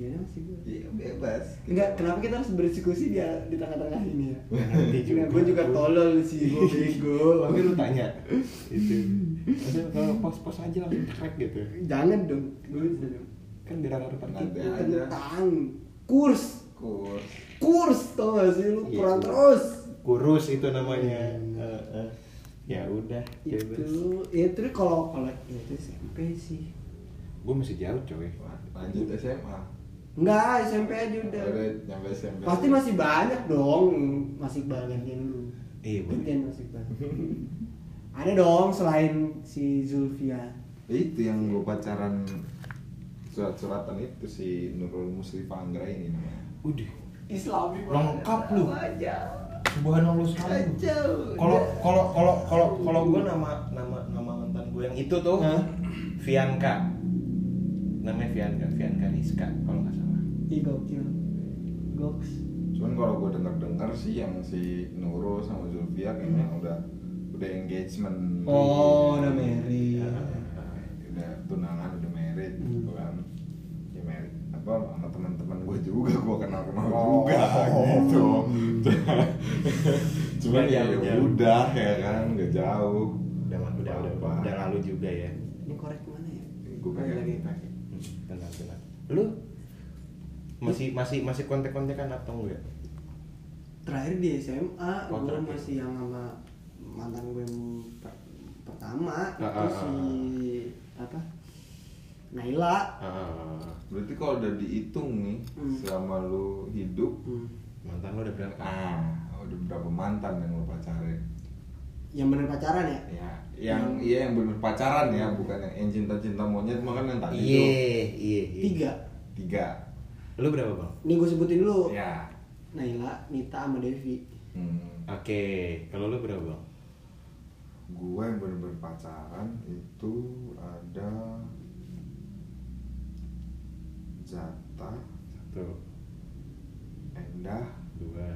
[SPEAKER 4] Jadi masih gue.
[SPEAKER 3] Iya, bebas.
[SPEAKER 4] Enggak, kenapa kita harus berdiskusi di, di tengah-tengah ini ya?
[SPEAKER 1] Nanti juga.
[SPEAKER 4] Nah, gue juga tolol sih, gue bego.
[SPEAKER 1] tapi lu tanya itu Maksudnya kalau pos-pos aja langsung track gitu
[SPEAKER 4] Jangan dong, gue bisa dong.
[SPEAKER 1] kan biar ada reparti
[SPEAKER 3] Nanti aja.
[SPEAKER 4] Tentang kurs,
[SPEAKER 3] Kurs.
[SPEAKER 4] kurs tau gak sih lu
[SPEAKER 1] Iya.
[SPEAKER 4] kurang terus.
[SPEAKER 1] kurus itu namanya
[SPEAKER 4] Hmm.
[SPEAKER 1] Eh, eh. ya udah gitu.
[SPEAKER 4] Itu, ya terus kalau kalau ya itu SMP sih.
[SPEAKER 1] gue masih jauh coy
[SPEAKER 3] Lanjut SMA.
[SPEAKER 4] Enggak, SMP aja udah.
[SPEAKER 3] Udah nyampe SMP.
[SPEAKER 4] Pasti masih banyak dong, masih banyak yang lu.
[SPEAKER 1] Iya, boleh.
[SPEAKER 4] Gantian masih banyak. Ada dong selain si Zulfia.
[SPEAKER 3] Ya, itu yang gue pacaran surat-suratan itu si Nurul Muslifa Anggra ini namanya
[SPEAKER 1] Udah.
[SPEAKER 2] Islami
[SPEAKER 1] Lengkap lu.
[SPEAKER 2] aja
[SPEAKER 1] Subhanallah sekali.
[SPEAKER 2] Kacau.
[SPEAKER 1] Kalau kalau kalau kalau kalau gue nama nama nama mantan gue yang itu tuh
[SPEAKER 4] Hah?
[SPEAKER 1] Vianka. Namanya Vianka, Vianka Rizka kalau nggak salah.
[SPEAKER 4] Ih gokil. Goks.
[SPEAKER 1] Iya.
[SPEAKER 3] cuman kalau gue denger-denger sih yang si Nurul sama Zulfia kayaknya udah udah engagement
[SPEAKER 4] Oh, udah
[SPEAKER 1] Iya.
[SPEAKER 4] married.
[SPEAKER 3] Ya, udah tunangan udah married gitu kan ya married apa sama teman-teman gue juga gue kenal kenal juga gitu cuman ya,
[SPEAKER 1] Jauh,
[SPEAKER 3] ya
[SPEAKER 1] jauh.
[SPEAKER 3] udah ya kan nggak jauh
[SPEAKER 1] Udah udah udah,
[SPEAKER 3] Apa?
[SPEAKER 1] udah lalu juga ya.
[SPEAKER 4] Ini korek kemana ya?
[SPEAKER 3] gue
[SPEAKER 4] Ada lagi.
[SPEAKER 3] pengen pakai
[SPEAKER 1] Hmm, Tenang tenang. Lu masih masih masih kontak-kontakan atau enggak?
[SPEAKER 4] Terakhir di SMA
[SPEAKER 1] Oh,
[SPEAKER 4] gue
[SPEAKER 1] terakhir.
[SPEAKER 4] masih yang sama mantan gue yang per-
[SPEAKER 1] Ah,
[SPEAKER 4] pertama itu
[SPEAKER 1] ah,
[SPEAKER 4] si apa? Naila.
[SPEAKER 1] Ah,
[SPEAKER 3] berarti kalau udah dihitung nih
[SPEAKER 4] Hmm.
[SPEAKER 3] selama lu hidup
[SPEAKER 4] Hmm.
[SPEAKER 1] mantan lu udah berapa?
[SPEAKER 3] ah udah berapa mantan yang lu pacarin
[SPEAKER 4] Yang bener pacaran ya?
[SPEAKER 3] ya yang iya yang bener pacaran ya bukan yang, yang cinta-cinta monyet makan yang tadi itu
[SPEAKER 1] Iya, iya, iya.
[SPEAKER 4] Tiga.
[SPEAKER 3] tiga
[SPEAKER 1] Lu berapa, Bang?
[SPEAKER 4] Nih gue sebutin dulu.
[SPEAKER 1] Iya.
[SPEAKER 3] ya
[SPEAKER 4] Naila, Nita sama Devi.
[SPEAKER 3] hmm.
[SPEAKER 1] Oke, kalau lu berapa, Bang?
[SPEAKER 3] gue yang bener-bener pacaran itu ada Zata
[SPEAKER 1] Satu,
[SPEAKER 3] Endah
[SPEAKER 1] dua.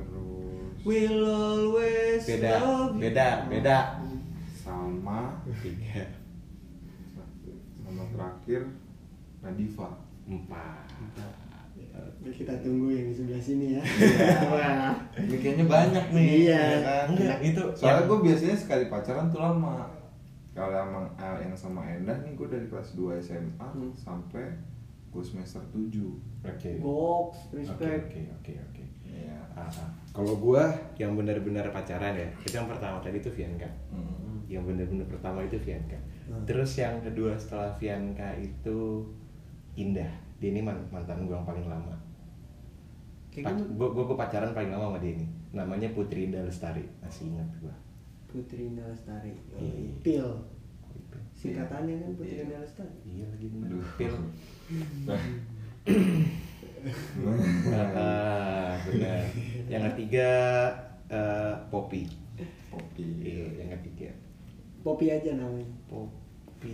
[SPEAKER 3] terus
[SPEAKER 4] Will always
[SPEAKER 1] Beda,
[SPEAKER 4] love you. Hmm.
[SPEAKER 1] beda, beda.
[SPEAKER 3] Salma
[SPEAKER 1] Tiga,
[SPEAKER 3] sama terakhir Nadifa
[SPEAKER 1] empat.
[SPEAKER 4] Nah, Kita tunggu yang di sebelah sini ya.
[SPEAKER 1] Iya.
[SPEAKER 4] Wah.
[SPEAKER 3] ini kayaknya banyak nih
[SPEAKER 4] Iya.
[SPEAKER 3] ya kan?
[SPEAKER 1] Enggak, itu
[SPEAKER 3] soalnya
[SPEAKER 1] yang-
[SPEAKER 3] gue biasanya sekali pacaran tuh lama kalau emang eh, yang sama Endah nih gue dari kelas 2 SMA
[SPEAKER 4] Hmm.
[SPEAKER 3] sampai gue semester 7
[SPEAKER 1] Oke.
[SPEAKER 4] Goks,
[SPEAKER 1] Oke,
[SPEAKER 4] respect.
[SPEAKER 1] oke, oke, oke.
[SPEAKER 3] Iya
[SPEAKER 1] Ah, ah. Kalau gua yang benar-benar pacaran ya, itu yang pertama tadi itu Vianka.
[SPEAKER 3] Hmm.
[SPEAKER 1] Yang benar-benar pertama itu Vianka. Terus yang kedua setelah Vianka itu Indah. Dia ini man- mantan gua yang paling lama.
[SPEAKER 4] Kayak gitu.
[SPEAKER 1] gue gue pacaran paling lama sama dia ini. Namanya Putri Indah Lestari. Masih ingat gua.
[SPEAKER 4] Putri Indah Lestari.
[SPEAKER 1] Iya.
[SPEAKER 4] Pil.
[SPEAKER 1] Itu.
[SPEAKER 4] Singkatannya kan Putri
[SPEAKER 3] Iya.
[SPEAKER 4] Indah Lestari.
[SPEAKER 1] Iya lagi bener.
[SPEAKER 3] Aduh.
[SPEAKER 1] Pil.
[SPEAKER 3] Nah.
[SPEAKER 1] Ah, benar. Yang ketiga eh, Poppy.
[SPEAKER 3] Oke.
[SPEAKER 1] Iya, yang ketiga.
[SPEAKER 4] Popi aja namanya.
[SPEAKER 1] Poppy.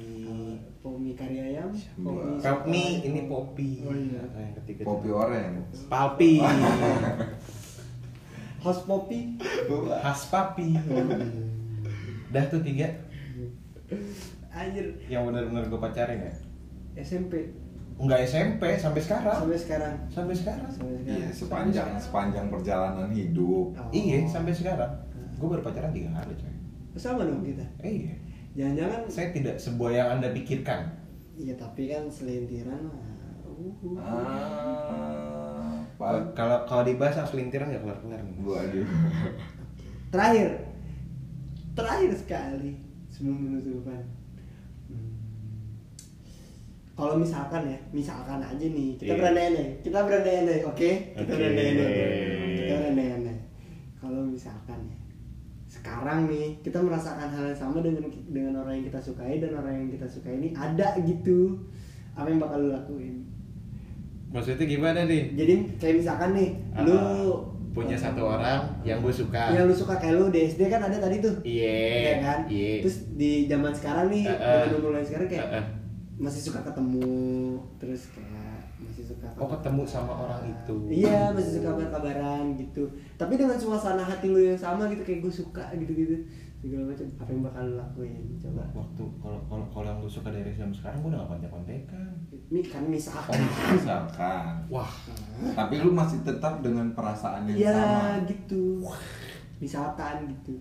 [SPEAKER 4] Pomi Karyayam, Pomi
[SPEAKER 1] Poppy ini Poppy.
[SPEAKER 4] Oh iya.
[SPEAKER 1] Ah, Yang ketiga.
[SPEAKER 3] Poppy Orange.
[SPEAKER 1] Papi.
[SPEAKER 4] House Popi.
[SPEAKER 1] Khas papi. Dah tuh tiga
[SPEAKER 4] Anjir,
[SPEAKER 1] yang benar-benar gue pacarin ya.
[SPEAKER 4] SMP
[SPEAKER 1] Enggak SMP sampai sekarang.
[SPEAKER 4] sampai Oh. sekarang.
[SPEAKER 1] Sampai sekarang.
[SPEAKER 4] Sampai sekarang.
[SPEAKER 3] Iya, sepanjang sepanjang perjalanan hidup.
[SPEAKER 4] Oh.
[SPEAKER 1] Iya, sampai sekarang. Gue baru pacaran tiga kali coy.
[SPEAKER 4] Sama dong kita.
[SPEAKER 1] Eh, iya.
[SPEAKER 4] Jangan-jangan
[SPEAKER 1] Saya tidak sebuah yang anda pikirkan.
[SPEAKER 4] Iya tapi kan selintiran lah. Uh.
[SPEAKER 3] Ah,
[SPEAKER 1] Kalau-
[SPEAKER 3] Pak.
[SPEAKER 1] Kalau kalau dibahas yang selintiran nggak kelar kelar nih.
[SPEAKER 3] Waduh.
[SPEAKER 4] Terakhir, terakhir sekali sebelum penutupan. Hmm. Kalau misalkan ya, misalkan aja nih, kita
[SPEAKER 1] Iya.
[SPEAKER 4] berandai-andai, kita berandai-andai, oke? Kita
[SPEAKER 1] Oke.
[SPEAKER 4] berandai-andai, kita berandai-andai. Kalau misalkan ya, sekarang nih kita merasakan hal yang sama dengan dengan orang yang kita sukai dan orang yang kita sukai ini ada gitu. Apa yang bakal lu lakuin?
[SPEAKER 1] Maksudnya gimana nih?
[SPEAKER 4] jadi kayak misalkan nih
[SPEAKER 1] Ah,
[SPEAKER 4] lu
[SPEAKER 1] punya
[SPEAKER 4] eh,
[SPEAKER 1] satu orang yang gue suka.
[SPEAKER 4] yang lu suka kayak lu di SD kan ada tadi tuh
[SPEAKER 1] Iya.
[SPEAKER 4] Iya kan
[SPEAKER 1] Iya.
[SPEAKER 4] terus di zaman sekarang nih
[SPEAKER 1] Eh, eh.
[SPEAKER 4] zaman umur lu yang sekarang kayak
[SPEAKER 1] Eh, eh.
[SPEAKER 4] masih suka ketemu terus kayak masih suka
[SPEAKER 1] Oh, ketemu sama orang itu.
[SPEAKER 4] iya masih suka kabar kabaran gitu tapi dengan suasana hati lu yang sama gitu kayak gue suka gitu gitu segala macam apa yang bakal lu lakuin coba
[SPEAKER 1] Waktu kalau kalau kalau yang gue suka dari zaman sekarang gue udah gak kontak kontekan.
[SPEAKER 4] ini kan misalkan
[SPEAKER 3] Misalkan.
[SPEAKER 1] Wah.
[SPEAKER 3] Tapi lu masih tetap dengan perasaan yang
[SPEAKER 4] iya
[SPEAKER 3] sama.
[SPEAKER 4] gitu misalkan gitu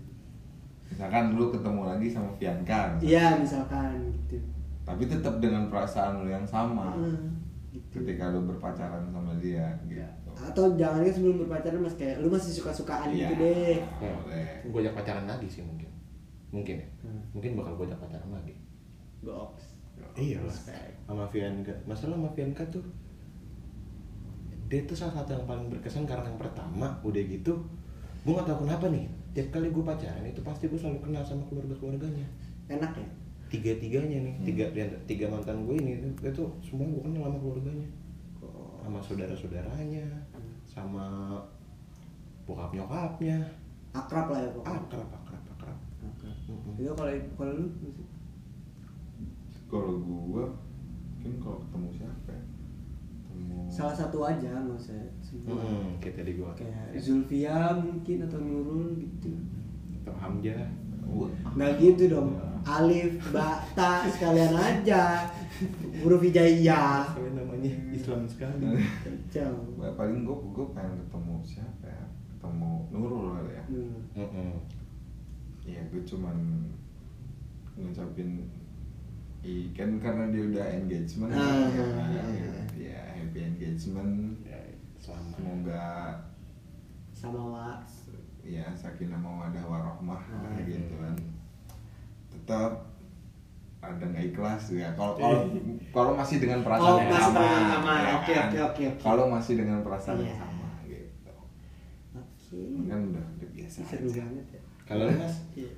[SPEAKER 3] Misalkan lu ketemu lagi sama Bianca. misalkan.
[SPEAKER 4] iya misalkan gitu
[SPEAKER 3] Tapi tetap dengan perasaan lu yang sama.
[SPEAKER 4] Hmm, gitu.
[SPEAKER 3] Ketika lu berpacaran sama dia gitu.
[SPEAKER 4] atau jangan sebelum berpacaran mas kayak lu masih suka sukaan gitu deh
[SPEAKER 3] Boleh.
[SPEAKER 1] Gue Iya. ajak pacaran lagi sih mungkin. Mungkin ya.
[SPEAKER 4] Hmm.
[SPEAKER 1] Mungkin bakal gue ajak pacaran lagi.
[SPEAKER 4] box
[SPEAKER 1] Iya lah.
[SPEAKER 4] Respect.
[SPEAKER 1] Sama Fianka. Masalah sama Fianka tuh dia tuh salah satu yang paling berkesan karena yang pertama udah gitu gue gak tahu kenapa nih tiap kali gue pacaran itu pasti gue selalu kenal sama keluarga keluarganya
[SPEAKER 2] enak ya
[SPEAKER 1] tiga tiganya nih
[SPEAKER 3] Hmm.
[SPEAKER 1] tiga dia- tiga mantan gue ini itu, itu semua gue kenal sama keluarganya
[SPEAKER 2] Oh.
[SPEAKER 1] sama saudara saudaranya sama bokap nyokapnya
[SPEAKER 2] akrab lah ya pokoknya
[SPEAKER 1] akrab akrab akrab
[SPEAKER 2] akrab
[SPEAKER 1] Mm-mm.
[SPEAKER 2] itu kalau kalau lu
[SPEAKER 3] kalau gua mungkin kalau ketemu siapa ya? ketemu
[SPEAKER 2] salah satu aja nggak usah semua
[SPEAKER 1] Mm-mm, kayak tadi gue
[SPEAKER 2] kayak Zulfia mungkin atau Nurul gitu
[SPEAKER 1] atau Hamzah
[SPEAKER 3] Wah.
[SPEAKER 2] Nah gitu dong. Alif, ba, ta sekalian aja. Huruf hijaiyah.
[SPEAKER 1] Soalnya namanya Islam sekali
[SPEAKER 2] Kacau.
[SPEAKER 3] Ba- paling gua gua pengen ketemu siapa ya ketemu Nurul kali ya
[SPEAKER 2] Hmm.
[SPEAKER 1] Mm-mm.
[SPEAKER 3] Iya, gue cuman ngucapin i- kan karena dia udah engagement ya,
[SPEAKER 2] Ah,
[SPEAKER 3] ya,
[SPEAKER 2] iya,
[SPEAKER 3] ya,
[SPEAKER 2] iya.
[SPEAKER 3] ya, happy engagement
[SPEAKER 1] ya,
[SPEAKER 2] Mm.
[SPEAKER 1] selamat
[SPEAKER 3] semoga
[SPEAKER 2] Sama wa.
[SPEAKER 3] ya sakinah mawadah warohmah
[SPEAKER 2] Ah,
[SPEAKER 3] lah gitu
[SPEAKER 1] iya.
[SPEAKER 3] kan tetap ada nggak ikhlas ya kalau kalau kalau masih dengan perasaan
[SPEAKER 2] Oh,
[SPEAKER 3] yang
[SPEAKER 2] Iya. masih
[SPEAKER 3] sama
[SPEAKER 2] dengan sama.
[SPEAKER 3] ya
[SPEAKER 2] Oke,
[SPEAKER 3] kan?
[SPEAKER 2] oke, oke, oke.
[SPEAKER 3] kalau masih dengan perasaan yang
[SPEAKER 2] Iya.
[SPEAKER 3] sama gitu
[SPEAKER 2] Oke.
[SPEAKER 3] kan udah udah biasa
[SPEAKER 2] Seru
[SPEAKER 3] aja.
[SPEAKER 2] banget ya.
[SPEAKER 1] kalau lu, mas
[SPEAKER 2] Iya.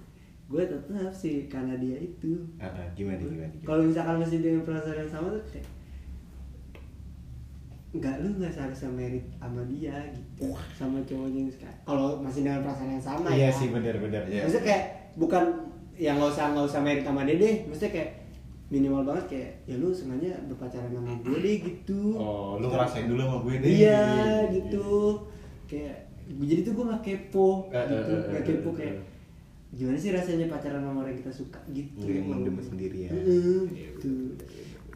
[SPEAKER 2] Gue tetap sih karena dia itu.
[SPEAKER 1] Ah, ah, gimana gimana, gimana?
[SPEAKER 2] Kalau misalkan masih dengan perasaan yang sama tuh kayak Enggak, lu nggak seharusnya merit sama dia gitu Sama cowoknya yang sekarang Kalau masih dengan perasaan yang sama ya
[SPEAKER 1] iya sih benar-benar
[SPEAKER 3] Iya.
[SPEAKER 2] Maksudnya kayak bukan yang nggak usah nggak usah merit sama dede, maksudnya kayak minimal banget kayak ya lu sengaja berpacaran sama gue deh gitu.
[SPEAKER 1] Oh, lu ngerasain dulu sama gue deh.
[SPEAKER 2] Iya gitu. Kayak jadi tuh gue nggak kepo
[SPEAKER 1] Eh, eh,
[SPEAKER 2] gitu,
[SPEAKER 1] eh,
[SPEAKER 2] nggak
[SPEAKER 1] eh,
[SPEAKER 2] kepo
[SPEAKER 1] eh,
[SPEAKER 2] kayak
[SPEAKER 1] eh.
[SPEAKER 2] gimana sih rasanya pacaran sama orang yang kita suka gitu.
[SPEAKER 1] Lu yang mendem sendirian.
[SPEAKER 2] Heeh,
[SPEAKER 1] Iya,
[SPEAKER 2] gitu.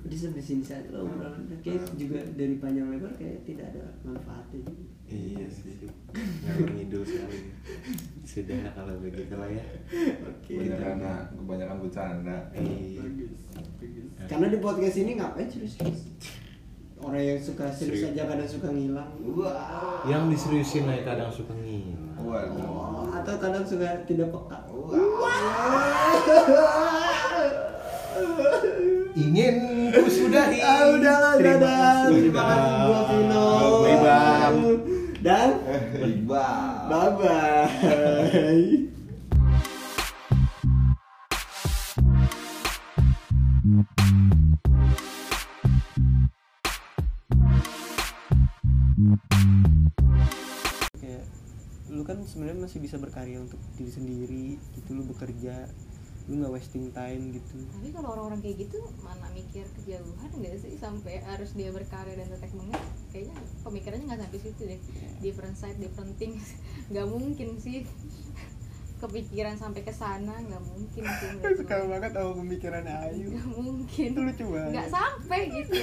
[SPEAKER 2] Jadi sampai sini saja lo obrolan kayak
[SPEAKER 1] Nah.
[SPEAKER 2] juga dari panjang lebar kayak tidak ada manfaatnya. juga.
[SPEAKER 1] Iya sih. Ngalor ngidul sekali. Sudah kalau begitu lah ya.
[SPEAKER 2] Oke.
[SPEAKER 3] kebanyakan kebanyakan bercanda
[SPEAKER 1] Iya.
[SPEAKER 2] Karena di podcast ini ngapain serius-serius? Orang yang suka serius
[SPEAKER 1] Serius.
[SPEAKER 2] aja kadang suka ngilang. Wah.
[SPEAKER 1] Yang diseriusin aja kadang suka ngilang.
[SPEAKER 3] waduh
[SPEAKER 2] Oh, atau kadang suka tidak peka.
[SPEAKER 1] Ingin ku sudahi.
[SPEAKER 2] Ah, udahlah,
[SPEAKER 1] Terima
[SPEAKER 2] dadah.
[SPEAKER 1] kasih. Iya.
[SPEAKER 2] Terima kasih gua Vino.
[SPEAKER 1] Gua Ibam.
[SPEAKER 2] Dan
[SPEAKER 3] Eh, Iqbal
[SPEAKER 2] bye bye. kayak lu kan sebenarnya masih bisa berkarya untuk diri sendiri gitu lu bekerja lu nggak wasting time gitu
[SPEAKER 6] Tapi kalau orang-orang kayak gitu mana mikir kejauhan nggak sih sampai harus dia berkarya dan tetek bengek? Kayaknya pemikirannya nggak sampai situ deh.
[SPEAKER 4] Iya.
[SPEAKER 6] Different side, different things. Nggak mungkin sih kepikiran sampai ke sana nggak mungkin sih nggak
[SPEAKER 4] suka
[SPEAKER 6] mungkin.
[SPEAKER 4] banget sama pemikiran Ayu
[SPEAKER 6] Nggak mungkin
[SPEAKER 4] itu lucu banget
[SPEAKER 6] nggak sampai gitu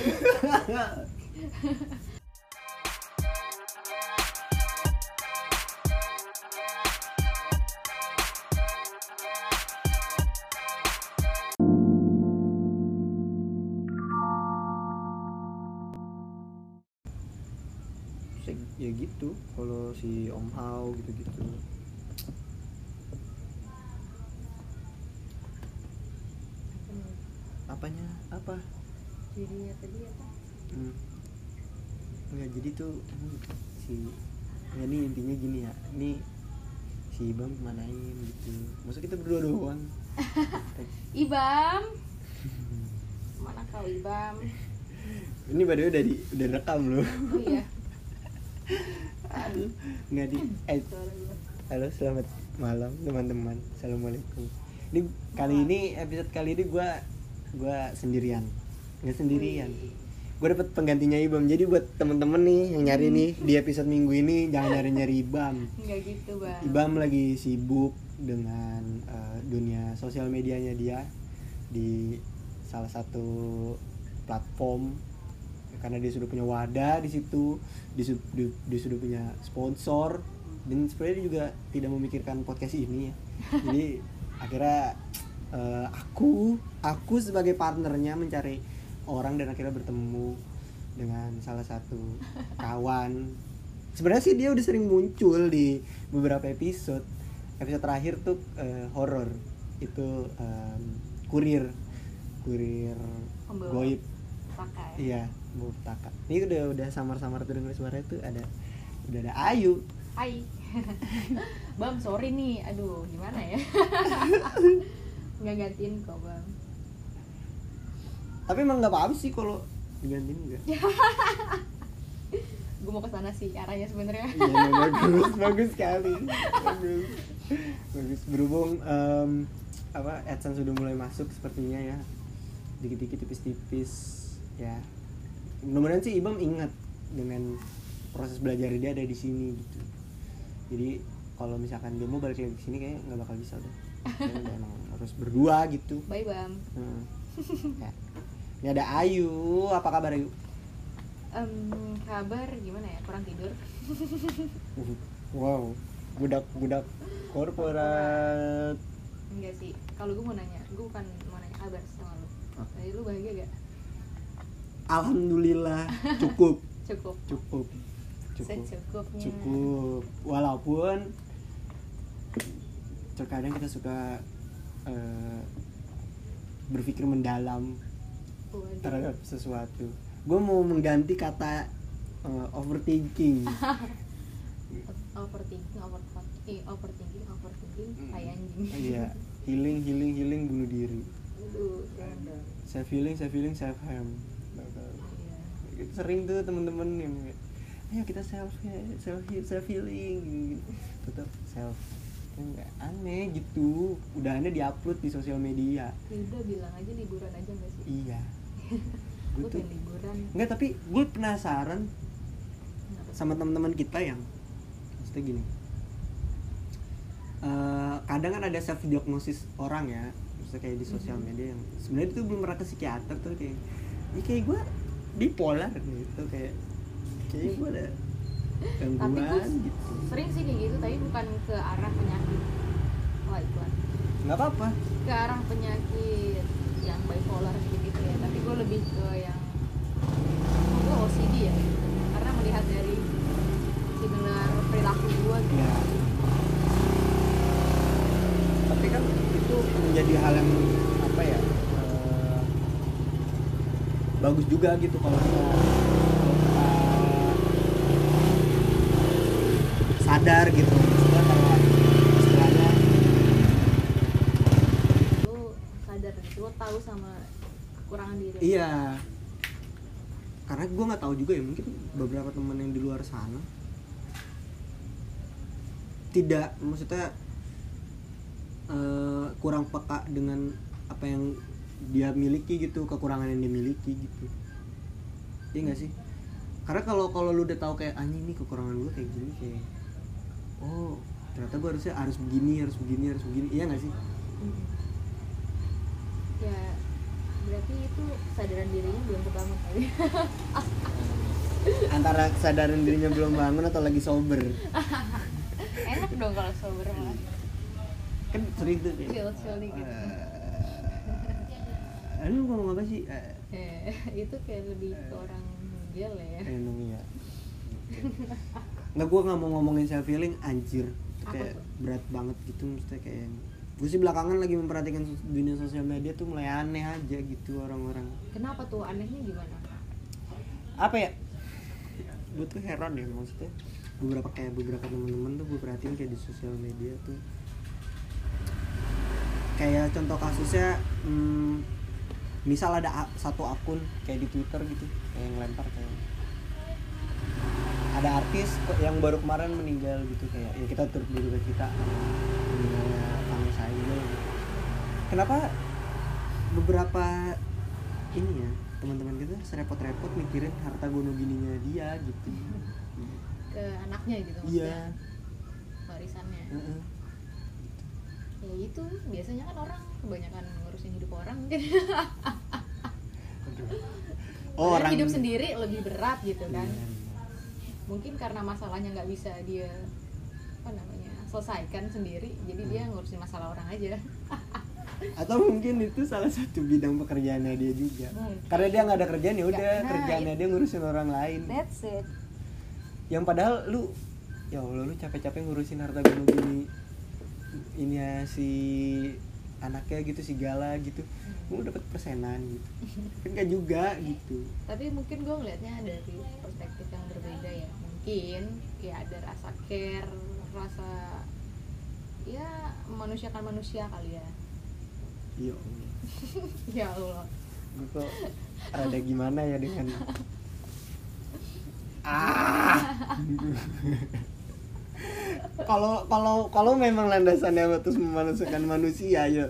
[SPEAKER 4] Se- ya gitu kalau si Om Hao gitu gitu Hmm, apanya apa
[SPEAKER 6] jadi ya tadi apa
[SPEAKER 4] hmm. nggak jadi tuh hmm, si ya nih intinya gini ya ini si Bang kemanain gitu masa kita berdua doang
[SPEAKER 6] Ibam mana kau Ibam
[SPEAKER 4] ini baru udah di udah rekam loh
[SPEAKER 6] oh iya
[SPEAKER 4] Aduh, nggak di eh,
[SPEAKER 6] suara gua.
[SPEAKER 4] Halo, selamat malam teman-teman. Assalamualaikum. Ini kali ini episode kali ini gua gua sendirian. Nggak sendirian. Gua dapat penggantinya Ibam. Jadi buat temen-temen nih yang nyari nih di episode minggu ini jangan nyari-nyari Ibam.
[SPEAKER 6] nggak gitu bang
[SPEAKER 4] Ibam lagi sibuk dengan eh, dunia sosial medianya dia di salah satu platform karena dia sudah punya wadah di situ, dia, su- di- dia sudah punya sponsor dan sebenarnya dia juga tidak memikirkan podcast ini ya. Jadi akhirnya eh, aku aku sebagai partnernya mencari orang dan akhirnya bertemu dengan salah satu kawan sebenarnya sih dia udah sering muncul di beberapa episode episode terakhir tuh eh, horor itu em, kurir kurir
[SPEAKER 6] Pembawa.
[SPEAKER 4] goib
[SPEAKER 6] pakai
[SPEAKER 4] iya murtaka ini udah udah samar-samar tuh denger suaranya tuh ada udah ada Ayu
[SPEAKER 6] Hai bam sorry nih aduh gimana ya nggak gantiin kok bang
[SPEAKER 4] Tapi emang nggak apa-apa sih kalau digantiin juga.
[SPEAKER 6] gue mau ke sana sih arahnya sebenarnya
[SPEAKER 4] Iya, iya, bagus, bagus sekali. Bagus. Bagus berhubung em, apa AdSense sudah mulai masuk sepertinya ya. Dikit-dikit tipis-tipis ya. Mudah-mudahan sih Ibam ingat dengan proses belajar dia ada di sini gitu. Jadi kalau misalkan dia mau balik lagi ke sini kayaknya nggak bakal bisa udah. Kayaknya udah emang harus berdua gitu.
[SPEAKER 6] bye bam
[SPEAKER 4] Hmm. Ya. Ini ada Ayu, apa kabar Ayu?
[SPEAKER 6] Em, kabar gimana ya kurang tidur
[SPEAKER 4] Wow, budak-budak korporat.
[SPEAKER 6] enggak sih kalau gue mau nanya gue bukan mau nanya kabar sama lu
[SPEAKER 4] Oke.
[SPEAKER 6] tadi lu bahagia gak
[SPEAKER 4] Alhamdulillah cukup,
[SPEAKER 6] cukup
[SPEAKER 4] cukup, cukup,
[SPEAKER 6] secukupnya
[SPEAKER 4] cukup. Walaupun terkadang kita suka eh, berpikir mendalam
[SPEAKER 6] Waduh.
[SPEAKER 4] terhadap sesuatu. Gue mau mengganti kata eh, overthinking.
[SPEAKER 6] overthinking overthinking overthinking overthinking
[SPEAKER 4] Hmm.
[SPEAKER 6] kayak anjing
[SPEAKER 4] Iya, healing, healing, healing bunuh diri.
[SPEAKER 6] Aduh, jangan dong.
[SPEAKER 4] Self healing, self healing, self harm.
[SPEAKER 6] Iya.
[SPEAKER 4] Gitu, sering tuh temen-temen yang kayak, ayo kita self self self healing tetap self Kan nggak aneh gitu udah aneh diupload di sosial media
[SPEAKER 6] Yuda bilang aja liburan aja gak sih?
[SPEAKER 4] iya
[SPEAKER 6] Gue
[SPEAKER 4] Betul.
[SPEAKER 6] pengen liburan
[SPEAKER 4] Gitu. nggak tapi gue penasaran
[SPEAKER 6] Kenapa?
[SPEAKER 4] sama teman-teman kita yang maksudnya gini Eh, kadang kan ada self diagnosis orang ya maksudnya kayak di sosial
[SPEAKER 6] Mm-hmm.
[SPEAKER 4] media yang sebenarnya itu belum pernah ke psikiater tuh kayak ya kayak gue bipolar gitu kayak kayak gue ada
[SPEAKER 6] Tapi gue
[SPEAKER 4] gangguan gitu
[SPEAKER 6] sering sih kayak gitu tapi bukan ke arah penyakit Wah iklan
[SPEAKER 4] nggak apa-apa
[SPEAKER 6] Ke arah penyakit yang bipolar gitu ya Tapi gue lebih ke yang oh, Gue OCD ya Karena melihat dari similar perilaku gue gitu
[SPEAKER 4] ya tapi kan itu menjadi hal yang apa ya eh, bagus juga gitu kalau kita, kalau kita sadar gitu maksudnya kalau istilahnya
[SPEAKER 6] Lo sadar gitu, lo tahu sama kekurangan diri
[SPEAKER 4] iya karena gue nggak tahu juga ya mungkin beberapa temen yang di luar sana tidak maksudnya eh, kurang peka dengan apa yang dia miliki gitu kekurangan yang dia miliki gitu iya nggak sih karena kalau kalau lu udah tahu kayak anjing nih kekurangan gue kayak gini kayak oh ternyata gue harusnya harus begini harus begini harus begini iya nggak sih
[SPEAKER 6] Mm. Ya berarti itu kesadaran dirinya belum kebangun kali
[SPEAKER 4] antara kesadaran dirinya belum bangun atau lagi sober
[SPEAKER 6] enak dong kalau sober malah
[SPEAKER 4] kan sering tuh kayak,
[SPEAKER 6] Chill, chill gitu.
[SPEAKER 4] eh, eh, lu ngomong apa sih Eh,
[SPEAKER 6] eh, itu kayak lebih ke orang gel ya
[SPEAKER 4] eh, emang iya nggak gue Nah, nggak mau ngomongin self healing anjir Itu
[SPEAKER 6] Apa
[SPEAKER 4] kayak
[SPEAKER 6] tuh?
[SPEAKER 4] berat banget gitu maksudnya kayak gue sih belakangan lagi memperhatikan sos- dunia sosial media tuh mulai aneh aja gitu orang-orang
[SPEAKER 6] kenapa tuh anehnya gimana
[SPEAKER 4] apa ya gue tuh heran ya maksudnya beberapa kayak beberapa teman-teman tuh gue perhatiin kayak di sosial media tuh kayak contoh kasusnya hmm, misal ada a- satu akun kayak di twitter gitu kayak yang lempar kayak ada artis kok yang baru kemarin meninggal gitu kayak ya kita turut berduka kita meninggalnya Tami Saigel gitu. kenapa beberapa ini ya teman-teman kita serepot-repot mikirin harta gono gininya dia gitu
[SPEAKER 6] ke anaknya gitu maksudnya
[SPEAKER 4] iya Hmm.
[SPEAKER 6] warisannya
[SPEAKER 4] heeh.
[SPEAKER 6] ya itu biasanya kan orang kebanyakan ngurusin hidup orang gitu.
[SPEAKER 4] oh
[SPEAKER 6] Padahal
[SPEAKER 4] orang
[SPEAKER 6] hidup sendiri lebih berat gitu
[SPEAKER 4] Iya,
[SPEAKER 6] kan
[SPEAKER 4] iya.
[SPEAKER 6] mungkin karena masalahnya nggak bisa dia apa namanya selesaikan sendiri jadi dia
[SPEAKER 4] Hmm.
[SPEAKER 6] ngurusin masalah orang aja
[SPEAKER 4] atau mungkin itu salah satu bidang pekerjaannya dia juga
[SPEAKER 6] Mungkin.
[SPEAKER 4] karena dia nggak ada kerjaan ya udah
[SPEAKER 6] Nggak, nah,
[SPEAKER 4] kerjaannya dia ngurusin orang lain
[SPEAKER 6] that's it
[SPEAKER 4] yang padahal lu ya allah lu capek-capek ngurusin harta gono gini ini ya si anaknya gitu si gala gitu lu dapat persenan gitu kan gak juga gitu
[SPEAKER 6] tapi mungkin gue ngelihatnya dari perspektif yang berbeda ya mungkin kayak ada rasa care rasa ya memanusiakan manusia kali ya
[SPEAKER 4] Iya. Allah.
[SPEAKER 6] ya Allah
[SPEAKER 4] Gue kok ada gimana ya dengan Ah. Kalau kalau kalau memang landasannya terus memanusiakan manusia ya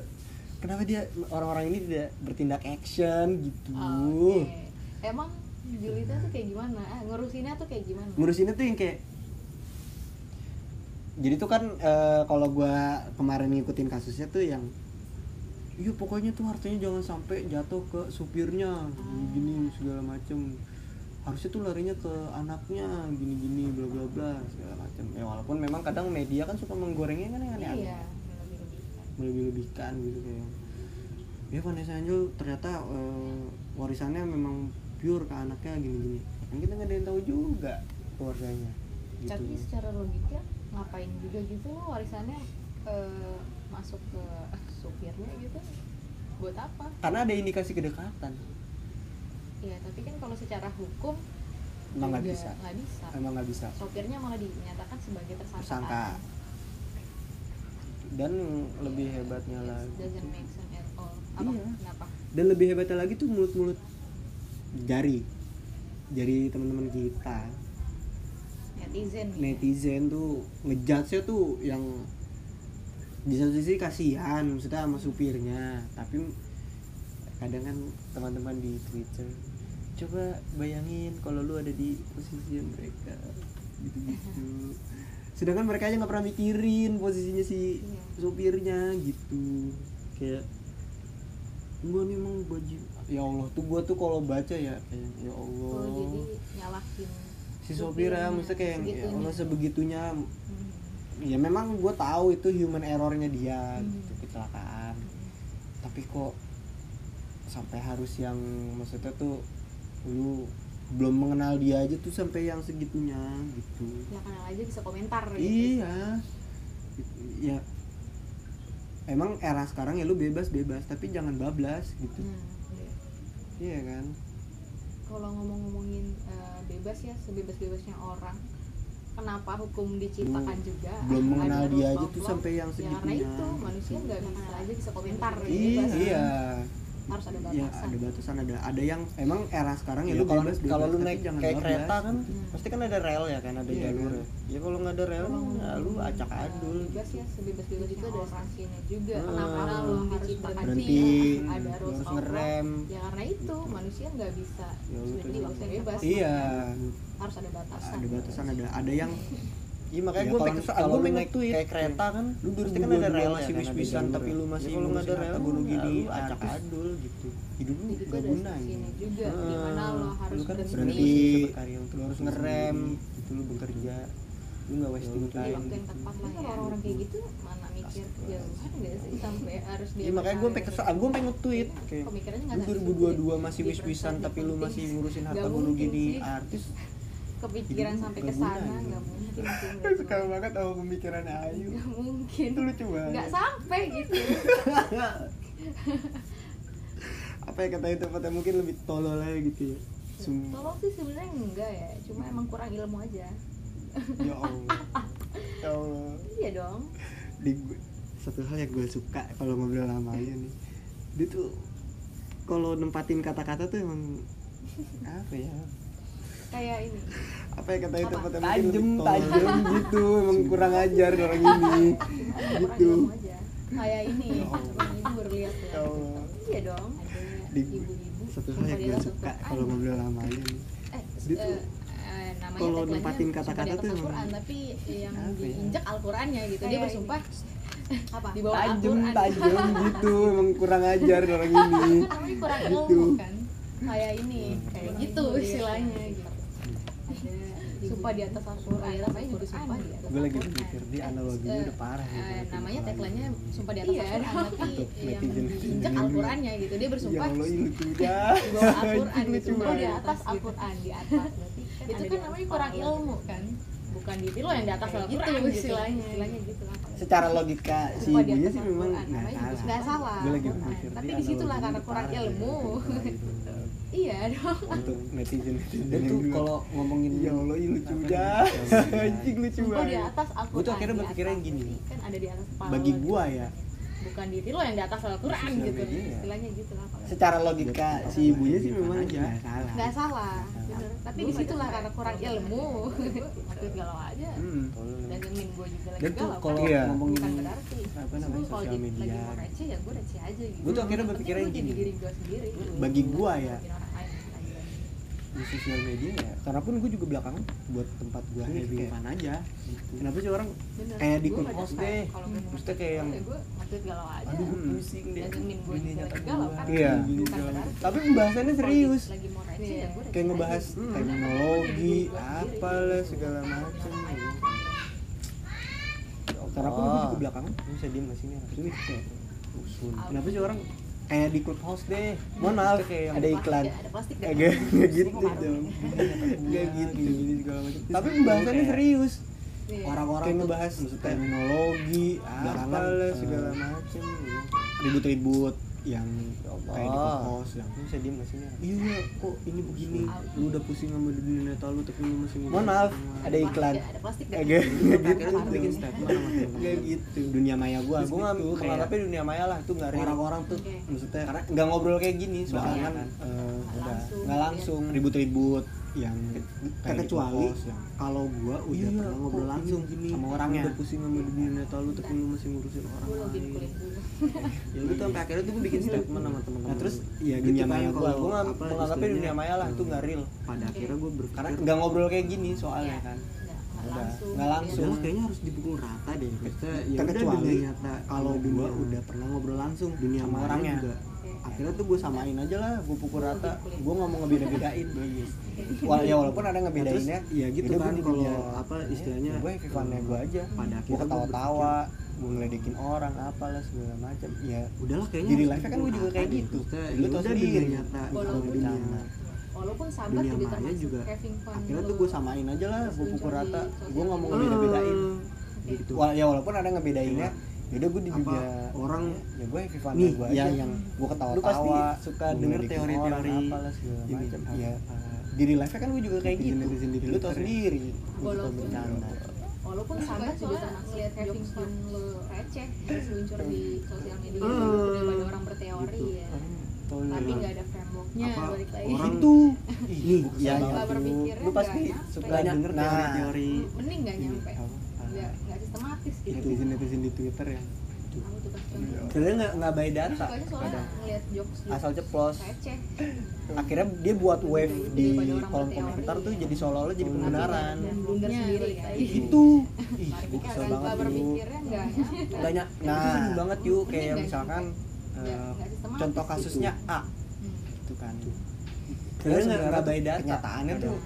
[SPEAKER 4] kenapa dia orang-orang ini tidak bertindak action gitu.
[SPEAKER 6] Oh, oke emang julidnya tuh kayak gimana ah, ngurusinnya tuh kayak gimana
[SPEAKER 4] ngurusinnya tuh yang kayak jadi tuh kan eh, kalau gua kemarin ngikutin kasusnya tuh yang iya pokoknya tuh hartanya jangan sampai jatuh ke supirnya gini segala macem harusnya tuh larinya ke anaknya gini gini bla bla bla segala macem ya walaupun memang kadang media kan suka menggorengnya kan yang aneh-aneh
[SPEAKER 6] iya melebih-lebihkan.
[SPEAKER 4] melebih-lebihkan gitu kayak ya Vanessa Angel ternyata eh, warisannya memang pure ke anaknya gini-gini kan kita nggak ada yang tahu juga keluarganya gitu
[SPEAKER 6] tapi secara logika ngapain juga gitu lo warisannya eh, masuk ke supirnya gitu buat apa
[SPEAKER 4] karena ada indikasi kedekatan
[SPEAKER 6] ya tapi kan kalau secara hukum
[SPEAKER 4] emang nggak
[SPEAKER 6] juga
[SPEAKER 4] bisa
[SPEAKER 6] nggak bisa
[SPEAKER 4] emang nggak bisa
[SPEAKER 6] sopirnya malah dinyatakan sebagai tersangka
[SPEAKER 4] tersangka dan lebih hebatnya
[SPEAKER 6] Iya, It
[SPEAKER 4] lagi
[SPEAKER 6] doesn't make sense at all apa
[SPEAKER 4] Iya.
[SPEAKER 6] kenapa
[SPEAKER 4] dan lebih hebatnya lagi tuh mulut-mulut jari jari teman-teman kita
[SPEAKER 6] netizen gitu. nih.
[SPEAKER 4] netizen tuh ngejudge tuh yang di satu sisi kasihan maksudnya sama supirnya tapi kadang kan teman-teman di Twitter coba bayangin kalau lu ada di posisi mereka gitu-gitu sedangkan mereka aja nggak pernah mikirin posisinya si
[SPEAKER 6] Iya.
[SPEAKER 4] supirnya gitu kayak gua nih emang baju ya Allah tuh gua tuh kalau baca ya kayak ya Allah
[SPEAKER 6] oh jadi nyalahin
[SPEAKER 4] si sopirnya maksudnya kayak yang, ya
[SPEAKER 6] segitunya.
[SPEAKER 4] Allah sebegitunya
[SPEAKER 6] Hmm.
[SPEAKER 4] ya memang gue tahu itu human errornya dia
[SPEAKER 6] Hmm.
[SPEAKER 4] gitu kecelakaan tapi kok sampai harus yang maksudnya tuh lu belum mengenal dia aja tuh sampai yang segitunya gitu
[SPEAKER 6] ya kenal aja bisa komentar gitu
[SPEAKER 4] iya Gitu, ya emang era sekarang ya lu bebas bebas tapi jangan bablas gitu
[SPEAKER 6] Nah,
[SPEAKER 4] iya kan
[SPEAKER 6] kalau ngomong-ngomongin eh, bebas ya sebebas-bebasnya orang kenapa hukum diciptakan juga
[SPEAKER 4] Hmm. belum
[SPEAKER 6] ada
[SPEAKER 4] mengenal
[SPEAKER 6] rule
[SPEAKER 4] dia aja
[SPEAKER 6] of
[SPEAKER 4] tuh
[SPEAKER 6] law?
[SPEAKER 4] sampai yang
[SPEAKER 6] ya karena
[SPEAKER 4] segitunya.
[SPEAKER 6] itu manusia nggak bisa kenal aja bisa komentar
[SPEAKER 4] iya
[SPEAKER 6] bebas.
[SPEAKER 4] iya
[SPEAKER 6] harus ada
[SPEAKER 4] ya
[SPEAKER 6] batasan
[SPEAKER 4] ada batasan ada ada yang emang era sekarang ya,
[SPEAKER 2] Iya,
[SPEAKER 4] lu
[SPEAKER 2] kalau-
[SPEAKER 4] bebas
[SPEAKER 2] kalau lu
[SPEAKER 4] bebas, tapi
[SPEAKER 2] naik
[SPEAKER 4] jangan
[SPEAKER 2] kayak
[SPEAKER 4] bablas,
[SPEAKER 2] kereta kan,
[SPEAKER 4] gitu.
[SPEAKER 2] pasti kan ada rel ya kan ada
[SPEAKER 4] Iya,
[SPEAKER 2] jalur
[SPEAKER 4] kan.
[SPEAKER 2] ya kalau nggak ada rel ya
[SPEAKER 6] Kalau
[SPEAKER 2] lu
[SPEAKER 6] ngomongin,
[SPEAKER 2] acak
[SPEAKER 6] eh,
[SPEAKER 2] adul
[SPEAKER 6] bebas ya sebebas-bebas itu ada sanksinya juga
[SPEAKER 4] Hmm.
[SPEAKER 6] kenapa lu
[SPEAKER 4] berhenti,
[SPEAKER 6] harus berhenti ya. ada
[SPEAKER 4] lu
[SPEAKER 6] rules
[SPEAKER 4] harus
[SPEAKER 6] of law.
[SPEAKER 4] ngerem. Gitu.
[SPEAKER 6] ya karena itu manusia nggak bisa
[SPEAKER 4] Ya, lu
[SPEAKER 6] sebenarnya nggak bisa bebas
[SPEAKER 4] iya
[SPEAKER 6] harus ada batasan
[SPEAKER 4] ada batasan ada ada yang
[SPEAKER 2] iya makanya
[SPEAKER 4] Ya,
[SPEAKER 2] gue
[SPEAKER 4] kalau-
[SPEAKER 2] pengen
[SPEAKER 4] kalau
[SPEAKER 2] gue
[SPEAKER 4] lu
[SPEAKER 2] pengen
[SPEAKER 4] naik
[SPEAKER 2] tweet kayak
[SPEAKER 4] tweet,
[SPEAKER 2] kereta kan
[SPEAKER 4] lu
[SPEAKER 2] pasti
[SPEAKER 4] dua
[SPEAKER 2] kan
[SPEAKER 4] ribu
[SPEAKER 2] ada
[SPEAKER 4] dua
[SPEAKER 2] rel
[SPEAKER 4] ya,
[SPEAKER 2] masih
[SPEAKER 4] kan ada
[SPEAKER 2] wis-wisan
[SPEAKER 4] jalur
[SPEAKER 2] tapi
[SPEAKER 4] ya.
[SPEAKER 2] lu
[SPEAKER 4] Ya,
[SPEAKER 2] masih
[SPEAKER 4] kalau nggak
[SPEAKER 2] ngurusin
[SPEAKER 4] ada rel,
[SPEAKER 2] harta gono
[SPEAKER 4] ya
[SPEAKER 2] gini
[SPEAKER 4] lu
[SPEAKER 2] acak
[SPEAKER 4] acak.
[SPEAKER 2] adul gitu
[SPEAKER 4] hidup lu
[SPEAKER 6] Jadi itu
[SPEAKER 4] gak
[SPEAKER 6] ada
[SPEAKER 4] guna
[SPEAKER 6] sanksinya
[SPEAKER 4] gitu.
[SPEAKER 6] juga
[SPEAKER 4] Ah,
[SPEAKER 6] dimana lo harus
[SPEAKER 4] lu kan
[SPEAKER 6] berhenti,
[SPEAKER 4] berhenti
[SPEAKER 2] Lu bisa
[SPEAKER 4] berkarya
[SPEAKER 2] berkarya untuk
[SPEAKER 4] lu harus
[SPEAKER 2] diri
[SPEAKER 4] ngerem
[SPEAKER 2] sendiri.
[SPEAKER 4] gitu lu bekerja lu nggak wasting
[SPEAKER 2] Di
[SPEAKER 6] di
[SPEAKER 4] time
[SPEAKER 6] waktu yang
[SPEAKER 4] gitu.
[SPEAKER 6] tepat lah ya orang-orang kayak gitu mana mikir kejauhan nggak sih sampai harus dia
[SPEAKER 4] Iya makanya gue pengen kesel, gue pengen nge-tweet
[SPEAKER 6] Iya,
[SPEAKER 4] kayak
[SPEAKER 6] pemikirannya nggak
[SPEAKER 4] lu
[SPEAKER 6] sampai
[SPEAKER 4] 2022 masih
[SPEAKER 6] situ.
[SPEAKER 4] wis-wisan tapi lu masih ngurusin harta
[SPEAKER 6] Nggak
[SPEAKER 4] gono
[SPEAKER 6] mungkin
[SPEAKER 4] gini
[SPEAKER 6] sih.
[SPEAKER 4] artis
[SPEAKER 6] kepikiran
[SPEAKER 4] Hidup
[SPEAKER 6] sampai
[SPEAKER 4] nggak
[SPEAKER 6] ke
[SPEAKER 4] guna
[SPEAKER 6] sana
[SPEAKER 4] gitu.
[SPEAKER 6] nggak mungkin sih
[SPEAKER 4] Gue
[SPEAKER 6] menurut
[SPEAKER 4] suka
[SPEAKER 6] gue.
[SPEAKER 4] banget sama pemikiran Ayu
[SPEAKER 6] nggak mungkin
[SPEAKER 4] Itu lucu banget.
[SPEAKER 6] nggak sampai gitu
[SPEAKER 4] Apa ya yang katanya tempatnya mungkin lebih tolol aja gitu ya Sumpah
[SPEAKER 6] tolong sih sebenarnya enggak ya cuma emang kurang ilmu aja
[SPEAKER 4] Ya Allah Ya Allah
[SPEAKER 6] iya dong
[SPEAKER 4] Di gue- Satu hal yang gue suka kalau ngobrol sama Ayu nih Dia tuh kalau nempatin kata-kata tuh emang apa ya
[SPEAKER 6] kayak ini
[SPEAKER 4] apa ya yang katanya
[SPEAKER 6] Apa?
[SPEAKER 4] tempatnya
[SPEAKER 2] Tajem,
[SPEAKER 4] mungkin lebih tolol gitu emang kurang ajar orang ini
[SPEAKER 6] kurang
[SPEAKER 4] Gitu.
[SPEAKER 6] ilmu aja kayak ini
[SPEAKER 4] Ya Allah.
[SPEAKER 6] orang libur lihat ya
[SPEAKER 4] Ya Allah.
[SPEAKER 6] iya dong ada
[SPEAKER 4] Di-
[SPEAKER 6] ibu-ibu
[SPEAKER 4] satu hal
[SPEAKER 6] sumpah
[SPEAKER 4] yang
[SPEAKER 6] di
[SPEAKER 4] gue
[SPEAKER 6] atas
[SPEAKER 4] suka
[SPEAKER 6] Al-Quran.
[SPEAKER 4] kalau ngobrol sama Ayu nih
[SPEAKER 6] eh,
[SPEAKER 4] Dia
[SPEAKER 6] eh,
[SPEAKER 4] tuh
[SPEAKER 6] eh, namanya
[SPEAKER 4] kalau
[SPEAKER 6] tagline-nya
[SPEAKER 4] nempatin
[SPEAKER 6] sumpah di
[SPEAKER 4] kata-kata
[SPEAKER 6] atas
[SPEAKER 4] tuh emang-
[SPEAKER 6] Al-Quran, tapi yang
[SPEAKER 4] Apa ya?
[SPEAKER 6] diinjak Al-Qurannya gitu dia
[SPEAKER 7] Kayak
[SPEAKER 6] bersumpah apa di bawah
[SPEAKER 4] tajem
[SPEAKER 6] Al-Quran
[SPEAKER 4] tajem gitu emang kurang ajar orang ini
[SPEAKER 6] namanya kurang
[SPEAKER 4] Gitu.
[SPEAKER 6] ilmu kan kayak ini kayak gitu istilahnya gitu ada sumpah di atas Al-Quran namanya juga sumpah di atas
[SPEAKER 4] gue lagi
[SPEAKER 6] Al-Quran.
[SPEAKER 4] mikir dia
[SPEAKER 6] Eh,
[SPEAKER 4] analoginya
[SPEAKER 6] eh,
[SPEAKER 4] udah parah
[SPEAKER 6] eh,
[SPEAKER 8] ya,
[SPEAKER 4] gitu nempatin
[SPEAKER 6] namanya
[SPEAKER 4] kata-kata.
[SPEAKER 6] tagline-nya sumpah di atas Al-Quran
[SPEAKER 4] Untuk
[SPEAKER 6] tapi yang
[SPEAKER 4] netizen-netizen
[SPEAKER 6] diinjak
[SPEAKER 4] ini.
[SPEAKER 6] Al-Qurannya gitu dia
[SPEAKER 4] ya
[SPEAKER 6] bersumpah
[SPEAKER 4] Allah ini lucu
[SPEAKER 6] di bawah Al-Quran
[SPEAKER 4] banget
[SPEAKER 6] gitu
[SPEAKER 4] lucu
[SPEAKER 6] sumpah di
[SPEAKER 4] banget
[SPEAKER 6] atas Al-Quran di atas itu kan namanya kurang ilmu kan bukan diri lo yang di atas
[SPEAKER 7] Kayak
[SPEAKER 6] Al-Quran
[SPEAKER 7] gitu
[SPEAKER 6] gitu
[SPEAKER 7] istilahnya.
[SPEAKER 6] istilahnya gitu lah kalau
[SPEAKER 8] secara logika si
[SPEAKER 6] Cuma di
[SPEAKER 8] ibunya
[SPEAKER 6] atas
[SPEAKER 8] sih
[SPEAKER 6] Al-Quran,
[SPEAKER 8] memang
[SPEAKER 6] namanya juga
[SPEAKER 8] nggak
[SPEAKER 6] nggak salah.
[SPEAKER 8] salah. Gue lagi
[SPEAKER 6] bukan.
[SPEAKER 8] mikir,
[SPEAKER 6] Tapi
[SPEAKER 8] dia
[SPEAKER 6] di situlah
[SPEAKER 8] analoginya
[SPEAKER 6] karena kurang
[SPEAKER 8] parah ya,
[SPEAKER 6] ilmu.
[SPEAKER 8] parah gitu.
[SPEAKER 6] iya dong.
[SPEAKER 8] Untuk netizen
[SPEAKER 4] Dan
[SPEAKER 8] netizen
[SPEAKER 4] tuh kalau ngomongin
[SPEAKER 8] ya Allah ini lucu
[SPEAKER 4] apa
[SPEAKER 8] banget.
[SPEAKER 4] nih,
[SPEAKER 8] Anjing lucu
[SPEAKER 6] Sumpah Oh, di
[SPEAKER 8] banget.
[SPEAKER 6] atas Al-Quran.
[SPEAKER 8] Gua tuh akhirnya
[SPEAKER 6] di
[SPEAKER 8] berpikirnya
[SPEAKER 6] atas.
[SPEAKER 8] gini.
[SPEAKER 6] Kan ada di atas kepala.
[SPEAKER 8] Bagi
[SPEAKER 6] lo.
[SPEAKER 8] gua ya,
[SPEAKER 6] Bukan diri lo yang di atas Al-Quran
[SPEAKER 8] Sosial
[SPEAKER 6] gitu.
[SPEAKER 8] media ya.
[SPEAKER 6] Istilahnya gitu lah. kalau-
[SPEAKER 8] secara logika
[SPEAKER 2] Iya,
[SPEAKER 8] si ibunya sih memang ya,
[SPEAKER 4] Aja.
[SPEAKER 8] nggak salah.
[SPEAKER 6] nggak salah bener. tapi disitulah karena kurang ilmu aku galau aja
[SPEAKER 8] Hmm.
[SPEAKER 6] dan min gue juga lagi
[SPEAKER 4] Dan tuh
[SPEAKER 6] galau
[SPEAKER 4] kalau
[SPEAKER 6] kan
[SPEAKER 8] Iya.
[SPEAKER 4] ngomongin
[SPEAKER 6] bukan berarti
[SPEAKER 8] apa
[SPEAKER 6] Terus
[SPEAKER 8] namanya,
[SPEAKER 6] gua kalau
[SPEAKER 8] sosial
[SPEAKER 6] jadi-
[SPEAKER 8] media.
[SPEAKER 6] lagi mau receh ya gue receh aja gitu
[SPEAKER 8] Gua tuh akhirnya
[SPEAKER 6] Yang
[SPEAKER 8] berpikirnya
[SPEAKER 6] penting gua jadi
[SPEAKER 8] gini.
[SPEAKER 6] diri gue sendiri gitu.
[SPEAKER 8] Bagi gua ya.
[SPEAKER 6] Bukan orang lain gitu aja.
[SPEAKER 8] di sosial media ya karena pun gue juga belakangan buat tempat gue
[SPEAKER 4] Ini
[SPEAKER 8] having
[SPEAKER 4] kayak-
[SPEAKER 8] fun aja kenapa sih orang
[SPEAKER 6] Bener.
[SPEAKER 8] kayak di
[SPEAKER 6] Gua pada
[SPEAKER 8] clubhouse
[SPEAKER 6] saat
[SPEAKER 8] deh
[SPEAKER 6] kalau gua mau
[SPEAKER 8] maksudnya kayak yang
[SPEAKER 6] receh, gue maksud galau aja
[SPEAKER 8] aduh gue
[SPEAKER 6] Dan
[SPEAKER 8] pusing deh
[SPEAKER 6] min gue juga
[SPEAKER 8] gini nyata
[SPEAKER 6] lagi
[SPEAKER 8] gue
[SPEAKER 6] galau kan
[SPEAKER 8] iya
[SPEAKER 6] bukan berarti
[SPEAKER 8] tapi pembahasannya
[SPEAKER 6] kalau
[SPEAKER 8] serius
[SPEAKER 6] lagi mau receh ya gue receh
[SPEAKER 8] kayak ngebahas
[SPEAKER 6] aja.
[SPEAKER 8] teknologi apalah segala macam karena pun gue juga belakangan lu bisa diem gak sih nih ini kayak usul kenapa sih orang kayak di clubhouse deh mohon maaf ada iklan
[SPEAKER 6] Plastik, ada plastik deh.
[SPEAKER 8] agak nggak gitu
[SPEAKER 6] Plastik,
[SPEAKER 8] dong nggak gitu
[SPEAKER 4] gini segala macam.
[SPEAKER 8] tapi pembahasannya serius
[SPEAKER 6] Iya.
[SPEAKER 8] orang-orang
[SPEAKER 4] Kayak
[SPEAKER 8] tuh
[SPEAKER 4] ngebahas
[SPEAKER 8] teknologi apa
[SPEAKER 4] belakangan,
[SPEAKER 8] segala
[SPEAKER 4] eh,
[SPEAKER 8] macem ribut-ribut yang
[SPEAKER 4] Allah.
[SPEAKER 8] kayak di kos yang
[SPEAKER 4] Lu bisa diem gak sih? Iya, kok ini begini? Lu udah pusing sama dunia nyata lu, tapi lu masih
[SPEAKER 8] mohon maaf ada
[SPEAKER 6] Plastik,
[SPEAKER 8] iklan
[SPEAKER 6] ada plastik deh.
[SPEAKER 8] agak nggak
[SPEAKER 4] Akhirnya
[SPEAKER 8] gitu
[SPEAKER 4] lu bikin statement sama temen-temen.
[SPEAKER 8] nggak gitu dunia maya gua
[SPEAKER 4] Terus
[SPEAKER 8] gua
[SPEAKER 4] gitu,
[SPEAKER 8] nggak
[SPEAKER 4] kayak-
[SPEAKER 8] ngarepnya dunia maya lah itu nggak real
[SPEAKER 4] Orang-orang tuh
[SPEAKER 6] Oke.
[SPEAKER 8] maksudnya karena nggak ngobrol kayak gini soalnya
[SPEAKER 6] Iya.
[SPEAKER 8] kan eh,
[SPEAKER 6] Nggak
[SPEAKER 8] udah
[SPEAKER 6] langsung.
[SPEAKER 8] nggak langsung ribut-ribut yang kayak di
[SPEAKER 4] kecuali
[SPEAKER 8] kos, yang-
[SPEAKER 4] kalau gua udah
[SPEAKER 8] Iya,
[SPEAKER 4] pernah ngobrol
[SPEAKER 8] kok
[SPEAKER 4] langsung
[SPEAKER 8] ini
[SPEAKER 4] ya. gini
[SPEAKER 8] sama orangnya.
[SPEAKER 4] lu udah pusing sama dunia nyata lu tapi lu masih ngurusin orang
[SPEAKER 6] Gue login
[SPEAKER 4] lain
[SPEAKER 6] kulit dulu.
[SPEAKER 4] ya gitu sampai akhirnya tuh gue bikin statement sama teman-teman
[SPEAKER 8] nah terus
[SPEAKER 4] ya
[SPEAKER 8] ya
[SPEAKER 4] gitu
[SPEAKER 8] dunia
[SPEAKER 4] kan,
[SPEAKER 8] maya gua
[SPEAKER 4] kalau
[SPEAKER 8] gua nggak
[SPEAKER 4] apa
[SPEAKER 8] menganggapnya dunia
[SPEAKER 4] istilahnya,
[SPEAKER 8] maya lah itu
[SPEAKER 4] eh,
[SPEAKER 8] nggak real
[SPEAKER 4] pada akhirnya gue berpikir
[SPEAKER 8] karena nggak ngobrol kayak gini soalnya
[SPEAKER 6] Iya.
[SPEAKER 8] kan
[SPEAKER 6] Nggak- nggak
[SPEAKER 8] Udah,
[SPEAKER 6] langsung.
[SPEAKER 8] nggak
[SPEAKER 6] Iya.
[SPEAKER 8] langsung.
[SPEAKER 4] Udah lah, kayaknya harus dipukul rata deh Maksudnya ya udah
[SPEAKER 8] Terkecuali
[SPEAKER 4] dunia nyata kalau
[SPEAKER 8] sama
[SPEAKER 4] gua
[SPEAKER 8] dunia-
[SPEAKER 4] udah pernah ngobrol langsung dunia
[SPEAKER 8] sama
[SPEAKER 4] maya
[SPEAKER 8] orangnya.
[SPEAKER 4] juga
[SPEAKER 8] akhirnya tuh gue
[SPEAKER 4] Nah,
[SPEAKER 8] samain aja lah gue pukul rata
[SPEAKER 6] kulit.
[SPEAKER 8] gue nggak mau ngebeda-bedain Wal ya walaupun ada ngebedainnya
[SPEAKER 4] Nah, terus, ya gitu
[SPEAKER 8] yaudah
[SPEAKER 4] kan,
[SPEAKER 8] gua di
[SPEAKER 4] kalau
[SPEAKER 8] dunia- Iya. Ya,
[SPEAKER 4] apa istilahnya,
[SPEAKER 8] gue kekonnya gue aja
[SPEAKER 4] pada
[SPEAKER 8] gue
[SPEAKER 4] akhirnya
[SPEAKER 8] ketawa-tawa gue ngeledekin orang apalah segala macam ya
[SPEAKER 4] udahlah kayaknya
[SPEAKER 8] Jadi
[SPEAKER 4] harus
[SPEAKER 8] live-nya kan
[SPEAKER 4] dipukul
[SPEAKER 8] gua juga
[SPEAKER 4] rata
[SPEAKER 8] kayak
[SPEAKER 4] deh.
[SPEAKER 8] gitu.
[SPEAKER 4] Maksudnya,
[SPEAKER 8] Lu
[SPEAKER 4] ya
[SPEAKER 8] tau
[SPEAKER 4] udah
[SPEAKER 8] sendiri.
[SPEAKER 4] dunia nyata sama
[SPEAKER 6] Walaupun Iya.
[SPEAKER 4] dunia
[SPEAKER 8] sama.
[SPEAKER 6] Walaupun sabar
[SPEAKER 4] Dunia
[SPEAKER 6] juga
[SPEAKER 4] maya
[SPEAKER 6] termasuk
[SPEAKER 4] juga.
[SPEAKER 6] having fun
[SPEAKER 8] akhirnya
[SPEAKER 6] lo.
[SPEAKER 8] tuh gue samain aja lah gue pukul rata gue nggak mau
[SPEAKER 6] Ah.
[SPEAKER 8] ngebeda-bedain
[SPEAKER 4] Eh, gitu Iya.
[SPEAKER 8] Wal ya walaupun ada ngebedainnya yaudah gue di
[SPEAKER 4] Apa,
[SPEAKER 8] dunia
[SPEAKER 4] orang
[SPEAKER 8] ya gue Evan
[SPEAKER 4] Nih,
[SPEAKER 8] gue
[SPEAKER 4] ya,
[SPEAKER 8] aja
[SPEAKER 4] yang-
[SPEAKER 8] gue
[SPEAKER 4] lu pasti
[SPEAKER 8] ketawa-tawa
[SPEAKER 4] suka
[SPEAKER 8] gua
[SPEAKER 4] denger
[SPEAKER 8] ngeledekin
[SPEAKER 4] teori-teori
[SPEAKER 8] orang, apalah segala
[SPEAKER 4] ini,
[SPEAKER 8] macam
[SPEAKER 4] apa,
[SPEAKER 8] ya diri live kan gue juga kayak
[SPEAKER 4] netizen-
[SPEAKER 8] gitu
[SPEAKER 4] netizen di
[SPEAKER 8] lu tau
[SPEAKER 4] Twitter ya.
[SPEAKER 8] sendiri gue suka
[SPEAKER 6] Walaupun-
[SPEAKER 8] bercanda
[SPEAKER 6] Walaupun sabar juga termasuk ya, having fun lo receh terus luncur di
[SPEAKER 8] Hmm.
[SPEAKER 6] sosial media
[SPEAKER 4] Ah.
[SPEAKER 6] gitu, daripada orang berteori
[SPEAKER 8] Gitu.
[SPEAKER 6] ya.
[SPEAKER 8] Tau lu
[SPEAKER 6] Tapi
[SPEAKER 8] lah.
[SPEAKER 6] nggak ada frameworknya
[SPEAKER 4] Apa,
[SPEAKER 6] balik lagi.
[SPEAKER 4] orang-
[SPEAKER 8] itu
[SPEAKER 4] Ih, iya,
[SPEAKER 8] nih
[SPEAKER 4] gua kesel
[SPEAKER 8] ya
[SPEAKER 6] banget.
[SPEAKER 8] itu.
[SPEAKER 6] Berpikirnya
[SPEAKER 8] lu pasti
[SPEAKER 6] nggak nyampe.
[SPEAKER 8] suka
[SPEAKER 6] Banyak
[SPEAKER 8] denger teori-teori
[SPEAKER 4] teori-teori
[SPEAKER 6] Mending
[SPEAKER 8] Iya.
[SPEAKER 6] nggak nyampe.
[SPEAKER 8] apa, apa.
[SPEAKER 6] Nggak nggak sistematis gitu.
[SPEAKER 8] netizen netizen di twitter ya
[SPEAKER 6] Aku tuh
[SPEAKER 8] Iya.
[SPEAKER 6] pas contoh.
[SPEAKER 8] sebenarnya nggak nggak by
[SPEAKER 6] Aku
[SPEAKER 8] data
[SPEAKER 6] sukanya soalnya
[SPEAKER 8] kadang
[SPEAKER 6] ngeliat jokes gitu.
[SPEAKER 8] asal ceplos
[SPEAKER 6] receh.
[SPEAKER 8] akhirnya dia buat wave
[SPEAKER 6] Daripada
[SPEAKER 8] di
[SPEAKER 6] orang ya. Iya.
[SPEAKER 8] kolom
[SPEAKER 6] berteori.
[SPEAKER 8] komentar tuh jadi seolah-olah jadi Gitu.
[SPEAKER 6] Tapi
[SPEAKER 8] pembenaran
[SPEAKER 6] dan blunder sendiri kan. ya.
[SPEAKER 8] itu
[SPEAKER 6] Nah,
[SPEAKER 8] ih gue
[SPEAKER 6] Karena
[SPEAKER 8] kesel
[SPEAKER 6] pola
[SPEAKER 8] banget Eh, yuk
[SPEAKER 6] berpikirnya ya? nggak nyampe.
[SPEAKER 8] banyak nah itu sering banget yuk kayak
[SPEAKER 6] kan?
[SPEAKER 8] misalkan
[SPEAKER 6] Nggak-
[SPEAKER 8] eh,
[SPEAKER 6] nggak sistematis
[SPEAKER 8] contoh
[SPEAKER 6] gitu.
[SPEAKER 8] kasusnya A
[SPEAKER 6] Hmm.
[SPEAKER 8] gitu kan
[SPEAKER 4] Sebenarnya
[SPEAKER 8] sebenarnya
[SPEAKER 4] nggak
[SPEAKER 8] nggak by
[SPEAKER 4] by
[SPEAKER 8] data
[SPEAKER 4] data.
[SPEAKER 8] kenyataannya tuh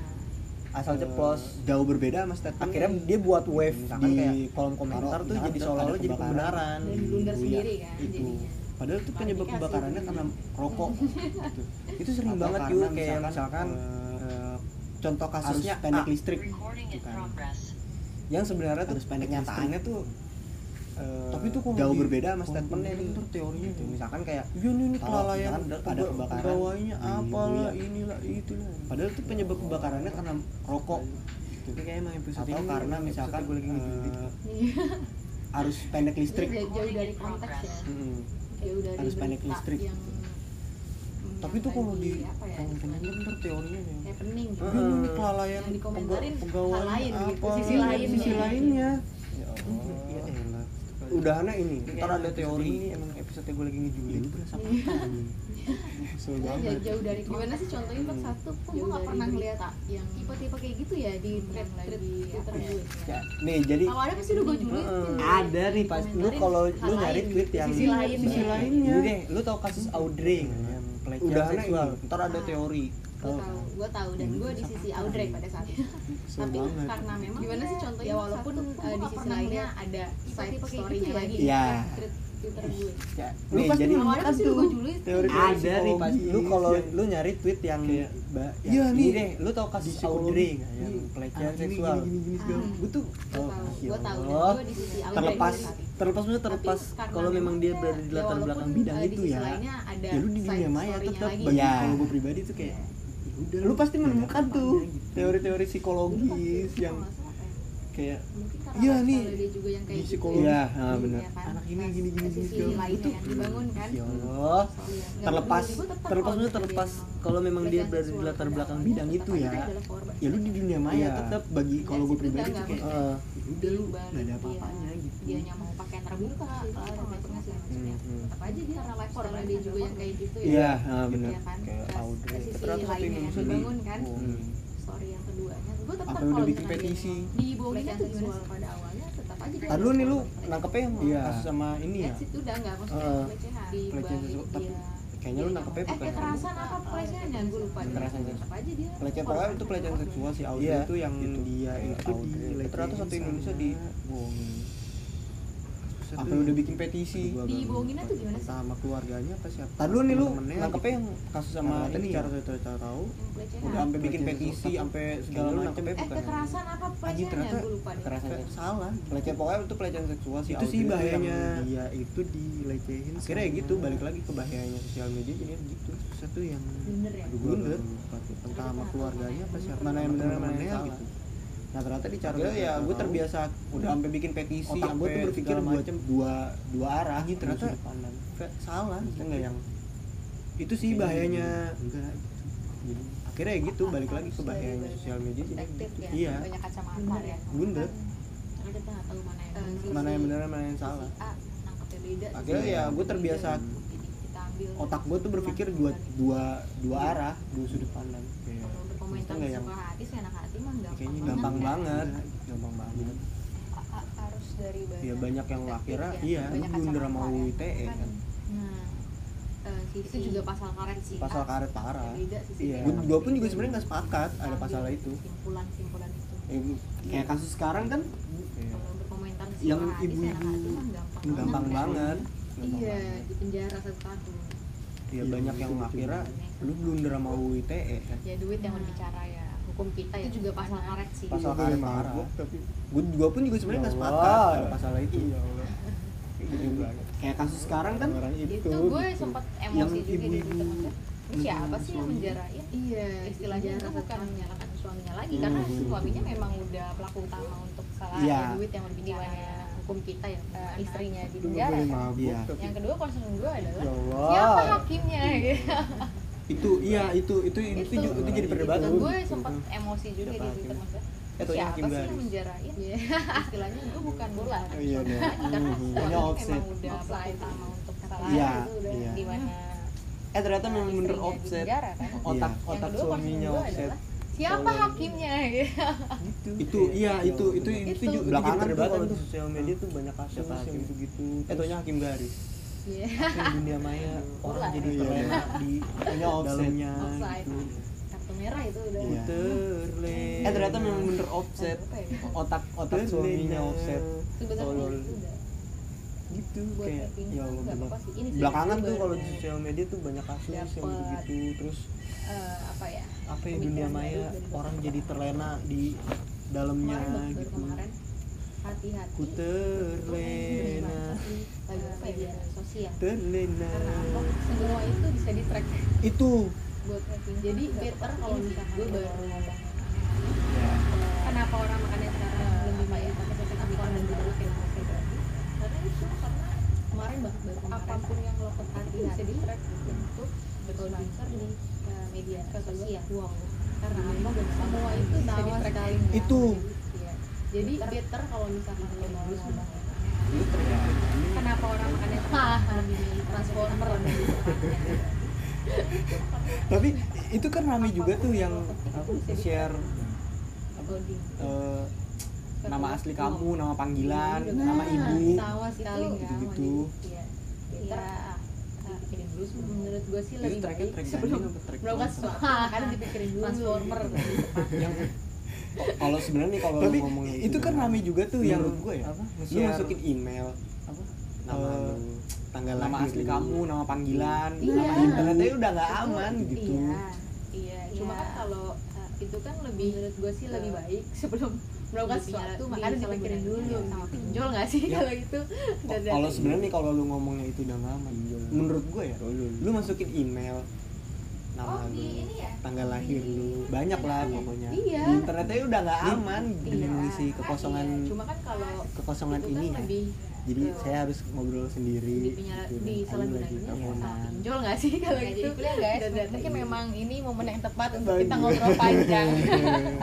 [SPEAKER 8] asal
[SPEAKER 4] Eh,
[SPEAKER 8] ceplos Oh, jauh berbeda mas statement akhirnya dia buat wave
[SPEAKER 4] Misalkan
[SPEAKER 8] di
[SPEAKER 4] kayak,
[SPEAKER 8] kolom komentar tuh
[SPEAKER 4] misalkan
[SPEAKER 8] jadi
[SPEAKER 4] ada
[SPEAKER 8] seolah-olah jadi
[SPEAKER 4] kebakaran.
[SPEAKER 8] pembenaran
[SPEAKER 6] Nah, Dan blunder
[SPEAKER 8] Iya,
[SPEAKER 6] sendiri kan
[SPEAKER 8] itu
[SPEAKER 6] jadinya.
[SPEAKER 8] padahal tuh penyebab
[SPEAKER 6] Klarifikasi.
[SPEAKER 8] kebakarannya karena rokok gitu. itu sering
[SPEAKER 4] Atau
[SPEAKER 8] banget
[SPEAKER 4] karena
[SPEAKER 8] yuk kayak
[SPEAKER 4] misalkan,
[SPEAKER 8] misalkan eh, contoh kasusnya
[SPEAKER 4] arus
[SPEAKER 8] pendek
[SPEAKER 4] pendek
[SPEAKER 8] listrik
[SPEAKER 7] Recording in
[SPEAKER 8] gitu kan.
[SPEAKER 7] progress.
[SPEAKER 8] yang sebenarnya tuh
[SPEAKER 4] Arus pendek
[SPEAKER 8] kenyataannya tuh eh,
[SPEAKER 4] Tapi tuh kalau
[SPEAKER 8] jauh
[SPEAKER 4] di-
[SPEAKER 8] berbeda sama
[SPEAKER 4] kalau
[SPEAKER 8] statementnya
[SPEAKER 4] di-
[SPEAKER 8] nih
[SPEAKER 4] ntar teorinya
[SPEAKER 8] Gitu,
[SPEAKER 4] tuh.
[SPEAKER 8] misalkan kayak
[SPEAKER 4] iya nih ini
[SPEAKER 8] Kalau
[SPEAKER 4] kelalaian
[SPEAKER 8] misalkan ada
[SPEAKER 4] pegawai-
[SPEAKER 8] kebakaran,
[SPEAKER 4] pegawainya
[SPEAKER 8] di
[SPEAKER 4] apalah
[SPEAKER 8] Buya.
[SPEAKER 4] inilah itulah
[SPEAKER 8] padahal tuh penyebab kebakarannya karena rokok
[SPEAKER 4] Ini kayak emang episode
[SPEAKER 8] atau
[SPEAKER 4] ini
[SPEAKER 8] karena
[SPEAKER 4] episode
[SPEAKER 8] misalkan
[SPEAKER 4] gue lagi ngejudi.
[SPEAKER 8] eh, arus pendek listrik
[SPEAKER 6] Ini jauh dari konteks ya
[SPEAKER 8] Mm.
[SPEAKER 6] jauh dari
[SPEAKER 8] Harus pendek
[SPEAKER 6] berita
[SPEAKER 8] listrik.
[SPEAKER 6] yang
[SPEAKER 4] tapi tuh kalau di
[SPEAKER 6] apa ya
[SPEAKER 4] kolom komentar
[SPEAKER 8] kan
[SPEAKER 4] ntar teorinya ya
[SPEAKER 6] happening gitu
[SPEAKER 4] Iya, ini kelalaian
[SPEAKER 6] Yang dikomentarin
[SPEAKER 4] pega- pegawai
[SPEAKER 6] hal lain gitu,
[SPEAKER 4] apa,
[SPEAKER 6] sisi
[SPEAKER 4] iya,
[SPEAKER 6] lainnya.
[SPEAKER 4] sisi lainnya.
[SPEAKER 8] Ya
[SPEAKER 4] Hmm,
[SPEAKER 8] Allah.
[SPEAKER 4] iya elah.
[SPEAKER 8] udahannya ini
[SPEAKER 6] Iya,
[SPEAKER 4] Ini
[SPEAKER 8] ntar
[SPEAKER 4] kayak
[SPEAKER 8] ada
[SPEAKER 4] episode
[SPEAKER 8] teori
[SPEAKER 4] ini.
[SPEAKER 8] ini emang episode gue lagi ngejulid
[SPEAKER 4] berasa
[SPEAKER 8] kesel
[SPEAKER 6] Ya,
[SPEAKER 8] banget Hmm.
[SPEAKER 6] jauh dari gimana sih contohnya
[SPEAKER 8] Pak,
[SPEAKER 6] satu pun gue nggak pernah ngeliat yang tipe-tipe kayak gitu ya di thread thread Twitter gue
[SPEAKER 8] Ya, nih jadi eh,
[SPEAKER 6] kalau ada pasti udah gue julitin
[SPEAKER 8] Heeh.
[SPEAKER 4] ada nih pas
[SPEAKER 8] lu kalau lu nyari tweet yang
[SPEAKER 6] sisi lain
[SPEAKER 4] sisi
[SPEAKER 6] ya.
[SPEAKER 4] lain.
[SPEAKER 8] ini deh lu tau kasus Audrey kan, nggak?
[SPEAKER 4] Yang pelecehan
[SPEAKER 8] udahannya
[SPEAKER 4] seksual.
[SPEAKER 8] ini ntar
[SPEAKER 6] Ah.
[SPEAKER 8] ada teori
[SPEAKER 4] Oh.
[SPEAKER 6] gue tahu gue tahu dan gue di sisi
[SPEAKER 4] Iya.
[SPEAKER 6] Audrey pada saat itu
[SPEAKER 8] Kesel
[SPEAKER 6] tapi
[SPEAKER 8] banget.
[SPEAKER 6] karena memang gimana sih contohnya gitu ya walaupun eh, di sisi lainnya ada side story-nya lagi
[SPEAKER 8] Iya.
[SPEAKER 6] thread Twitter gue.
[SPEAKER 4] Ya,
[SPEAKER 6] Lu
[SPEAKER 4] nih,
[SPEAKER 6] pasti
[SPEAKER 4] jadi
[SPEAKER 6] belum ada Iya. sih, lu gua julid.
[SPEAKER 4] teori Oh,
[SPEAKER 2] Ada nih pas lu kalau
[SPEAKER 4] psikologi.
[SPEAKER 2] lu nyari tweet yang
[SPEAKER 4] Kayak,
[SPEAKER 2] ba-
[SPEAKER 4] iya
[SPEAKER 2] yang
[SPEAKER 4] nih,
[SPEAKER 2] ini deh, lu tau kasus
[SPEAKER 4] psikologi.
[SPEAKER 2] Audrey
[SPEAKER 8] kan, ya,
[SPEAKER 2] nggak yang
[SPEAKER 4] Iya.
[SPEAKER 2] pelecehan
[SPEAKER 4] Ah, gini,
[SPEAKER 2] seksual?
[SPEAKER 4] gini, gini, gini,
[SPEAKER 6] segala.
[SPEAKER 2] Gue tuh
[SPEAKER 6] Gue
[SPEAKER 2] oh,
[SPEAKER 6] tahu,
[SPEAKER 2] masya
[SPEAKER 6] gue tahu dan
[SPEAKER 4] oh.
[SPEAKER 2] Allah.
[SPEAKER 6] gue di sisi awal
[SPEAKER 2] terlepas
[SPEAKER 6] dari gue.
[SPEAKER 2] terlepas maksudnya
[SPEAKER 6] gitu, Tapi
[SPEAKER 2] terlepas
[SPEAKER 6] karena
[SPEAKER 2] kalau memang dia berada di
[SPEAKER 6] ya
[SPEAKER 2] latar
[SPEAKER 6] walaupun,
[SPEAKER 2] belakang bidang
[SPEAKER 6] eh, di
[SPEAKER 2] itu
[SPEAKER 6] sisi
[SPEAKER 2] ya
[SPEAKER 6] lainnya ada
[SPEAKER 4] ya lu di dunia
[SPEAKER 6] side
[SPEAKER 4] maya
[SPEAKER 6] story-nya
[SPEAKER 4] tetap
[SPEAKER 6] lagi.
[SPEAKER 4] bagi
[SPEAKER 2] Iya.
[SPEAKER 4] kalau gue pribadi tuh kayak ya udah
[SPEAKER 2] lu pasti menemukan tuh
[SPEAKER 4] teori-teori
[SPEAKER 6] Dulu pas
[SPEAKER 4] psikologis
[SPEAKER 6] itu
[SPEAKER 4] yang
[SPEAKER 6] kalau nggak salah kayak-
[SPEAKER 4] kayak
[SPEAKER 6] mungkin karena
[SPEAKER 4] Iya,
[SPEAKER 6] lifestyle
[SPEAKER 4] nih,
[SPEAKER 6] dia juga yang kayak
[SPEAKER 4] di
[SPEAKER 6] gitu
[SPEAKER 4] psikologi.
[SPEAKER 2] Iya, ah, benar.
[SPEAKER 6] kan?
[SPEAKER 4] Anak ini,
[SPEAKER 6] Pas
[SPEAKER 4] gini, gini, gini,
[SPEAKER 6] sisi
[SPEAKER 4] segala
[SPEAKER 6] lainnya
[SPEAKER 4] macam.
[SPEAKER 6] yang dibangun kan
[SPEAKER 2] ya Allah
[SPEAKER 6] Iya, nggak
[SPEAKER 2] terlepas
[SPEAKER 6] peduli, gua tetap
[SPEAKER 2] terlepas
[SPEAKER 6] kalau
[SPEAKER 2] maksudnya
[SPEAKER 6] dia
[SPEAKER 2] terlepas
[SPEAKER 6] memang
[SPEAKER 2] kalau memang dia
[SPEAKER 6] pelecehan
[SPEAKER 2] berada di
[SPEAKER 6] seksual
[SPEAKER 2] latar
[SPEAKER 6] pada
[SPEAKER 2] belakang
[SPEAKER 6] awalnya,
[SPEAKER 4] bidang
[SPEAKER 6] tetap
[SPEAKER 4] itu
[SPEAKER 6] aja
[SPEAKER 4] ya.
[SPEAKER 6] dia adalah korban.
[SPEAKER 4] ya lu di dunia maya
[SPEAKER 2] Iya.
[SPEAKER 4] tetap bagi kalau gue
[SPEAKER 6] Iya,
[SPEAKER 4] pribadi
[SPEAKER 6] kita
[SPEAKER 4] tuh kayak
[SPEAKER 6] nggak
[SPEAKER 2] Eh,
[SPEAKER 4] ya udah lu
[SPEAKER 6] Dia
[SPEAKER 4] nggak ada
[SPEAKER 6] balik,
[SPEAKER 4] apa-apanya
[SPEAKER 6] dia-
[SPEAKER 4] gitu
[SPEAKER 6] dianya mau pakai terbuka lah macam-macam maksudnya
[SPEAKER 2] Hmm, hmm.
[SPEAKER 6] tetap aja dia karena lifestyle dia juga yang kayak gitu ya
[SPEAKER 4] Iya, ah, benar.
[SPEAKER 6] Iya kan?
[SPEAKER 4] Kayak
[SPEAKER 6] Terus
[SPEAKER 4] Audrey.
[SPEAKER 6] sisi
[SPEAKER 4] Ternyata satu
[SPEAKER 6] lainnya yang
[SPEAKER 4] Indonesia
[SPEAKER 6] dibangun
[SPEAKER 4] di-
[SPEAKER 6] kan
[SPEAKER 4] Oh.
[SPEAKER 2] hmm.
[SPEAKER 6] story yang keduanya gue tetap
[SPEAKER 4] Apa
[SPEAKER 6] kalau
[SPEAKER 4] udah bikin
[SPEAKER 6] misalkan dia
[SPEAKER 4] petisi?
[SPEAKER 6] memang dibohongin tuh
[SPEAKER 7] gimana
[SPEAKER 6] gimana pada awalnya tetap aja dia
[SPEAKER 2] Ntar lu nih lu nangkepnya yang
[SPEAKER 4] Iya.
[SPEAKER 2] kasus sama ini ya
[SPEAKER 6] ya itu udah nggak maksudnya
[SPEAKER 2] Eh,
[SPEAKER 6] pelecehan
[SPEAKER 4] pelecehan
[SPEAKER 6] Dibalik
[SPEAKER 4] seksual, tapi
[SPEAKER 6] dia-
[SPEAKER 4] kayaknya lu
[SPEAKER 6] dia
[SPEAKER 4] nangkepnya
[SPEAKER 6] nyampe-
[SPEAKER 4] bukan
[SPEAKER 6] eh kekerasan apa pelecehan ya gue lupa deh.
[SPEAKER 4] Kekerasan seksual.
[SPEAKER 6] Tetap aja dia
[SPEAKER 4] pelecehan
[SPEAKER 6] korban
[SPEAKER 4] pokoknya itu pelecehan
[SPEAKER 6] korban.
[SPEAKER 4] seksual si Audrey
[SPEAKER 2] Iya,
[SPEAKER 4] itu yang
[SPEAKER 2] gitu.
[SPEAKER 4] dia
[SPEAKER 2] Kayak
[SPEAKER 4] itu
[SPEAKER 2] Audrey.
[SPEAKER 4] di ternyata satu Indonesia di bohongin
[SPEAKER 2] Apa
[SPEAKER 4] apa
[SPEAKER 2] lu
[SPEAKER 4] udah bikin petisi
[SPEAKER 6] Dibohonginnya tuh gimana sih?
[SPEAKER 4] entah sama keluarganya apa siapa
[SPEAKER 2] Ntar lu nih lu
[SPEAKER 4] Temen-temennya
[SPEAKER 2] nangkepnya
[SPEAKER 4] gitu.
[SPEAKER 2] yang kasus sama
[SPEAKER 4] Karena
[SPEAKER 2] ini
[SPEAKER 4] ini
[SPEAKER 2] ya?
[SPEAKER 4] cara cara cara tahu
[SPEAKER 6] Yang pelecehan.
[SPEAKER 4] udah sampai bikin
[SPEAKER 2] Pelecehan
[SPEAKER 4] petisi
[SPEAKER 2] seksual.
[SPEAKER 4] sampai
[SPEAKER 2] Kayaknya
[SPEAKER 4] segala
[SPEAKER 2] lu
[SPEAKER 4] macam
[SPEAKER 2] nangkepnya
[SPEAKER 6] eh kekerasan apa
[SPEAKER 4] anjing
[SPEAKER 6] pelecehan ya
[SPEAKER 4] ternyata
[SPEAKER 6] gue lupa deh
[SPEAKER 4] kekerasan
[SPEAKER 2] Kayak
[SPEAKER 4] seksual
[SPEAKER 2] salah
[SPEAKER 4] gitu. pelecehan pokoknya itu pelecehan seksual si
[SPEAKER 2] Itu sih
[SPEAKER 4] Audrey yang iya,
[SPEAKER 2] bahayanya.
[SPEAKER 4] dia itu dilecehin
[SPEAKER 2] Akhirnya
[SPEAKER 4] sama-
[SPEAKER 2] gitu, balik
[SPEAKER 4] ya lagi ke bahayanya sosial media jadi gitu
[SPEAKER 2] satu yang
[SPEAKER 6] bener ya
[SPEAKER 4] aduh gue
[SPEAKER 2] Blunder.
[SPEAKER 4] lupa tuh. gitu. entah sama keluarganya apa siapa
[SPEAKER 2] Mana yang bener,
[SPEAKER 4] sama
[SPEAKER 2] mana yang
[SPEAKER 4] temen-temennya
[SPEAKER 2] salah.
[SPEAKER 4] gitu nah ternyata di cara
[SPEAKER 2] Akhirnya ya gue terbiasa
[SPEAKER 4] udah sampai bikin petisi
[SPEAKER 2] otak gue
[SPEAKER 4] sampai
[SPEAKER 2] tuh berpikir
[SPEAKER 4] segala
[SPEAKER 2] buat
[SPEAKER 4] macem.
[SPEAKER 2] dua dua arah gitu,
[SPEAKER 4] Anjing, ternyata
[SPEAKER 2] sudut pandang.
[SPEAKER 4] Fe- salah
[SPEAKER 2] Maksudnya
[SPEAKER 4] enggak yang gitu.
[SPEAKER 2] itu sih bahayanya
[SPEAKER 4] enggak Jadi, akhirnya ya gitu balik lagi ke bahayanya sosial media jadi
[SPEAKER 7] perspektif ya
[SPEAKER 4] Iya.
[SPEAKER 7] banyak kacamata ya
[SPEAKER 4] blunder
[SPEAKER 6] karena kita nggak tahu mana yang bener.
[SPEAKER 4] mana yang
[SPEAKER 6] Sisi-
[SPEAKER 4] bener mana yang salah
[SPEAKER 6] sisi A nangkepnya beda
[SPEAKER 4] akhirnya ya gue terbiasa
[SPEAKER 6] Jadi kita ambil
[SPEAKER 4] otak gue tuh berpikir dua dua dua arah dua sudut pandang
[SPEAKER 2] Kayak,
[SPEAKER 6] kalau berkomentar
[SPEAKER 4] Maksudnya nggak
[SPEAKER 6] suka hati enak hati mah gampang
[SPEAKER 4] kayaknya
[SPEAKER 6] banget
[SPEAKER 4] gampang
[SPEAKER 6] kan.
[SPEAKER 4] banget gampang banget
[SPEAKER 7] A- a- harus dari banyak
[SPEAKER 4] ya banyak yang
[SPEAKER 7] perspektif
[SPEAKER 4] akhirnya
[SPEAKER 7] ya,
[SPEAKER 4] iya lu
[SPEAKER 7] banyak
[SPEAKER 4] blunder sama
[SPEAKER 7] kacamata ya.
[SPEAKER 4] UITE kan
[SPEAKER 6] nah eh, sisi
[SPEAKER 7] Itu juga
[SPEAKER 6] pasal karet sih
[SPEAKER 4] pasal karet parah
[SPEAKER 6] beda sisi
[SPEAKER 4] iya
[SPEAKER 6] karet.
[SPEAKER 4] gue pun juga sebenarnya nggak sepakat ada pasal itu
[SPEAKER 6] simpulan simpulan itu
[SPEAKER 4] Eh, kayak kasus sekarang kan
[SPEAKER 6] kalau berkomentar suka
[SPEAKER 4] Yang
[SPEAKER 6] hati
[SPEAKER 4] ibu-ibu
[SPEAKER 6] enak hati mah gampang,
[SPEAKER 4] gampang
[SPEAKER 6] kan.
[SPEAKER 4] banget Gampang
[SPEAKER 6] iya
[SPEAKER 4] banget.
[SPEAKER 6] di penjara satu tahun
[SPEAKER 4] ya banyak yang akhirnya lu blunder sama UITE kan
[SPEAKER 7] ya duit yang berbicara ya
[SPEAKER 6] hukum kita
[SPEAKER 7] itu
[SPEAKER 6] ya
[SPEAKER 7] juga pasal karet sih
[SPEAKER 2] Iya,
[SPEAKER 4] pasal karet parah Iya
[SPEAKER 2] tapi
[SPEAKER 4] gue gua pun juga sebenarnya nggak
[SPEAKER 2] Ya
[SPEAKER 4] sepakat
[SPEAKER 2] Allah.
[SPEAKER 4] ada masalah itu
[SPEAKER 2] ya Allah
[SPEAKER 4] kayak kasus sekarang kan
[SPEAKER 2] orang itu,
[SPEAKER 7] itu gue
[SPEAKER 2] gitu.
[SPEAKER 7] sempat
[SPEAKER 4] Yang
[SPEAKER 7] emosi juga di
[SPEAKER 4] ibu-ibu-
[SPEAKER 7] Twitter maksudnya, ini siapa sih yang menjarain
[SPEAKER 6] iya
[SPEAKER 7] istilahnya itu bukan menyalahkan suaminya lagi karena suaminya memang udah pelaku utama untuk salah
[SPEAKER 4] Hmm. Iya.
[SPEAKER 7] ada duit yang berbicara hukum kita ya eh, istrinya di
[SPEAKER 2] Lu
[SPEAKER 6] Ya,
[SPEAKER 7] penjara
[SPEAKER 2] boleh
[SPEAKER 7] kan.
[SPEAKER 2] mabuk
[SPEAKER 4] Iya.
[SPEAKER 2] tapi
[SPEAKER 7] yang kedua concern gue adalah
[SPEAKER 2] ya Allah
[SPEAKER 7] siapa hakimnya gitu
[SPEAKER 4] itu iya itu itu itu, itu, ju- itu jadi perdebatan
[SPEAKER 7] Gitu.
[SPEAKER 2] Eh,
[SPEAKER 7] gue sempat emosi juga
[SPEAKER 4] Siapa
[SPEAKER 7] di Twitter
[SPEAKER 4] hakimnya?
[SPEAKER 7] maksudnya
[SPEAKER 4] Eh, taunya
[SPEAKER 7] siapa
[SPEAKER 4] hakim
[SPEAKER 7] sih yang
[SPEAKER 4] garis.
[SPEAKER 7] menjarain
[SPEAKER 6] Iya.
[SPEAKER 7] istilahnya gue bukan bola kan,
[SPEAKER 4] Iya,
[SPEAKER 7] suami
[SPEAKER 4] iya.
[SPEAKER 7] lagi. karena
[SPEAKER 4] Mhm.
[SPEAKER 7] suaminya
[SPEAKER 4] Hanya
[SPEAKER 7] memang
[SPEAKER 4] offset.
[SPEAKER 7] udah pelaku utama untuk kesalahan
[SPEAKER 4] Iya,
[SPEAKER 7] itu udah
[SPEAKER 4] iya.
[SPEAKER 7] di mana
[SPEAKER 4] eh ternyata memang bener
[SPEAKER 7] istrinya di
[SPEAKER 4] offset
[SPEAKER 7] penjara kan
[SPEAKER 4] otak
[SPEAKER 7] Yang
[SPEAKER 4] otak
[SPEAKER 7] kedua,
[SPEAKER 4] suaminya
[SPEAKER 7] concern gue
[SPEAKER 4] offset
[SPEAKER 7] adalah, siapa
[SPEAKER 4] Tolong.
[SPEAKER 7] hakimnya gitu
[SPEAKER 4] itu iya
[SPEAKER 8] Ya
[SPEAKER 4] itu itu itu ju- itu jadi
[SPEAKER 2] belakangan tuh
[SPEAKER 4] perdebatan
[SPEAKER 2] kalau di
[SPEAKER 4] tuh
[SPEAKER 2] sosial media tuh banyak kasus
[SPEAKER 4] Siapa
[SPEAKER 2] yang
[SPEAKER 8] gitu.
[SPEAKER 4] hakim?
[SPEAKER 2] gitu-gitu
[SPEAKER 4] eh taunya hakim garis
[SPEAKER 6] Iya.
[SPEAKER 2] Hakim dunia maya orang jadi
[SPEAKER 4] Iya.
[SPEAKER 2] terlena di
[SPEAKER 4] taunya offset
[SPEAKER 2] Iya, dalamnya
[SPEAKER 7] Offside.
[SPEAKER 2] gitu
[SPEAKER 7] kartu merah itu udah
[SPEAKER 4] Iya.
[SPEAKER 2] terlena
[SPEAKER 4] eh ternyata memang bener offset
[SPEAKER 7] Apa ya?
[SPEAKER 4] otak otak
[SPEAKER 2] Terlena.
[SPEAKER 4] suaminya offset
[SPEAKER 7] sebenarnya
[SPEAKER 4] Tolol.
[SPEAKER 7] itu udah
[SPEAKER 2] gitu
[SPEAKER 7] buat
[SPEAKER 2] kayak
[SPEAKER 7] happy
[SPEAKER 2] ya Allah
[SPEAKER 7] nggak apa-apa
[SPEAKER 2] bener.
[SPEAKER 7] sih gitu. ini sih
[SPEAKER 2] belakangan
[SPEAKER 7] itu
[SPEAKER 2] tuh
[SPEAKER 7] baru,
[SPEAKER 2] kalau di sosial media tuh banyak kasus yang
[SPEAKER 7] Dapat.
[SPEAKER 2] gitu-gitu terus
[SPEAKER 7] eh, apa ya
[SPEAKER 2] apa ya dunia maya orang jadi terlena di dalamnya
[SPEAKER 7] kemarin baru baru
[SPEAKER 2] gitu
[SPEAKER 7] kemarin hati-hati
[SPEAKER 2] ku terlena
[SPEAKER 7] lagu apa ya sosial
[SPEAKER 2] terlena
[SPEAKER 7] karena apa semua itu bisa di track
[SPEAKER 2] itu
[SPEAKER 7] buat hacking jadi better kalau misalkan gue baru
[SPEAKER 2] Ya.
[SPEAKER 7] ngomong
[SPEAKER 6] kenapa orang makannya sekarang lebih banyak pakai
[SPEAKER 7] tapi
[SPEAKER 6] tapi
[SPEAKER 7] kalau
[SPEAKER 6] orang
[SPEAKER 7] nanti
[SPEAKER 6] lebih
[SPEAKER 7] dulu kayak ngomong kayak gitu.
[SPEAKER 6] karena itu karena
[SPEAKER 7] kemarin bah baru kemarin
[SPEAKER 6] apapun yang lo hati gitu. bisa di track untuk berkomentar di eh, media sosial
[SPEAKER 7] uang
[SPEAKER 6] karena apa semua itu
[SPEAKER 7] Bisa
[SPEAKER 6] sama
[SPEAKER 7] di-track.
[SPEAKER 6] sekali
[SPEAKER 2] Itu.
[SPEAKER 6] Iya. jadi better Iya. kalau misalkan lo mau ngomong kenapa orang makannya sekarang lebih milih transformer lebih tepatnya.
[SPEAKER 2] tapi itu kan rame juga tuh yang apa, share
[SPEAKER 6] Godin.
[SPEAKER 2] eh, nama asli kamu nama panggilan
[SPEAKER 7] Iya,
[SPEAKER 2] nama
[SPEAKER 6] Nah,
[SPEAKER 2] ibu
[SPEAKER 6] sama sekali
[SPEAKER 4] Gitu,
[SPEAKER 6] nggak sama
[SPEAKER 2] gitu-gitu.
[SPEAKER 6] dia. Iya. Ya, ah, dipikirin dulu sih. menurut gue
[SPEAKER 4] Iya,
[SPEAKER 6] sih
[SPEAKER 2] itu
[SPEAKER 7] Iya,
[SPEAKER 6] lebih
[SPEAKER 2] tracknya
[SPEAKER 6] baik
[SPEAKER 2] track
[SPEAKER 6] sebelum
[SPEAKER 2] banding apa track
[SPEAKER 6] melakukan
[SPEAKER 2] konser?
[SPEAKER 6] sesuatu karena dipikirin dulu transformer
[SPEAKER 7] Iya.
[SPEAKER 2] yang
[SPEAKER 4] kalau sebenarnya nih kalau
[SPEAKER 2] tapi
[SPEAKER 4] lu ngomongin gitu ya.
[SPEAKER 2] itu kan rame juga tuh yang
[SPEAKER 4] Menurut gua ya,
[SPEAKER 2] apa,
[SPEAKER 4] lu masukin email
[SPEAKER 2] apa
[SPEAKER 4] nama
[SPEAKER 2] Eh,
[SPEAKER 4] lu
[SPEAKER 8] tanggal
[SPEAKER 4] nama
[SPEAKER 8] lahir
[SPEAKER 4] asli
[SPEAKER 8] gitu.
[SPEAKER 4] kamu nama panggilan
[SPEAKER 7] Iya.
[SPEAKER 4] nama internetnya udah nggak aman gitu
[SPEAKER 7] Iya, iya. Cuma
[SPEAKER 6] Iya.
[SPEAKER 7] kan kalau uh, itu kan lebih menurut gue sih lebih baik sebelum melakukan
[SPEAKER 6] Dipikirin-
[SPEAKER 7] sesuatu makanya dipikirin dulu
[SPEAKER 6] disalahgunakan.
[SPEAKER 7] sama pinjol nggak sih
[SPEAKER 4] Iya.
[SPEAKER 7] kalau gitu. Dan- dan-
[SPEAKER 4] kalau sebenarnya nih kalau lu ngomongnya itu udah nggak aman menurut gue ya lu masukin email nama
[SPEAKER 6] Oh, di
[SPEAKER 4] lu
[SPEAKER 6] ini ya?
[SPEAKER 4] tanggal lahir
[SPEAKER 6] Di-
[SPEAKER 4] lu banyak lah pokoknya
[SPEAKER 7] Iya.
[SPEAKER 4] di internetnya udah nggak aman
[SPEAKER 7] Iya.
[SPEAKER 4] dengan isi kekosongan
[SPEAKER 7] Iya, Cuma kan kalau
[SPEAKER 4] kekosongan
[SPEAKER 7] itu
[SPEAKER 4] ini
[SPEAKER 7] kan
[SPEAKER 4] ya
[SPEAKER 7] lebih
[SPEAKER 4] jadi
[SPEAKER 7] ke-
[SPEAKER 4] saya harus ngobrol sendiri
[SPEAKER 7] dipinyala-
[SPEAKER 4] gitu.
[SPEAKER 7] disalahgunakannya sama
[SPEAKER 4] teleponan.
[SPEAKER 7] pinjol nggak
[SPEAKER 4] Iya,
[SPEAKER 7] sih
[SPEAKER 6] Ah,
[SPEAKER 7] kalau
[SPEAKER 6] Nggak
[SPEAKER 7] gitu?
[SPEAKER 6] jadi kuliah,
[SPEAKER 4] ya?
[SPEAKER 6] guys.
[SPEAKER 7] Dan- dan-
[SPEAKER 6] Mungkin
[SPEAKER 7] iya.
[SPEAKER 6] memang ini momen yang tepat untuk kita ngobrol panjang.
[SPEAKER 4] Iya.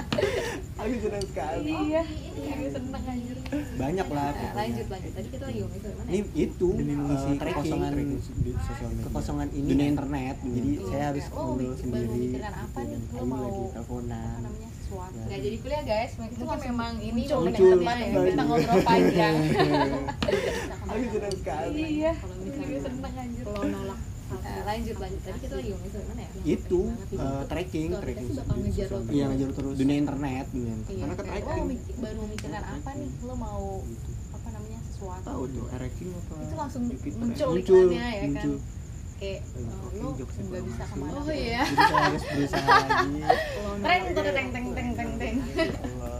[SPEAKER 4] aku senang sekali
[SPEAKER 7] Iya, ini seneng anjir.
[SPEAKER 4] banyak lah
[SPEAKER 6] Nah,
[SPEAKER 4] pokoknya.
[SPEAKER 6] lanjut lanjut. Tadi kita lagi ngomongin soal mana?
[SPEAKER 4] ini
[SPEAKER 6] ya?
[SPEAKER 4] itu eh, kekosongan
[SPEAKER 8] di sosial media.
[SPEAKER 4] kekosongan ini
[SPEAKER 8] Dunia
[SPEAKER 4] internet jadi
[SPEAKER 6] Iya.
[SPEAKER 4] saya harus
[SPEAKER 6] Oh,
[SPEAKER 4] ngobrol
[SPEAKER 6] baru
[SPEAKER 4] sendiri
[SPEAKER 6] mikirin
[SPEAKER 4] gitu,
[SPEAKER 6] apa nih?
[SPEAKER 4] dan
[SPEAKER 6] Lu
[SPEAKER 4] Ayu
[SPEAKER 6] mau-
[SPEAKER 4] lagi
[SPEAKER 6] Apa
[SPEAKER 4] teleponan
[SPEAKER 6] namanya sesuatu?
[SPEAKER 4] Ya.
[SPEAKER 6] Nggak jadi kuliah guys. Itu kan
[SPEAKER 7] Mungkin
[SPEAKER 6] memang ini
[SPEAKER 7] muncul,
[SPEAKER 6] momen
[SPEAKER 4] muncul.
[SPEAKER 6] yang tepat ya. Kita ngobrol panjang.
[SPEAKER 4] aku senang sekali
[SPEAKER 7] Iya,
[SPEAKER 6] Kalau
[SPEAKER 7] ini
[SPEAKER 6] misalnya-
[SPEAKER 7] seneng anjir.
[SPEAKER 6] Kalau nolak Eh, lanjut lanjut. Tadi kita lagi ngomongin soal mana ya?
[SPEAKER 4] itu
[SPEAKER 6] Banget.
[SPEAKER 4] eh, tracking
[SPEAKER 6] Kalau
[SPEAKER 4] tracking
[SPEAKER 6] kita sih bakal ngejar
[SPEAKER 4] sosial
[SPEAKER 6] lo
[SPEAKER 4] media. iya ngejar terus dunia internet dunia internet.
[SPEAKER 6] Iya,
[SPEAKER 4] karena kan ke
[SPEAKER 6] kayak,
[SPEAKER 4] tracking
[SPEAKER 6] oh, mik- baru mikirin apa nih? Lo mau apa namanya sesuatu?
[SPEAKER 4] tahu tuh tracking apa
[SPEAKER 6] Itu langsung
[SPEAKER 4] Jupiter.
[SPEAKER 6] muncul
[SPEAKER 4] muncul
[SPEAKER 6] iklannya, ya kan?
[SPEAKER 4] muncul
[SPEAKER 6] kayak
[SPEAKER 4] Oh,
[SPEAKER 6] lo
[SPEAKER 4] jokes itu
[SPEAKER 6] nggak bisa
[SPEAKER 4] masuk.
[SPEAKER 6] kemana
[SPEAKER 7] Oh iya.
[SPEAKER 4] jadi saya harus berusaha lagi
[SPEAKER 8] ya
[SPEAKER 7] Tren tuh teng teng teng teng teng.
[SPEAKER 4] Ya Allah.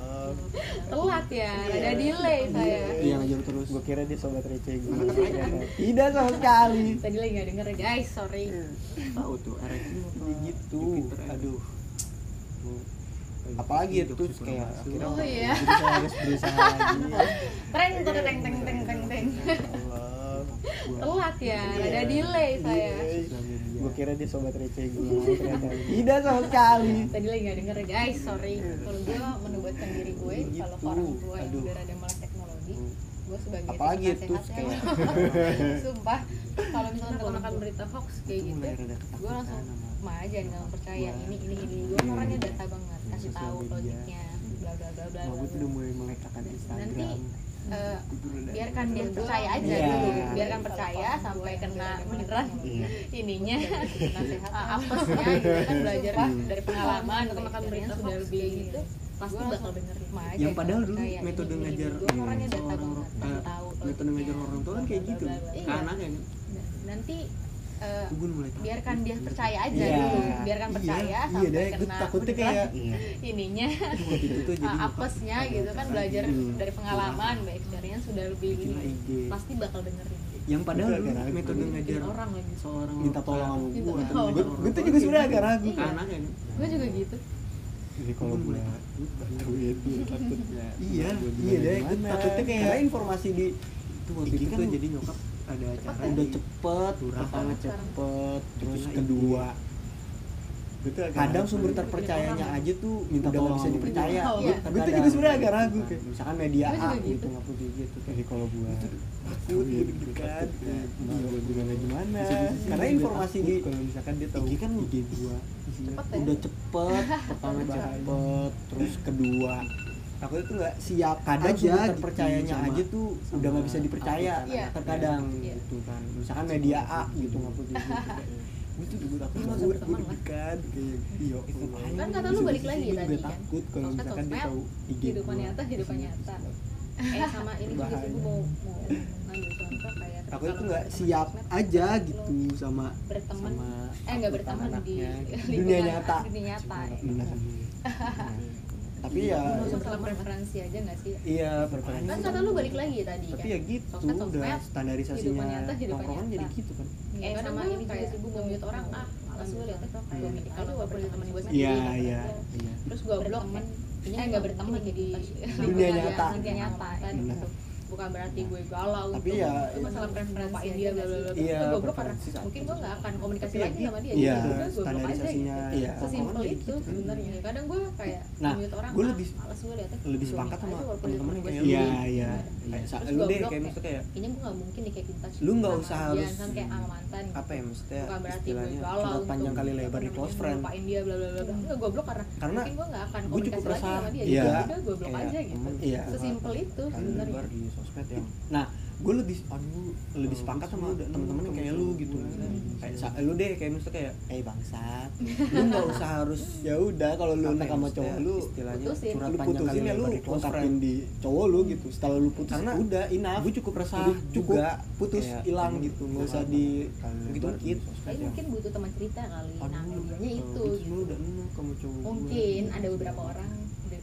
[SPEAKER 7] Telat ya, ada delay saya.
[SPEAKER 4] iya ngejar terus
[SPEAKER 8] Gue kira dia sobat receh gitu. Iya, gue.
[SPEAKER 4] tidak sama sekali
[SPEAKER 7] Tadi lagi nggak denger guys, sorry.
[SPEAKER 4] tahu tuh ereking apa
[SPEAKER 8] gitu.
[SPEAKER 4] Jupiter, aduh apalagi itu terus kayak akhirnya
[SPEAKER 7] Oh iya.
[SPEAKER 4] jadi saya harus berusaha lagi
[SPEAKER 8] Iya,
[SPEAKER 7] Tren tuh teng teng teng teng teng.
[SPEAKER 4] Allah
[SPEAKER 7] Telat ya, ada delay saya.
[SPEAKER 8] Gue kira dia sobat receh gitu. gue.
[SPEAKER 4] tidak sama sekali
[SPEAKER 7] Tadi lagi nggak denger guys, sorry.
[SPEAKER 6] ya, kalau gue menobatkan diri gue kalau
[SPEAKER 4] Iya. Gitu.
[SPEAKER 6] orang gue yang
[SPEAKER 4] Aduh. Hmm.
[SPEAKER 6] udah ada melek teknologi gue sebagai
[SPEAKER 4] apalagi
[SPEAKER 6] tim
[SPEAKER 4] itu
[SPEAKER 6] penasehat
[SPEAKER 4] kayak
[SPEAKER 6] ya, sumpah kalau misalnya
[SPEAKER 7] Ponakan
[SPEAKER 6] keponakan berita
[SPEAKER 7] berita hoax
[SPEAKER 4] itu
[SPEAKER 7] kayak gitu.
[SPEAKER 4] mulai rada ketakutan
[SPEAKER 6] gue langsung
[SPEAKER 4] kan sama
[SPEAKER 6] mah jangan nggak percaya
[SPEAKER 4] Wah.
[SPEAKER 6] ini ini ini gue
[SPEAKER 4] Iya,
[SPEAKER 6] orangnya
[SPEAKER 4] iya.
[SPEAKER 6] data banget
[SPEAKER 4] Iya,
[SPEAKER 6] kasih
[SPEAKER 4] sosial
[SPEAKER 6] tahu
[SPEAKER 4] media.
[SPEAKER 6] logiknya bla bla blah bla
[SPEAKER 4] Wah, gue tuh
[SPEAKER 6] bla
[SPEAKER 4] udah mulai melekatkan Instagram
[SPEAKER 6] nanti eh,
[SPEAKER 4] Gue tuh rada-
[SPEAKER 6] biarkan dia percaya aja
[SPEAKER 4] Iya.
[SPEAKER 6] gitu biarkan percaya sampai kena beneran ininya
[SPEAKER 7] Ah,
[SPEAKER 6] nasehat
[SPEAKER 7] apesnya gitu kan
[SPEAKER 4] Iya.
[SPEAKER 7] belajar
[SPEAKER 6] Sumpah.
[SPEAKER 7] dari pengalaman
[SPEAKER 6] Kalau
[SPEAKER 7] makan
[SPEAKER 6] misalnya
[SPEAKER 7] berita sudah
[SPEAKER 6] hoax
[SPEAKER 7] lebih
[SPEAKER 6] kayak
[SPEAKER 7] gitu
[SPEAKER 6] gitu,
[SPEAKER 7] Iya. pasti
[SPEAKER 6] gua
[SPEAKER 7] bakal
[SPEAKER 6] langsung
[SPEAKER 7] denger
[SPEAKER 6] mah aja
[SPEAKER 4] yang padahal dulu
[SPEAKER 6] kayak
[SPEAKER 4] metode
[SPEAKER 6] ini, ini,
[SPEAKER 4] ngajar
[SPEAKER 6] ini. Gua orangnya
[SPEAKER 4] eh,
[SPEAKER 6] data
[SPEAKER 4] orang
[SPEAKER 6] banget,
[SPEAKER 4] eh,
[SPEAKER 6] kasih tahu
[SPEAKER 7] Iya,
[SPEAKER 4] metode ngajar
[SPEAKER 6] logiknya,
[SPEAKER 4] orang tua kan kayak gitu
[SPEAKER 6] bla, bla, bla,
[SPEAKER 4] ke
[SPEAKER 6] bla.
[SPEAKER 4] anaknya kan
[SPEAKER 6] nanti eh,
[SPEAKER 4] Tuh, gue mulai takut.
[SPEAKER 6] biarkan dia
[SPEAKER 4] Iya.
[SPEAKER 6] percaya aja
[SPEAKER 4] Iya.
[SPEAKER 6] dulu biarkan
[SPEAKER 4] Iya,
[SPEAKER 6] percaya
[SPEAKER 4] iya
[SPEAKER 6] sampai
[SPEAKER 4] deh gue
[SPEAKER 6] kena
[SPEAKER 4] takutnya
[SPEAKER 6] beneran
[SPEAKER 4] kayak
[SPEAKER 6] ininya
[SPEAKER 4] aduh, waktu itu tuh Iya, jadi
[SPEAKER 6] nah, ah, apesnya gitu kan belajar
[SPEAKER 4] Hmm.
[SPEAKER 6] dari pengalaman by experience sudah lebih
[SPEAKER 4] bikin lah
[SPEAKER 6] ini
[SPEAKER 4] IG
[SPEAKER 7] pasti bakal dengerin.
[SPEAKER 4] yang padahal dulu
[SPEAKER 8] Gara-gara
[SPEAKER 4] metode ngajar
[SPEAKER 7] orang lagi.
[SPEAKER 4] seorang minta tolong sama
[SPEAKER 7] Minta
[SPEAKER 4] gue
[SPEAKER 7] tolong.
[SPEAKER 4] gue tuh juga sebenarnya agak ragu
[SPEAKER 7] Iya.
[SPEAKER 4] anaknya kan
[SPEAKER 7] Gue juga gitu.
[SPEAKER 8] Jadi kalau
[SPEAKER 4] Gua
[SPEAKER 8] gue
[SPEAKER 4] mulai
[SPEAKER 8] tahu ya tuh takutnya.
[SPEAKER 4] iya
[SPEAKER 8] Gua
[SPEAKER 4] iya deh
[SPEAKER 8] gimana-gimana.
[SPEAKER 4] gue takutnya kayak
[SPEAKER 8] Karena informasi di
[SPEAKER 4] itu waktu
[SPEAKER 8] IG
[SPEAKER 4] itu
[SPEAKER 8] kan
[SPEAKER 4] tuh jadi nyokap ada acara
[SPEAKER 8] udah
[SPEAKER 4] di-
[SPEAKER 8] cepet,
[SPEAKER 4] Curhat.
[SPEAKER 8] pertama cepet, terus
[SPEAKER 4] Itulah
[SPEAKER 8] kedua Gua tuh agak
[SPEAKER 4] kadang
[SPEAKER 8] ragu.
[SPEAKER 4] sumber terpercayanya aja tuh minta
[SPEAKER 8] Udah
[SPEAKER 4] tolong Iya.
[SPEAKER 8] nggak
[SPEAKER 4] bisa
[SPEAKER 8] bisa
[SPEAKER 4] dipercaya
[SPEAKER 7] dipercaya.
[SPEAKER 4] Gua-
[SPEAKER 7] Iya.
[SPEAKER 4] gua tuh juga sebenarnya agak ragu
[SPEAKER 8] Iya,
[SPEAKER 4] kayak misalkan media A
[SPEAKER 7] Gua juga gitu.
[SPEAKER 4] gitu nggak perlu gitu
[SPEAKER 8] jadi
[SPEAKER 4] kayak
[SPEAKER 8] kalau gue
[SPEAKER 4] takut
[SPEAKER 8] Iya,
[SPEAKER 4] gitu
[SPEAKER 8] gua
[SPEAKER 4] kan
[SPEAKER 8] takut, ya.
[SPEAKER 4] gue gimana gimana
[SPEAKER 8] Bisa di sisi
[SPEAKER 4] karena
[SPEAKER 8] gua
[SPEAKER 4] informasi
[SPEAKER 8] takut
[SPEAKER 4] di
[SPEAKER 8] kalau misalkan dia tahu
[SPEAKER 4] IG kan
[SPEAKER 8] IG gua isinya
[SPEAKER 7] Cepet ya.
[SPEAKER 4] udah cepet pertama
[SPEAKER 8] Bahaya.
[SPEAKER 4] cepet terus kedua takutnya tuh nggak siap kadang
[SPEAKER 8] Aja
[SPEAKER 4] sumber
[SPEAKER 8] gitu,
[SPEAKER 4] terpercayanya
[SPEAKER 8] sama-
[SPEAKER 4] aja tuh
[SPEAKER 8] sama
[SPEAKER 4] udah nggak bisa dipercaya
[SPEAKER 8] aplikasi.
[SPEAKER 7] Iya.
[SPEAKER 4] terkadang
[SPEAKER 7] Iya.
[SPEAKER 4] gitu kan misalkan media A gitu nggak perlu gitu
[SPEAKER 8] gue tuh juga takut
[SPEAKER 7] Lu
[SPEAKER 8] gue
[SPEAKER 7] langsung
[SPEAKER 8] gue
[SPEAKER 7] berteman lah.
[SPEAKER 8] deg-degan kayak iya
[SPEAKER 4] Itu
[SPEAKER 8] Allah.
[SPEAKER 4] kan
[SPEAKER 7] kata
[SPEAKER 8] Di
[SPEAKER 7] lu
[SPEAKER 8] satu
[SPEAKER 7] balik
[SPEAKER 8] sisi
[SPEAKER 7] lagi
[SPEAKER 8] gua
[SPEAKER 7] tadi
[SPEAKER 8] juga
[SPEAKER 7] kan.
[SPEAKER 8] takut kalau
[SPEAKER 7] Sosmed,
[SPEAKER 8] misalkan dia
[SPEAKER 7] sosmed,
[SPEAKER 8] tahu IG
[SPEAKER 7] Kehidupan
[SPEAKER 8] gua.
[SPEAKER 7] nyata, kehidupan
[SPEAKER 4] Iya.
[SPEAKER 7] nyata.
[SPEAKER 6] eh sama ini juga sih gue
[SPEAKER 8] Bahaya.
[SPEAKER 6] mau mau ngambil contoh kayak ketika
[SPEAKER 4] takutnya
[SPEAKER 6] lo
[SPEAKER 4] tuh nggak
[SPEAKER 6] berteman
[SPEAKER 4] siap
[SPEAKER 6] di sosmed,
[SPEAKER 4] aja gitu sama
[SPEAKER 6] berteman
[SPEAKER 4] sama
[SPEAKER 6] eh nggak berteman di
[SPEAKER 4] anaknya gitu. dunia
[SPEAKER 6] lingkungan-
[SPEAKER 4] nyata
[SPEAKER 6] dunia nyata ya.
[SPEAKER 4] Benar. Iya. tapi ya
[SPEAKER 7] Lu masalah preferensi aja nggak sih?
[SPEAKER 4] iya preferensi
[SPEAKER 6] Iya, kan kata lu balik lagi tadi
[SPEAKER 4] tapi
[SPEAKER 6] kan
[SPEAKER 4] ya gitu
[SPEAKER 6] Sosmed, sosmed,
[SPEAKER 4] udah standarisasinya
[SPEAKER 6] kehidupan nyata, kehidupan
[SPEAKER 4] nongkrongan
[SPEAKER 6] nyata.
[SPEAKER 4] jadi gitu kan
[SPEAKER 6] eh
[SPEAKER 7] Kadang
[SPEAKER 6] sama
[SPEAKER 7] gua
[SPEAKER 6] ini juga
[SPEAKER 7] kayak
[SPEAKER 6] sih gue nge-mute orang ah malas gue liatnya
[SPEAKER 7] Iya.
[SPEAKER 6] gue milih kalau gue punya teman gue sendiri gitu kan.
[SPEAKER 4] iya iya
[SPEAKER 6] nggak pernah gua.
[SPEAKER 4] iya
[SPEAKER 6] terus gue blok kan ini
[SPEAKER 7] Eh,
[SPEAKER 6] nggak berteman di
[SPEAKER 4] Dunia
[SPEAKER 6] lingkungan
[SPEAKER 4] nyata.
[SPEAKER 6] yang- dunia nyata kan
[SPEAKER 4] Benar.
[SPEAKER 6] gitu. bukan berarti gue galau
[SPEAKER 4] Tapi
[SPEAKER 6] gitu.
[SPEAKER 4] ya,
[SPEAKER 6] itu masalah preferensi
[SPEAKER 7] Iya,
[SPEAKER 6] dia bla bla bla
[SPEAKER 4] iya,
[SPEAKER 6] itu gue blok karena
[SPEAKER 4] preferensi satu.
[SPEAKER 6] mungkin gue nggak akan komunikasi
[SPEAKER 4] Tapi ya
[SPEAKER 6] lagi sama dia
[SPEAKER 4] Iya,
[SPEAKER 6] jadi udah gue blok aja
[SPEAKER 4] standarisasinya
[SPEAKER 6] gitu
[SPEAKER 4] iya.
[SPEAKER 6] sesimpel
[SPEAKER 4] Orang-orang jadi
[SPEAKER 6] itu
[SPEAKER 4] gitu kan.
[SPEAKER 6] sebenarnya kadang gue kayak
[SPEAKER 4] Nah,
[SPEAKER 6] mute orang
[SPEAKER 4] gue
[SPEAKER 6] ah,
[SPEAKER 4] lebih-
[SPEAKER 6] males gue liatnya
[SPEAKER 4] lebih
[SPEAKER 6] gue
[SPEAKER 4] sepakat
[SPEAKER 6] mute
[SPEAKER 4] sama
[SPEAKER 6] aja walaupun
[SPEAKER 4] teman-teman
[SPEAKER 6] temen
[SPEAKER 4] yang kayak
[SPEAKER 6] gue
[SPEAKER 4] lu
[SPEAKER 6] sendiri.
[SPEAKER 4] iya iya kayak
[SPEAKER 6] Terus
[SPEAKER 4] sa- lu
[SPEAKER 6] gua
[SPEAKER 4] deh
[SPEAKER 6] blok
[SPEAKER 4] kayak
[SPEAKER 6] kayak,
[SPEAKER 4] maksudnya kayak
[SPEAKER 6] ini gue nggak mungkin nih kayak kita
[SPEAKER 4] Lu nggak
[SPEAKER 6] sama
[SPEAKER 4] usah
[SPEAKER 6] dia,
[SPEAKER 4] harus-
[SPEAKER 6] kan kayak sama mantan gitu.
[SPEAKER 4] apa ya maksudnya
[SPEAKER 6] bukan berarti gue
[SPEAKER 4] istilahnya
[SPEAKER 6] galau
[SPEAKER 4] curhat
[SPEAKER 6] untuk
[SPEAKER 4] panjang kali
[SPEAKER 6] apa
[SPEAKER 4] lebar di
[SPEAKER 6] namanya,
[SPEAKER 4] close friend
[SPEAKER 6] ngelupain dia bla bla bla bla. Enggak, gue blok karena
[SPEAKER 4] Karena
[SPEAKER 6] mungkin gue nggak akan
[SPEAKER 4] gua
[SPEAKER 6] komunikasi
[SPEAKER 4] cukup
[SPEAKER 6] lagi
[SPEAKER 4] resah.
[SPEAKER 6] sama dia
[SPEAKER 4] Iya.
[SPEAKER 6] jadi udah gue blok
[SPEAKER 4] Kayak
[SPEAKER 6] aja gitu
[SPEAKER 4] temen, iya.
[SPEAKER 6] sesimpel itu
[SPEAKER 4] Kali
[SPEAKER 6] sebenarnya
[SPEAKER 4] lebar di Oh, sosmed yang nah gue lebih aduh lebih sepakat sama temen-temen yang kayak lu gitu kayak sa-
[SPEAKER 8] ah, lu deh kayak misalnya kayak eh bangsat lu nggak usah harus
[SPEAKER 4] ya udah kalau lu
[SPEAKER 8] Apa
[SPEAKER 4] enak
[SPEAKER 8] ya,
[SPEAKER 4] sama
[SPEAKER 8] maksudnya
[SPEAKER 4] cowok lu
[SPEAKER 8] istilahnya
[SPEAKER 6] putusin.
[SPEAKER 8] curhat
[SPEAKER 4] lu
[SPEAKER 8] panjang
[SPEAKER 4] putusin
[SPEAKER 8] kali
[SPEAKER 4] ya lu
[SPEAKER 8] lebar di close
[SPEAKER 4] ungkapin
[SPEAKER 8] friend.
[SPEAKER 4] di cowok lu gitu setelah lu putus
[SPEAKER 8] Karena
[SPEAKER 4] udah enough
[SPEAKER 8] gue cukup resah
[SPEAKER 4] Udah, cukup
[SPEAKER 8] juga
[SPEAKER 4] putus
[SPEAKER 8] Kayak,
[SPEAKER 4] hilang
[SPEAKER 8] aduh,
[SPEAKER 4] gitu nggak usah
[SPEAKER 8] malah
[SPEAKER 4] di
[SPEAKER 8] kali lebar
[SPEAKER 4] gitu
[SPEAKER 8] di
[SPEAKER 4] mungkin
[SPEAKER 8] sosmed
[SPEAKER 6] Tapi
[SPEAKER 8] yang-
[SPEAKER 6] mungkin butuh teman cerita kali nah
[SPEAKER 8] Aduh,
[SPEAKER 6] medianya itu
[SPEAKER 8] Itu
[SPEAKER 6] gitu.
[SPEAKER 8] semua udah enak kamu cowok gue.
[SPEAKER 6] mungkin ada beberapa orang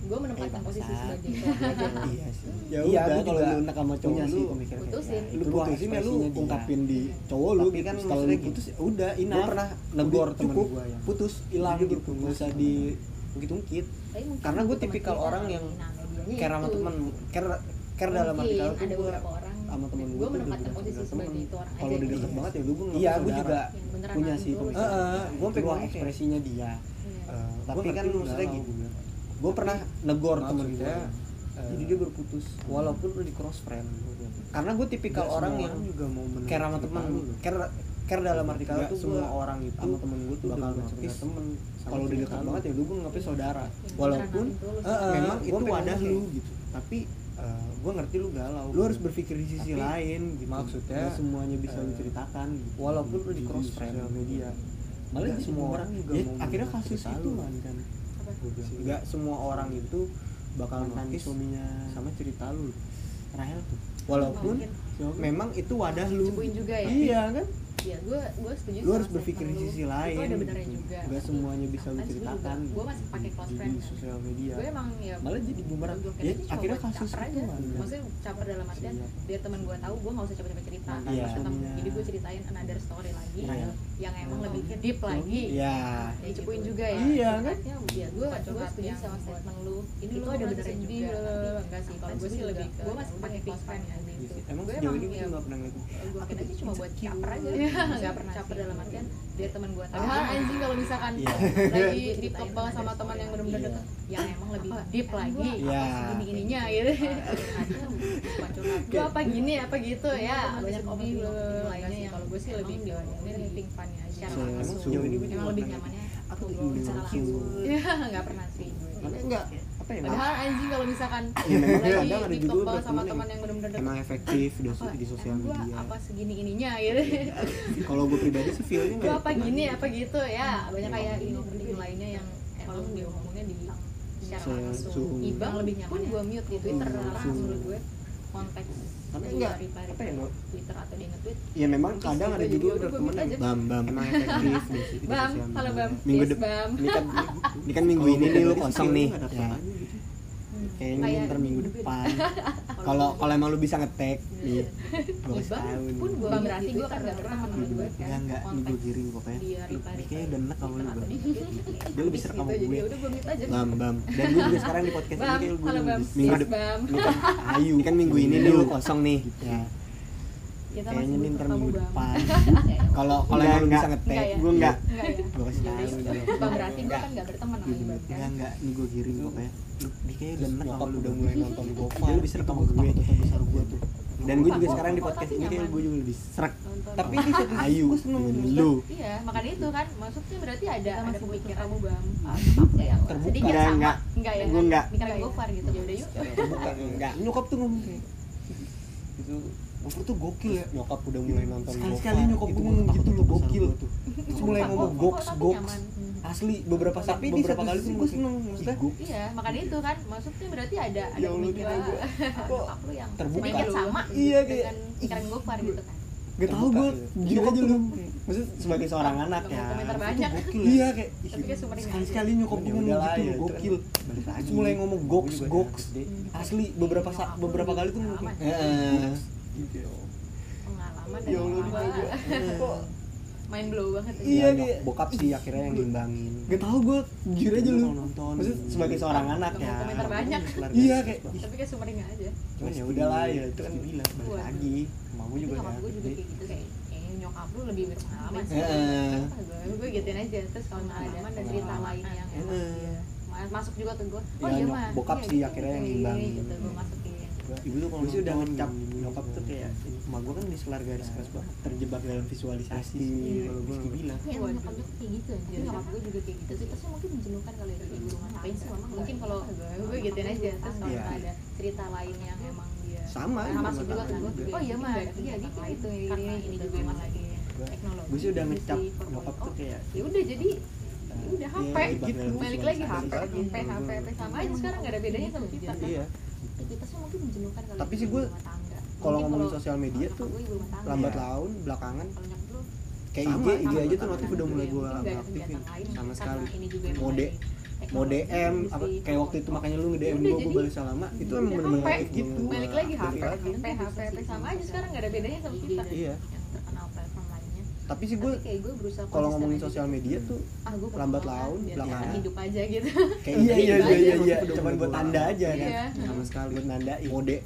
[SPEAKER 6] gue menempatkan
[SPEAKER 8] Eh,
[SPEAKER 6] posisi
[SPEAKER 8] bangsat.
[SPEAKER 6] sebagai cowok aja
[SPEAKER 8] Iya sih.
[SPEAKER 4] ya
[SPEAKER 8] Iya,
[SPEAKER 4] udah
[SPEAKER 8] gua
[SPEAKER 4] kalau
[SPEAKER 8] juga
[SPEAKER 4] lu enak sama cowok
[SPEAKER 8] punya
[SPEAKER 4] lu
[SPEAKER 8] sih pemikiran kayak
[SPEAKER 6] putusin.
[SPEAKER 4] lu
[SPEAKER 8] gitu. Itu doang
[SPEAKER 4] putusin ya lu
[SPEAKER 8] ekspresinya dia.
[SPEAKER 4] ungkapin di cowok lu
[SPEAKER 8] Tapi
[SPEAKER 4] gitu
[SPEAKER 8] kan
[SPEAKER 4] setelah lu
[SPEAKER 8] maksudnya
[SPEAKER 4] putus
[SPEAKER 8] gitu.
[SPEAKER 4] ya udah enough
[SPEAKER 8] Gua pernah negor
[SPEAKER 4] Udah,
[SPEAKER 8] temen
[SPEAKER 4] cukup
[SPEAKER 8] gua yang-
[SPEAKER 4] putus hilang
[SPEAKER 8] Jujur,
[SPEAKER 4] gitu
[SPEAKER 8] gua
[SPEAKER 4] nggak usah
[SPEAKER 8] pernah.
[SPEAKER 4] di
[SPEAKER 8] Ungkit ungkit.
[SPEAKER 6] Tapi mungkin
[SPEAKER 8] Karena gue
[SPEAKER 6] butuh teman
[SPEAKER 8] tipikal
[SPEAKER 6] cerita
[SPEAKER 8] orang
[SPEAKER 6] kali.
[SPEAKER 8] yang
[SPEAKER 6] Nah, medianya
[SPEAKER 8] care sama
[SPEAKER 6] itu.
[SPEAKER 8] temen.
[SPEAKER 4] care care dalam arti
[SPEAKER 6] Mungkin
[SPEAKER 4] kalau
[SPEAKER 6] ada
[SPEAKER 4] gua
[SPEAKER 6] beberapa orang
[SPEAKER 4] sama temen
[SPEAKER 6] gue
[SPEAKER 4] gua tuh
[SPEAKER 6] menempatkan
[SPEAKER 4] udah
[SPEAKER 6] posisi
[SPEAKER 8] bilang
[SPEAKER 6] sebagai
[SPEAKER 8] temen.
[SPEAKER 6] itu orang
[SPEAKER 8] Kalau
[SPEAKER 6] aja
[SPEAKER 8] udah
[SPEAKER 6] gitu.
[SPEAKER 8] deket
[SPEAKER 4] Iya.
[SPEAKER 8] banget ya lu gue
[SPEAKER 4] iya gue juga
[SPEAKER 6] yang beneran
[SPEAKER 4] punya
[SPEAKER 6] orang
[SPEAKER 4] sih
[SPEAKER 6] itu.
[SPEAKER 4] pemikiran
[SPEAKER 8] Heeh, gua
[SPEAKER 4] Itu
[SPEAKER 8] pegang
[SPEAKER 4] ekspresinya dia
[SPEAKER 6] Iya.
[SPEAKER 4] Eh,
[SPEAKER 8] Gua
[SPEAKER 4] tapi kan
[SPEAKER 8] ngerti lu
[SPEAKER 4] maksudnya
[SPEAKER 8] galau,
[SPEAKER 4] gini
[SPEAKER 8] gua bilang.
[SPEAKER 4] gue pernah negor temen gue
[SPEAKER 8] Maksudnya, eh,
[SPEAKER 4] jadi dia berputus
[SPEAKER 8] walaupun lu di cross friend gua bilang.
[SPEAKER 4] karena gue tipikal
[SPEAKER 8] Nggak
[SPEAKER 4] kan orang
[SPEAKER 8] semua
[SPEAKER 4] yang
[SPEAKER 8] juga mau mendengar
[SPEAKER 4] care sama
[SPEAKER 8] cerita
[SPEAKER 4] teman
[SPEAKER 8] lu.
[SPEAKER 4] care care dalam arti kata
[SPEAKER 8] Nggak
[SPEAKER 4] tuh
[SPEAKER 8] semua
[SPEAKER 4] gua
[SPEAKER 8] orang itu
[SPEAKER 4] sama temen gue tuh
[SPEAKER 8] bakal
[SPEAKER 4] bakal
[SPEAKER 8] cerita
[SPEAKER 4] notice
[SPEAKER 8] temen sama
[SPEAKER 4] kalau udah
[SPEAKER 8] cerita
[SPEAKER 4] dekat
[SPEAKER 8] lu. Nah,
[SPEAKER 4] banget ya lu gue ngapain saudara
[SPEAKER 6] Yang
[SPEAKER 4] walaupun
[SPEAKER 6] beneran orang itu
[SPEAKER 4] eh, eh,
[SPEAKER 6] lu
[SPEAKER 8] memang
[SPEAKER 4] gua
[SPEAKER 8] itu
[SPEAKER 4] pengen
[SPEAKER 8] wadah
[SPEAKER 4] kayak
[SPEAKER 8] lu
[SPEAKER 4] gitu.
[SPEAKER 8] gitu tapi gue ngerti lu galau
[SPEAKER 4] lu harus berpikir di sisi
[SPEAKER 8] Tapi,
[SPEAKER 4] lain gitu.
[SPEAKER 8] maksudnya,
[SPEAKER 4] Nggak semuanya bisa lu
[SPEAKER 8] eh,
[SPEAKER 4] ceritakan gitu.
[SPEAKER 8] walaupun lu di cross friend.
[SPEAKER 4] sosial media
[SPEAKER 8] malah
[SPEAKER 4] Nggak
[SPEAKER 8] semua orang juga gitu
[SPEAKER 4] ya,
[SPEAKER 8] mau
[SPEAKER 4] akhirnya
[SPEAKER 8] mendengar
[SPEAKER 4] kasus
[SPEAKER 8] cerita
[SPEAKER 4] itu
[SPEAKER 8] lu.
[SPEAKER 4] kan kan
[SPEAKER 6] Apa?
[SPEAKER 8] Gua bilang.
[SPEAKER 4] nggak semua orang itu bakal
[SPEAKER 8] Mantan
[SPEAKER 4] notice
[SPEAKER 8] suaminya.
[SPEAKER 4] sama cerita lu Rahel tuh walaupun
[SPEAKER 6] Mungkin.
[SPEAKER 4] memang itu wadah lu
[SPEAKER 6] Cukuin juga ya?
[SPEAKER 4] iya kan
[SPEAKER 6] Iya, gue gue setuju.
[SPEAKER 4] lu
[SPEAKER 6] sama
[SPEAKER 4] harus
[SPEAKER 6] statement
[SPEAKER 4] berpikir di
[SPEAKER 6] lu.
[SPEAKER 4] sisi
[SPEAKER 6] Itu
[SPEAKER 4] lain
[SPEAKER 6] ada
[SPEAKER 4] gitu.
[SPEAKER 6] benernya juga.
[SPEAKER 4] Nggak semuanya bisa lu
[SPEAKER 6] Apaan sih, gua
[SPEAKER 4] ceritakan
[SPEAKER 6] juga- gua masih pakai close
[SPEAKER 4] di-
[SPEAKER 6] friend
[SPEAKER 4] di
[SPEAKER 6] kan.
[SPEAKER 4] sosial media
[SPEAKER 6] Gue emang ya
[SPEAKER 4] malah jadi bumerang
[SPEAKER 6] joget
[SPEAKER 4] ya
[SPEAKER 6] aja cuma
[SPEAKER 4] akhirnya
[SPEAKER 6] buat
[SPEAKER 4] kasus
[SPEAKER 6] caper
[SPEAKER 4] itu
[SPEAKER 6] aja.
[SPEAKER 4] ada.
[SPEAKER 6] Maksudnya caper dalam artian
[SPEAKER 4] Iya.
[SPEAKER 6] biar teman gue tahu gue nggak usah capek-capek cerita.
[SPEAKER 4] Mantan
[SPEAKER 6] Iya.
[SPEAKER 4] suaminya.
[SPEAKER 6] Jadi gue ceritain another story lagi
[SPEAKER 4] Iya. Oh.
[SPEAKER 6] yang emang lebih deep lagi.
[SPEAKER 4] Iya.
[SPEAKER 6] Ya, dicukuin juga ya.
[SPEAKER 4] Iya, kan?
[SPEAKER 6] Iya, gue gue setuju sama statement lu. Ini lu ada benernya juga. Tapi enggak sih, kalau gue sih lebih ke gue masih pakai close friend
[SPEAKER 4] Iya
[SPEAKER 6] ya gitu.
[SPEAKER 8] emang
[SPEAKER 6] Gua
[SPEAKER 8] sejauh ini
[SPEAKER 6] emang
[SPEAKER 8] gue
[SPEAKER 6] ya
[SPEAKER 8] nggak pernah ngeliat
[SPEAKER 6] gue kan aja cuma buat caper
[SPEAKER 7] Iya,
[SPEAKER 6] aja nggak pernah caper dalam artian biar teman gue tahu
[SPEAKER 7] Padahal anjing kalau misalkan
[SPEAKER 4] Iya.
[SPEAKER 7] lagi di top banget sama teman yang benar-benar deket
[SPEAKER 6] Iya. yang emang lebih deep lagi
[SPEAKER 4] Iya.
[SPEAKER 6] gini gininya gitu
[SPEAKER 7] Iya.
[SPEAKER 6] gue apa gini apa gitu ya banyak
[SPEAKER 7] Banyak opini
[SPEAKER 6] opini
[SPEAKER 7] opini
[SPEAKER 6] lainnya
[SPEAKER 7] lainnya
[SPEAKER 6] yang kalau gue sih lebih ke meeting funnya aja
[SPEAKER 7] Iya.
[SPEAKER 4] Emang
[SPEAKER 6] langsung.
[SPEAKER 4] sejauh ini gue
[SPEAKER 6] emang
[SPEAKER 4] cuma
[SPEAKER 6] lebih
[SPEAKER 4] pernah
[SPEAKER 6] nyamannya
[SPEAKER 4] aku tuh
[SPEAKER 6] ngobrol
[SPEAKER 4] ingin
[SPEAKER 6] secara
[SPEAKER 4] langsung.
[SPEAKER 6] langsung
[SPEAKER 7] Iya,
[SPEAKER 6] ya nggak pernah sih
[SPEAKER 4] Makanya enggak apa ya
[SPEAKER 7] padahal anjing kalau misalkan
[SPEAKER 4] Ya, memang
[SPEAKER 7] lagi
[SPEAKER 4] kadang ada
[SPEAKER 7] di top
[SPEAKER 4] judul
[SPEAKER 7] banget
[SPEAKER 4] buat
[SPEAKER 7] sama
[SPEAKER 4] temen
[SPEAKER 7] teman
[SPEAKER 4] yang-
[SPEAKER 7] yang benar-benar deket
[SPEAKER 4] emang efektif di,
[SPEAKER 6] Apa,
[SPEAKER 4] di sosial
[SPEAKER 6] emang gua
[SPEAKER 4] media
[SPEAKER 6] apa segini ininya gitu
[SPEAKER 4] kalau gue pribadi sih feelnya
[SPEAKER 6] gue
[SPEAKER 4] nggak
[SPEAKER 6] apa gini apa gitu ya banyak kayak ini penting lainnya yang eh, emang diomongnya di secara
[SPEAKER 4] Se-
[SPEAKER 6] langsung
[SPEAKER 4] suhu.
[SPEAKER 6] ibang lebih nyaman gue mute di twitter karena
[SPEAKER 4] Suhu.
[SPEAKER 6] menurut gue konteks
[SPEAKER 4] Tapi
[SPEAKER 6] di
[SPEAKER 4] enggak,
[SPEAKER 6] reply-
[SPEAKER 4] apa ya, Ngo?
[SPEAKER 6] twitter atau di nge-tweet
[SPEAKER 4] ya memang kadang ada
[SPEAKER 6] Jadi
[SPEAKER 4] juga
[SPEAKER 6] yaudah,
[SPEAKER 4] udah
[SPEAKER 6] gua
[SPEAKER 4] temen
[SPEAKER 6] mute
[SPEAKER 4] yang
[SPEAKER 6] aja.
[SPEAKER 4] bam bam emang efektif di, di
[SPEAKER 6] Bam,
[SPEAKER 4] sosial media
[SPEAKER 6] halo, Bam.
[SPEAKER 4] minggu
[SPEAKER 6] Yes,
[SPEAKER 4] depan
[SPEAKER 6] Bam.
[SPEAKER 4] ini kan ini kan minggu ini nih lu kosong nih ya. kayaknya
[SPEAKER 6] Kayak
[SPEAKER 4] ntar minggu depan kalau kalau emang lu bisa ngetek nih dua belas
[SPEAKER 6] ibang
[SPEAKER 4] tahun
[SPEAKER 6] pun gue
[SPEAKER 4] Ini-
[SPEAKER 6] berarti gue kan nggak pernah menurut gue
[SPEAKER 4] Ya enggak, ini gue giring pokoknya
[SPEAKER 6] Dia reply-
[SPEAKER 4] Ini kayaknya udah enak sama lu Bang Dia lebih serak sama
[SPEAKER 6] gitu, jadi ya
[SPEAKER 4] gue
[SPEAKER 6] udah gue mute aja
[SPEAKER 4] Bam, bam Dan gue juga sekarang di podcast ini
[SPEAKER 6] Bam,
[SPEAKER 4] kayak gue
[SPEAKER 6] halo,
[SPEAKER 4] udah
[SPEAKER 6] Bam.
[SPEAKER 4] Minggu
[SPEAKER 6] Yes,
[SPEAKER 4] depan
[SPEAKER 6] Bam.
[SPEAKER 4] Ayu, kan minggu ini nih lu kosong nih ya.
[SPEAKER 6] Kita masih
[SPEAKER 4] Kayaknya nih
[SPEAKER 6] butuh
[SPEAKER 4] ntar
[SPEAKER 6] kamu,
[SPEAKER 4] minggu
[SPEAKER 6] Bam.
[SPEAKER 4] depan
[SPEAKER 6] Ya,
[SPEAKER 4] Kalau kalau
[SPEAKER 8] Enggak,
[SPEAKER 4] emang lu bisa
[SPEAKER 8] enggak.
[SPEAKER 4] ngetek,
[SPEAKER 6] Enggak ya?
[SPEAKER 4] gue enggak
[SPEAKER 6] enggak ya
[SPEAKER 4] Gue kasih
[SPEAKER 6] Yaudah,
[SPEAKER 4] tau
[SPEAKER 6] itu.
[SPEAKER 4] nih.
[SPEAKER 6] Bukan berarti gue kan nggak berteman sama
[SPEAKER 4] Gue
[SPEAKER 6] Ibang
[SPEAKER 4] bilang,
[SPEAKER 6] kan
[SPEAKER 4] Ya Iya. enggak, ini gue giring pokoknya Lu, Dia kayaknya udah enak sama lu Iya,
[SPEAKER 8] Nyokap udah
[SPEAKER 4] udah
[SPEAKER 8] mulai nonton
[SPEAKER 4] Dia
[SPEAKER 8] Gopar
[SPEAKER 4] lebih serak sama gue
[SPEAKER 8] besar gue tuh
[SPEAKER 4] Dan gue juga
[SPEAKER 6] Gopar,
[SPEAKER 4] sekarang di
[SPEAKER 6] Gopar
[SPEAKER 4] podcast
[SPEAKER 6] tapi
[SPEAKER 4] ini kayaknya
[SPEAKER 6] nyaman.
[SPEAKER 4] gue juga lebih serak
[SPEAKER 6] Nonton.
[SPEAKER 8] tapi di satu sisi
[SPEAKER 4] Ayu,
[SPEAKER 8] gue seneng
[SPEAKER 4] dengan
[SPEAKER 8] juga.
[SPEAKER 4] lu
[SPEAKER 6] iya makanya itu kan maksudnya berarti ada
[SPEAKER 7] Kita
[SPEAKER 6] ada
[SPEAKER 7] masih butuh
[SPEAKER 6] pemikiran
[SPEAKER 7] kamu, Bang.
[SPEAKER 6] apa ya
[SPEAKER 8] Terbuka.
[SPEAKER 6] sedikit
[SPEAKER 4] Enggak,
[SPEAKER 6] sama
[SPEAKER 4] enggak.
[SPEAKER 6] enggak ya
[SPEAKER 4] Gua enggak.
[SPEAKER 6] pikiran gue far gitu ya udah yuk
[SPEAKER 4] Bukan, enggak
[SPEAKER 8] nyokap tuh ngomong kayak itu Gopar tuh gokil ya
[SPEAKER 4] Nyokap udah mulai nonton
[SPEAKER 8] Sekali-sekali
[SPEAKER 4] Gopar.
[SPEAKER 8] nyokap
[SPEAKER 4] Itu
[SPEAKER 8] gue
[SPEAKER 4] gua
[SPEAKER 8] ngomong
[SPEAKER 4] takut
[SPEAKER 8] gitu
[SPEAKER 4] sama
[SPEAKER 8] loh
[SPEAKER 4] besar
[SPEAKER 8] gokil
[SPEAKER 4] gua tuh.
[SPEAKER 8] Terus mulai
[SPEAKER 6] Sumpah,
[SPEAKER 8] ngomong
[SPEAKER 6] gua-
[SPEAKER 8] box,
[SPEAKER 6] gua- gua
[SPEAKER 8] box
[SPEAKER 6] nyaman.
[SPEAKER 8] Asli, beberapa saat,
[SPEAKER 4] Tapi di
[SPEAKER 8] beberapa
[SPEAKER 4] satu
[SPEAKER 8] kali
[SPEAKER 4] sisi
[SPEAKER 8] tuh
[SPEAKER 4] gua
[SPEAKER 8] gue seneng Maksudnya
[SPEAKER 4] Ih, gua-
[SPEAKER 6] iya makanya itu kan maksudnya berarti ada ada
[SPEAKER 8] Ya Allah,
[SPEAKER 6] pemikiran
[SPEAKER 8] gila gua. Kok
[SPEAKER 6] nyokap lu yang
[SPEAKER 8] terbuka
[SPEAKER 6] sedikit
[SPEAKER 8] lu?
[SPEAKER 6] sama gitu
[SPEAKER 8] Iya, kayak-
[SPEAKER 6] dengan pikiran gue far gitu kan
[SPEAKER 4] Gak tau gue, gini
[SPEAKER 8] Nyokap
[SPEAKER 4] aja
[SPEAKER 8] tuh
[SPEAKER 4] lu
[SPEAKER 8] ngomong kayak,
[SPEAKER 4] Maksudnya sebagai seorang anak
[SPEAKER 6] Nggak
[SPEAKER 4] ya
[SPEAKER 6] mau komentar banyak
[SPEAKER 8] gokil ya
[SPEAKER 4] Iya kayak ih,
[SPEAKER 6] tapi kan kayak sumber ini
[SPEAKER 8] Sekali-sekali nyokap gue
[SPEAKER 4] Ya
[SPEAKER 8] ngomong
[SPEAKER 4] udahlah,
[SPEAKER 8] gitu
[SPEAKER 4] ya
[SPEAKER 8] loh
[SPEAKER 4] itu
[SPEAKER 8] gokil
[SPEAKER 4] kan balik lagi.
[SPEAKER 8] Terus mulai ngomong
[SPEAKER 4] Gua
[SPEAKER 8] goks,
[SPEAKER 4] juga
[SPEAKER 8] goks
[SPEAKER 4] udah gede.
[SPEAKER 8] Asli, beberapa saat,
[SPEAKER 6] Nyokap lu
[SPEAKER 8] beberapa kali tuh ngomong
[SPEAKER 6] pengalaman.
[SPEAKER 8] kayak
[SPEAKER 4] Heeh.
[SPEAKER 8] gitu
[SPEAKER 6] pengalaman dan
[SPEAKER 8] Ya Allah,
[SPEAKER 6] apa
[SPEAKER 8] ini juga. Kok
[SPEAKER 6] main blow banget ya.
[SPEAKER 8] Iya,
[SPEAKER 4] Ya,
[SPEAKER 8] kayak-
[SPEAKER 4] nyok- bokap sih akhirnya yang nimbangin
[SPEAKER 8] Gak tau gue, jujur aja lu
[SPEAKER 4] Kalau nonton.
[SPEAKER 8] Maksudnya sebagai seorang anak
[SPEAKER 6] Nggak
[SPEAKER 8] ya
[SPEAKER 6] mau komentar banyak
[SPEAKER 8] Iya kayak ih,
[SPEAKER 6] tapi kayak sumber ini aja
[SPEAKER 8] Cuman ya udahlah ya itu kan
[SPEAKER 4] bilang balik
[SPEAKER 6] Waduh.
[SPEAKER 4] lagi mau
[SPEAKER 6] tapi
[SPEAKER 4] juga ya,
[SPEAKER 6] nyokap
[SPEAKER 4] udah
[SPEAKER 6] gue juga
[SPEAKER 4] gede.
[SPEAKER 6] kayak gitu kayak kayaknya nyokap lu lebih berpengalaman sih
[SPEAKER 4] Heeh.
[SPEAKER 6] gue gue gituin aja terus kalau misalnya ada ada cerita lain yang emang
[SPEAKER 4] Heeh.
[SPEAKER 6] dia ma- masuk juga ke gue oh
[SPEAKER 8] Ya,
[SPEAKER 6] iya
[SPEAKER 8] nyok-
[SPEAKER 6] mah
[SPEAKER 8] bokap
[SPEAKER 6] iya
[SPEAKER 8] sih
[SPEAKER 6] gitu,
[SPEAKER 8] akhirnya yang
[SPEAKER 6] kayak
[SPEAKER 8] ngimbangin.
[SPEAKER 6] gitu gue masukin
[SPEAKER 4] ibu tuh kalau
[SPEAKER 8] Gue sih udah
[SPEAKER 4] nonton, eh,
[SPEAKER 8] ngecap
[SPEAKER 4] gini, gini,
[SPEAKER 8] nyokap
[SPEAKER 4] gini.
[SPEAKER 8] tuh kayak emak gue kan di selar
[SPEAKER 6] Nah.
[SPEAKER 8] garis keras banget
[SPEAKER 4] terjebak dalam visualisasi
[SPEAKER 8] Pasti,
[SPEAKER 4] sih,
[SPEAKER 8] kalau
[SPEAKER 4] kalau
[SPEAKER 8] gua
[SPEAKER 4] gue bilang
[SPEAKER 6] Kayak
[SPEAKER 7] Waduh.
[SPEAKER 6] Iya, nyokap nyokap kayak gitu anjir nyokap gue juga kayak gitu sih terusnya mungkin menjenuhkan kali ya di rumah ngapain sih mama mungkin kalau gue gituin aja terus kalau
[SPEAKER 4] Iya.
[SPEAKER 6] misalnya ada cerita lain yang emang dia
[SPEAKER 4] sama kan.
[SPEAKER 6] Nah,
[SPEAKER 4] ibu
[SPEAKER 6] masuk
[SPEAKER 4] nggak
[SPEAKER 6] juga ke
[SPEAKER 4] tahu
[SPEAKER 6] gue oh iya mah iya gitu gitu ini ini juga emang lagi
[SPEAKER 4] gua
[SPEAKER 6] teknologi
[SPEAKER 4] gua sih udah
[SPEAKER 6] industri
[SPEAKER 4] ngecap
[SPEAKER 6] 4.0.
[SPEAKER 4] nyokap tuh kayak eh,
[SPEAKER 6] ya udah jadi ya udah
[SPEAKER 4] Iya,
[SPEAKER 6] HP
[SPEAKER 4] gitu.
[SPEAKER 6] balik lagi HP HP HP HP sama aja sekarang nggak ada bedanya sama kita kan
[SPEAKER 4] iya
[SPEAKER 9] kita sih mungkin menjenuhkan kalau
[SPEAKER 4] Tapi
[SPEAKER 9] hidup
[SPEAKER 4] sih
[SPEAKER 9] di
[SPEAKER 4] gua
[SPEAKER 9] rumah tangga.
[SPEAKER 4] kalau
[SPEAKER 9] Mungkin
[SPEAKER 4] ngomongin sosial media
[SPEAKER 9] nyokap
[SPEAKER 4] tuh
[SPEAKER 9] gua ibu rumah tangga.
[SPEAKER 4] lambat
[SPEAKER 10] Iya.
[SPEAKER 4] laun belakangan
[SPEAKER 9] Kalau nyokap lu
[SPEAKER 4] kayak
[SPEAKER 9] Sama,
[SPEAKER 4] IG IG
[SPEAKER 9] sama
[SPEAKER 4] Iya aja tuh
[SPEAKER 9] gua
[SPEAKER 4] notif
[SPEAKER 9] tahu.
[SPEAKER 4] udah mulai
[SPEAKER 6] gitu,
[SPEAKER 4] gua
[SPEAKER 9] Mungkin nggak ada
[SPEAKER 4] aktifin
[SPEAKER 9] kegiatan lain
[SPEAKER 4] sama
[SPEAKER 9] karena
[SPEAKER 4] sekali
[SPEAKER 9] ini juga yang
[SPEAKER 4] mode
[SPEAKER 9] mulai teknologi,
[SPEAKER 4] mau DM apa
[SPEAKER 9] industri,
[SPEAKER 4] kayak waktu itu makanya lu nge DM gua
[SPEAKER 6] Udah,
[SPEAKER 4] gua
[SPEAKER 6] Nah, Iya, jadi-
[SPEAKER 4] balas lama itu emang
[SPEAKER 6] udah
[SPEAKER 4] bener-bener
[SPEAKER 6] sampai.
[SPEAKER 4] aktif gitu
[SPEAKER 6] balik lagi HP
[SPEAKER 4] Balik lagi.
[SPEAKER 6] HP HP HP sama aja sekarang nggak ada bedanya sama kita
[SPEAKER 4] iya
[SPEAKER 9] yang terkenal platform lainnya
[SPEAKER 4] tapi sih
[SPEAKER 9] tapi
[SPEAKER 4] gua
[SPEAKER 9] kayak gue berusaha
[SPEAKER 4] kalau
[SPEAKER 9] konsisten
[SPEAKER 4] ngomongin
[SPEAKER 9] aja.
[SPEAKER 4] sosial media tuh
[SPEAKER 6] ah gua pengen
[SPEAKER 4] lambat
[SPEAKER 6] makan,
[SPEAKER 4] laun
[SPEAKER 6] biar
[SPEAKER 4] belakangan.
[SPEAKER 6] hidup aja gitu
[SPEAKER 4] kayak
[SPEAKER 8] Iya,
[SPEAKER 4] IG
[SPEAKER 8] iya,
[SPEAKER 4] aja
[SPEAKER 8] iya,
[SPEAKER 4] notif
[SPEAKER 8] iya.
[SPEAKER 4] udah cuman buat tanda aja kan
[SPEAKER 6] Iya.
[SPEAKER 4] sama sekali buat nandain mode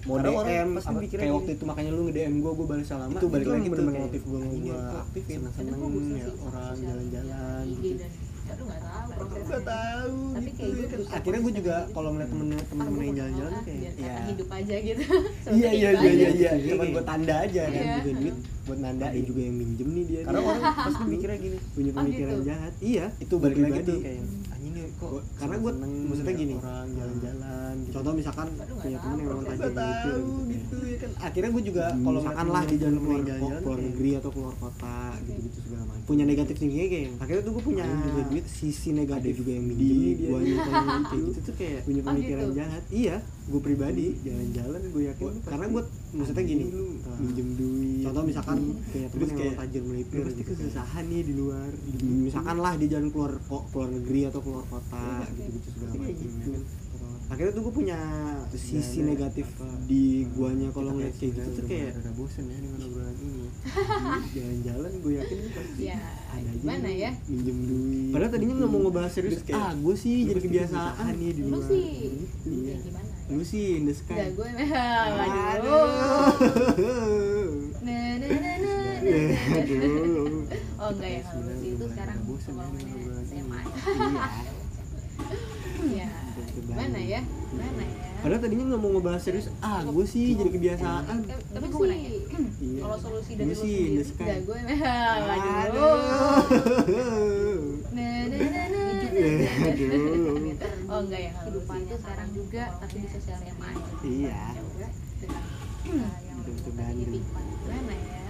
[SPEAKER 4] mode
[SPEAKER 8] Karena orang
[SPEAKER 4] DM
[SPEAKER 8] pasti
[SPEAKER 4] apa-
[SPEAKER 8] mikirnya
[SPEAKER 4] kayak
[SPEAKER 8] gini.
[SPEAKER 4] waktu itu makanya lu nge DM gua gua balas lama
[SPEAKER 8] Itu balik lagi tuh,
[SPEAKER 4] bener-bener
[SPEAKER 8] kayak
[SPEAKER 4] notif gua
[SPEAKER 8] ini
[SPEAKER 4] gua
[SPEAKER 8] aku aktifin.
[SPEAKER 4] seneng-seneng
[SPEAKER 6] Kadang gua bosan
[SPEAKER 4] ya
[SPEAKER 6] sih sama
[SPEAKER 4] orang
[SPEAKER 6] sosial media,
[SPEAKER 4] jalan-jalan
[SPEAKER 8] Iya,
[SPEAKER 6] IG
[SPEAKER 4] gitu
[SPEAKER 6] dan aduh nggak tahu Ah,
[SPEAKER 4] Gak
[SPEAKER 6] prosesnya
[SPEAKER 4] tahu
[SPEAKER 6] Tapi
[SPEAKER 4] gitu
[SPEAKER 6] kayak
[SPEAKER 4] ya
[SPEAKER 6] gitu
[SPEAKER 4] kan.
[SPEAKER 6] sih.
[SPEAKER 4] Akhirnya gue juga kalau ngeliat temen temen temen yang jalan-jalan tuh kayak
[SPEAKER 6] ya
[SPEAKER 4] ya
[SPEAKER 6] hidup aja gitu
[SPEAKER 4] Iya iya
[SPEAKER 6] Seperti itu
[SPEAKER 4] iya
[SPEAKER 6] aja.
[SPEAKER 4] iya iya Cuman buat tanda aja kan
[SPEAKER 6] Iya.
[SPEAKER 4] Bukan duit buat nanda
[SPEAKER 8] ada juga yang minjem nih dia
[SPEAKER 4] Karena
[SPEAKER 8] nih.
[SPEAKER 4] orang pasti mikirnya gini
[SPEAKER 8] punya
[SPEAKER 6] Oh,
[SPEAKER 8] pemikiran
[SPEAKER 6] gitu.
[SPEAKER 8] jahat
[SPEAKER 4] Iya itu balik
[SPEAKER 8] Gua
[SPEAKER 4] lagi tuh
[SPEAKER 8] pribadi.
[SPEAKER 4] kayak anjing nih kok
[SPEAKER 8] Gua- karena gue
[SPEAKER 4] seneng maksudnya gini
[SPEAKER 8] orang jalan-jalan gitu. contoh misalkan
[SPEAKER 6] Aduh, nggak
[SPEAKER 8] punya temen
[SPEAKER 6] tahu
[SPEAKER 8] yang orang
[SPEAKER 6] prosesnya.
[SPEAKER 4] Gak
[SPEAKER 8] tajam gitu,
[SPEAKER 4] tahu gitu ya kan Akhirnya gue juga
[SPEAKER 8] Hmm,
[SPEAKER 4] kalau
[SPEAKER 8] misalkan
[SPEAKER 4] misalkan lah
[SPEAKER 8] di jalan
[SPEAKER 4] temen
[SPEAKER 8] keluar,
[SPEAKER 4] yang
[SPEAKER 8] jalan,
[SPEAKER 4] jalan-jalan
[SPEAKER 8] keluar
[SPEAKER 4] kayak-
[SPEAKER 8] negeri atau keluar kota
[SPEAKER 4] gitu
[SPEAKER 8] gitu-gitu segala macam
[SPEAKER 4] punya negatif tingginya kayak ah, eh, akhirnya tuh gue punya
[SPEAKER 8] Ada juga duit,
[SPEAKER 4] sisi
[SPEAKER 8] ada
[SPEAKER 4] negatif
[SPEAKER 8] juga yang
[SPEAKER 4] iya. di
[SPEAKER 8] minjem nih,
[SPEAKER 4] Iya, dia
[SPEAKER 8] gua nyimpen duit kayak
[SPEAKER 4] itu
[SPEAKER 8] gitu
[SPEAKER 4] tuh kayak
[SPEAKER 8] punya
[SPEAKER 6] Oh,
[SPEAKER 8] pemikiran
[SPEAKER 6] gitu.
[SPEAKER 8] jahat
[SPEAKER 4] iya gue pribadi
[SPEAKER 8] jalan-jalan gue yakin
[SPEAKER 4] Gua-
[SPEAKER 8] lu
[SPEAKER 4] karena
[SPEAKER 8] pasti
[SPEAKER 4] gue maksudnya gini
[SPEAKER 8] anjing lu
[SPEAKER 4] nah,
[SPEAKER 8] minjem duit
[SPEAKER 4] contoh misalkan
[SPEAKER 8] punya
[SPEAKER 4] Hmm.
[SPEAKER 8] temen
[SPEAKER 4] terus
[SPEAKER 8] yang
[SPEAKER 4] kayak
[SPEAKER 8] orang tajam
[SPEAKER 4] lu
[SPEAKER 8] melipir
[SPEAKER 4] pasti
[SPEAKER 8] gitu kan.
[SPEAKER 4] kesusahan nih di luar
[SPEAKER 8] Gitu.
[SPEAKER 4] Hmm, misalkan lah dia jalan keluar kok keluar negeri atau keluar kota gitu-gitu segala
[SPEAKER 8] Kayak
[SPEAKER 4] macam
[SPEAKER 8] gitu.
[SPEAKER 4] akhirnya tuh gue punya sisi
[SPEAKER 8] ada
[SPEAKER 4] negatif
[SPEAKER 8] apa-
[SPEAKER 4] di guanya kalau ngeliat kayak gitu
[SPEAKER 8] sebenarnya
[SPEAKER 4] tuh
[SPEAKER 8] udah
[SPEAKER 4] kayak
[SPEAKER 8] mulai rada bosen ya dengan obrolan ini
[SPEAKER 4] jalan-jalan gue yakin
[SPEAKER 6] ya
[SPEAKER 8] ada aja
[SPEAKER 6] gimana
[SPEAKER 8] nih,
[SPEAKER 6] ya
[SPEAKER 8] minjem duit
[SPEAKER 4] padahal tadinya nggak mau ngebahas serius
[SPEAKER 8] Terus kayak,
[SPEAKER 4] ah gue sih
[SPEAKER 8] Lu
[SPEAKER 4] jadi
[SPEAKER 8] pasti
[SPEAKER 4] kebiasaan
[SPEAKER 8] kesusahan nih di
[SPEAKER 6] lu
[SPEAKER 8] luar
[SPEAKER 6] sih
[SPEAKER 8] Iya.
[SPEAKER 6] ya gimana ya
[SPEAKER 4] lu sih in the
[SPEAKER 6] Udah
[SPEAKER 4] sky
[SPEAKER 6] gue Waduh. Nah, nah, nah, nah, nah.
[SPEAKER 4] Iya, Aduh.
[SPEAKER 6] Oh enggak ya kalau sih itu sekarang
[SPEAKER 4] bosan ya dengan
[SPEAKER 6] pembangunannya
[SPEAKER 4] obrolan
[SPEAKER 6] SMA.
[SPEAKER 4] ini. Iya.
[SPEAKER 6] Ya. Gimana ya? Gimana ya?
[SPEAKER 4] Padahal tadinya nggak mau ngebahas serius. Ah, gue sih jadi kebiasaan.
[SPEAKER 6] Eh, Tapi
[SPEAKER 9] Gua
[SPEAKER 6] gue
[SPEAKER 9] nanya.
[SPEAKER 6] sih
[SPEAKER 4] Iya.
[SPEAKER 6] kalau solusi dari
[SPEAKER 4] Gua
[SPEAKER 6] lu
[SPEAKER 4] sih in
[SPEAKER 6] sendiri
[SPEAKER 4] the sky.
[SPEAKER 6] Udah gue Waduh.
[SPEAKER 4] Aduh.
[SPEAKER 6] Nah, nah, nah, nah, nah.
[SPEAKER 4] Gitu Aduh.
[SPEAKER 6] Oh enggak ya kalau sih itu
[SPEAKER 9] Kehidupannya
[SPEAKER 6] sekarang
[SPEAKER 9] sekarang
[SPEAKER 6] juga tapi di sosial
[SPEAKER 9] SMA
[SPEAKER 6] media.
[SPEAKER 9] aja.
[SPEAKER 4] Iya.
[SPEAKER 9] Dengan, eh, yang
[SPEAKER 4] Hidup
[SPEAKER 9] lebih
[SPEAKER 4] ke
[SPEAKER 9] tadi
[SPEAKER 4] Bandung.
[SPEAKER 9] kehidupan.
[SPEAKER 6] Hmm. Gimana ya?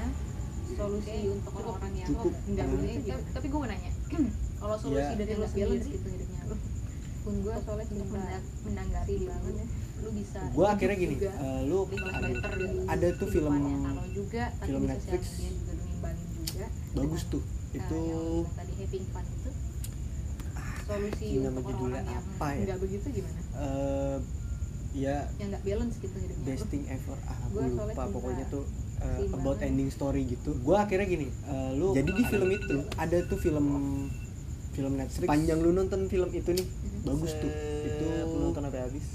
[SPEAKER 6] Solusi untuk orang yang Hmm.
[SPEAKER 4] Cukup.
[SPEAKER 6] enggak punya tapi- tapi gue mau nanya. Kalau solusi
[SPEAKER 4] Iya.
[SPEAKER 6] dari lu
[SPEAKER 9] Enak
[SPEAKER 6] sendiri
[SPEAKER 9] balance gitu hidupnya lu.
[SPEAKER 6] pun gue soalnya
[SPEAKER 9] Untuk
[SPEAKER 6] cuma
[SPEAKER 9] menda-
[SPEAKER 6] menanggapi
[SPEAKER 9] seimbang.
[SPEAKER 6] banget ya lu bisa
[SPEAKER 4] Gue akhirnya gini.
[SPEAKER 6] juga
[SPEAKER 4] eh, Lu
[SPEAKER 6] lebih much
[SPEAKER 4] aduh,
[SPEAKER 6] better di
[SPEAKER 4] ada tuh film
[SPEAKER 6] kehidupannya. kalau juga tapi
[SPEAKER 4] film
[SPEAKER 6] di sosial
[SPEAKER 4] Netflix.
[SPEAKER 6] media juga lu ngimbangin juga
[SPEAKER 4] bagus tuh.
[SPEAKER 6] Nah,
[SPEAKER 4] Itu
[SPEAKER 6] yang lu tadi having fun itu solusi
[SPEAKER 4] ini nama
[SPEAKER 6] untuk
[SPEAKER 4] judulnya
[SPEAKER 6] orang-orang yang
[SPEAKER 4] apa ya?
[SPEAKER 6] nggak begitu gimana
[SPEAKER 4] eh, ya
[SPEAKER 6] yang nggak balance gitu hidupnya
[SPEAKER 4] best thing ever ah gue
[SPEAKER 6] Gua soalnya
[SPEAKER 4] lupa
[SPEAKER 6] cinta-
[SPEAKER 4] pokoknya tuh uh,
[SPEAKER 6] cinta
[SPEAKER 4] about
[SPEAKER 6] banget.
[SPEAKER 4] ending story gitu gue akhirnya gini uh, lu jadi di film itu ada tuh film film Netflix panjang lu nonton film itu nih
[SPEAKER 6] Mhm.
[SPEAKER 4] bagus tuh itu nonton sampai habis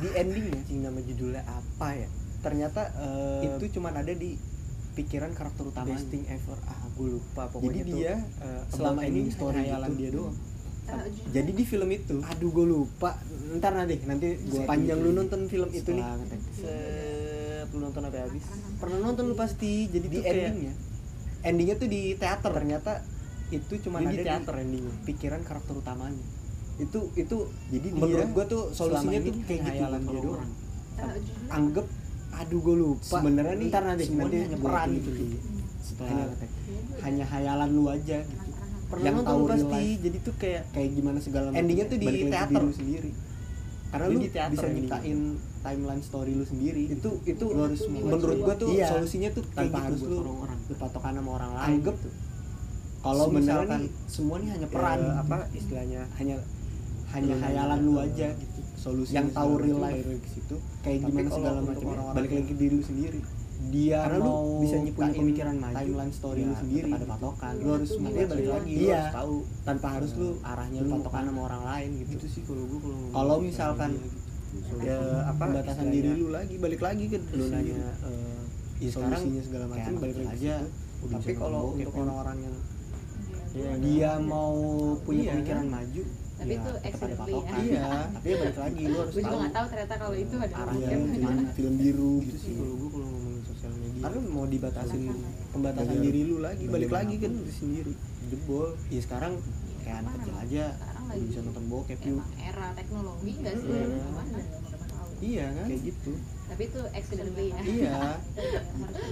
[SPEAKER 4] di endingnya sih nama judulnya apa ya ternyata uh, itu cuman ada di pikiran karakter utama best thing ever ah gue lupa pokoknya
[SPEAKER 8] Jadi
[SPEAKER 4] tuh
[SPEAKER 8] dia,
[SPEAKER 4] uh,
[SPEAKER 8] selama
[SPEAKER 4] about
[SPEAKER 8] ini
[SPEAKER 4] ending story
[SPEAKER 8] khayalan
[SPEAKER 4] gitu.
[SPEAKER 8] dia doang.
[SPEAKER 6] Eh, jujur,
[SPEAKER 4] jadi di film itu aduh gue lupa ntar nanti nanti
[SPEAKER 8] Gua
[SPEAKER 4] panjang
[SPEAKER 8] tunjukin.
[SPEAKER 4] lu nonton film itu nih
[SPEAKER 8] Setelah ngetek.
[SPEAKER 4] set lu nonton sampai habis pernah nonton lu pasti jadi di endingnya endingnya tuh di teater ternyata itu cuma
[SPEAKER 8] Jadi
[SPEAKER 4] ada
[SPEAKER 8] di
[SPEAKER 4] di
[SPEAKER 8] teater endingnya.
[SPEAKER 4] pikiran karakter utamanya itu itu
[SPEAKER 8] Jadi dia
[SPEAKER 4] menurut gua tuh solusinya
[SPEAKER 8] selama
[SPEAKER 4] tuh
[SPEAKER 8] ini
[SPEAKER 4] kayak gitu
[SPEAKER 8] khayalan dia
[SPEAKER 4] kalau gua
[SPEAKER 8] doang.
[SPEAKER 6] eh, jujur,
[SPEAKER 4] anggap aduh gue lupa
[SPEAKER 8] Sebenarnya nih,
[SPEAKER 4] ntar nanti
[SPEAKER 8] semuanya
[SPEAKER 4] nanti
[SPEAKER 8] hanya
[SPEAKER 4] peran
[SPEAKER 8] gua
[SPEAKER 4] gitu
[SPEAKER 8] tunjukin.
[SPEAKER 4] setelah
[SPEAKER 8] Hanya-
[SPEAKER 4] hanya hayalan lu aja gitu
[SPEAKER 8] Pernah
[SPEAKER 4] yang
[SPEAKER 8] nonton
[SPEAKER 4] tahu
[SPEAKER 8] lu
[SPEAKER 4] real
[SPEAKER 8] pasti,
[SPEAKER 4] life.
[SPEAKER 8] jadi tuh kayak
[SPEAKER 4] kayak gimana segala macam.
[SPEAKER 8] Endingnya tuh di
[SPEAKER 4] Balik lagi ke
[SPEAKER 8] teater.
[SPEAKER 4] diri lu sendiri karena
[SPEAKER 8] Jadi
[SPEAKER 4] lu
[SPEAKER 8] di teater
[SPEAKER 4] bisa
[SPEAKER 8] endingnya.
[SPEAKER 4] nyiptain timeline story lu sendiri itu itu
[SPEAKER 6] Iya,
[SPEAKER 4] lu harus
[SPEAKER 6] itu juga
[SPEAKER 4] menurut gua tuh
[SPEAKER 8] Iya.
[SPEAKER 4] solusinya tuh kayak
[SPEAKER 8] tanpa
[SPEAKER 4] gitu
[SPEAKER 8] harus
[SPEAKER 4] lu
[SPEAKER 8] buat orang-orang.
[SPEAKER 4] berpatokan sama orang lain
[SPEAKER 8] Anggap
[SPEAKER 4] gitu. kalau
[SPEAKER 8] sebenarnya
[SPEAKER 4] misalkan Iya.
[SPEAKER 8] nih, semua nih hanya
[SPEAKER 4] peran
[SPEAKER 8] peran gitu.
[SPEAKER 4] apa istilahnya hanya hanya
[SPEAKER 8] Iya,
[SPEAKER 4] hayalan
[SPEAKER 8] iya,
[SPEAKER 4] lu
[SPEAKER 8] iya.
[SPEAKER 4] aja gitu
[SPEAKER 8] solusi
[SPEAKER 4] yang tahu real life
[SPEAKER 8] ke situ
[SPEAKER 4] kayak
[SPEAKER 8] Tapi
[SPEAKER 4] gimana
[SPEAKER 8] kalau
[SPEAKER 4] segala
[SPEAKER 8] untuk
[SPEAKER 4] macam
[SPEAKER 8] orang-orang
[SPEAKER 4] balik lagi ke diri lu sendiri
[SPEAKER 8] dia
[SPEAKER 4] karena lu bisa nyiptain
[SPEAKER 8] pemikiran maju
[SPEAKER 4] timeline story lu
[SPEAKER 8] ya,
[SPEAKER 4] sendiri
[SPEAKER 8] tetap ada patokan
[SPEAKER 4] lu iya, harus
[SPEAKER 6] Iya,
[SPEAKER 4] makanya balik
[SPEAKER 6] iya.
[SPEAKER 4] lagi lu
[SPEAKER 8] Iya.
[SPEAKER 4] harus tahu tanpa harus lu
[SPEAKER 8] arahnya
[SPEAKER 4] hanya
[SPEAKER 8] lu
[SPEAKER 4] lu
[SPEAKER 8] mau
[SPEAKER 4] patokan sama orang lain
[SPEAKER 8] kemana.
[SPEAKER 4] gitu
[SPEAKER 8] gitu sih kalau gua kalau
[SPEAKER 4] Kalau misalkan, ya apa
[SPEAKER 8] batasan
[SPEAKER 4] istilahnya,
[SPEAKER 8] diri lu lagi balik lagi ke
[SPEAKER 4] lu
[SPEAKER 8] lu
[SPEAKER 4] nanya
[SPEAKER 8] sendiri.
[SPEAKER 4] eh,
[SPEAKER 8] Ya, sekarang
[SPEAKER 4] solusinya segala
[SPEAKER 8] kayak
[SPEAKER 4] macam
[SPEAKER 8] anak
[SPEAKER 4] balik lagi
[SPEAKER 8] aja,
[SPEAKER 4] aja
[SPEAKER 8] udah
[SPEAKER 4] Iya. tapi
[SPEAKER 8] bisa
[SPEAKER 4] kalau
[SPEAKER 8] ngomong,
[SPEAKER 4] untuk
[SPEAKER 8] ya.
[SPEAKER 4] orang-orang yang
[SPEAKER 6] iya.
[SPEAKER 4] dia mau punya
[SPEAKER 8] Iya,
[SPEAKER 4] pemikiran
[SPEAKER 8] kan?
[SPEAKER 4] maju
[SPEAKER 6] Tapi itu
[SPEAKER 4] tetap ada
[SPEAKER 6] accidentally,
[SPEAKER 4] patokan
[SPEAKER 6] ya.
[SPEAKER 4] iya tapi ya balik lagi lu harus
[SPEAKER 6] gue juga
[SPEAKER 4] tahu
[SPEAKER 6] nggak tahu ternyata kalau itu ada
[SPEAKER 4] arahnya
[SPEAKER 6] mungkin.
[SPEAKER 4] gimana film biru
[SPEAKER 8] gitu
[SPEAKER 4] gitu
[SPEAKER 8] sih kalau gua kalau ngomongin sosial media
[SPEAKER 4] karena mau dibatasin pembatasan
[SPEAKER 8] Bagaimana-
[SPEAKER 4] diri lu lagi balik lagi kan
[SPEAKER 8] bagaimanapun.
[SPEAKER 4] lu sendiri jebol Iya. ya sekarang kayak anak kecil aja
[SPEAKER 6] Sekarang
[SPEAKER 4] lu
[SPEAKER 6] lagi
[SPEAKER 4] bisa nonton bokep yuk
[SPEAKER 6] emang era teknologi nggak sih
[SPEAKER 4] Iya.
[SPEAKER 6] Gimana? Nggak mau tahu.
[SPEAKER 4] iya kan
[SPEAKER 8] kayak gitu
[SPEAKER 6] tapi itu accidentally ya
[SPEAKER 4] iya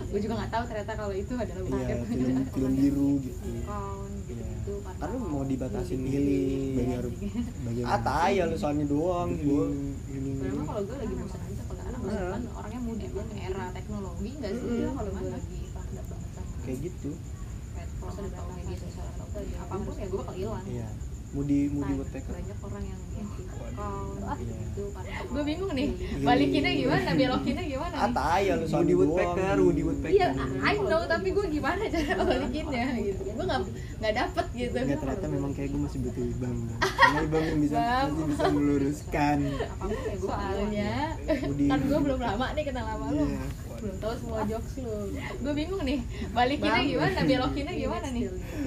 [SPEAKER 6] gue juga nggak tahu ternyata kalau itu adalah
[SPEAKER 4] iya
[SPEAKER 6] bukan
[SPEAKER 4] film film biru gitu
[SPEAKER 11] Kawan gitu-gitu.
[SPEAKER 4] Iya.
[SPEAKER 11] warna
[SPEAKER 4] Karena mau
[SPEAKER 11] warna.
[SPEAKER 6] Iya.
[SPEAKER 4] dibatasin
[SPEAKER 11] Lebih
[SPEAKER 4] milih
[SPEAKER 11] tinggi.
[SPEAKER 4] bayar
[SPEAKER 6] gitu.
[SPEAKER 8] Bagaimana?
[SPEAKER 4] ah tai ya lu soalnya doang gua
[SPEAKER 6] Memang kalau gue lagi bosan aja kalau karena gue kan orangnya muda banget era teknologi nggak sih
[SPEAKER 4] Mm-mm.
[SPEAKER 6] kalau gue lagi pada banget sama
[SPEAKER 4] kayak gitu
[SPEAKER 6] platform atau media sosial atau apapun ya gue bakal hilang.
[SPEAKER 4] iya mau di mau di
[SPEAKER 6] Banyak-
[SPEAKER 4] woodpecker
[SPEAKER 6] Banyak orang yang
[SPEAKER 11] Kawan
[SPEAKER 4] Iya.
[SPEAKER 11] gitu. warna
[SPEAKER 6] gue bingung nih balikinnya gimana belokinnya gimana
[SPEAKER 4] ah
[SPEAKER 6] nih?
[SPEAKER 4] tai ya lu soalnya
[SPEAKER 8] Woody
[SPEAKER 4] doang
[SPEAKER 8] Woodpecker, Woody Woodpecker.
[SPEAKER 6] Iya, I know tapi gue gimana cara balikinnya gitu. Gue nggak nggak dapet gitu.
[SPEAKER 8] Enggak ternyata memang kayak gue masih butuh Ibang.
[SPEAKER 4] kan.
[SPEAKER 8] Bang. Karena Ibang yang bisa
[SPEAKER 6] Bang.
[SPEAKER 8] masih bisa meluruskan.
[SPEAKER 11] Apapun ya gue
[SPEAKER 6] soalnya
[SPEAKER 8] Budi.
[SPEAKER 6] kan gue belum lama nih kenal lama lu
[SPEAKER 8] Iya.
[SPEAKER 6] belum tahu semua jokes lu gue bingung nih balikinnya gimana belokinnya gimana nih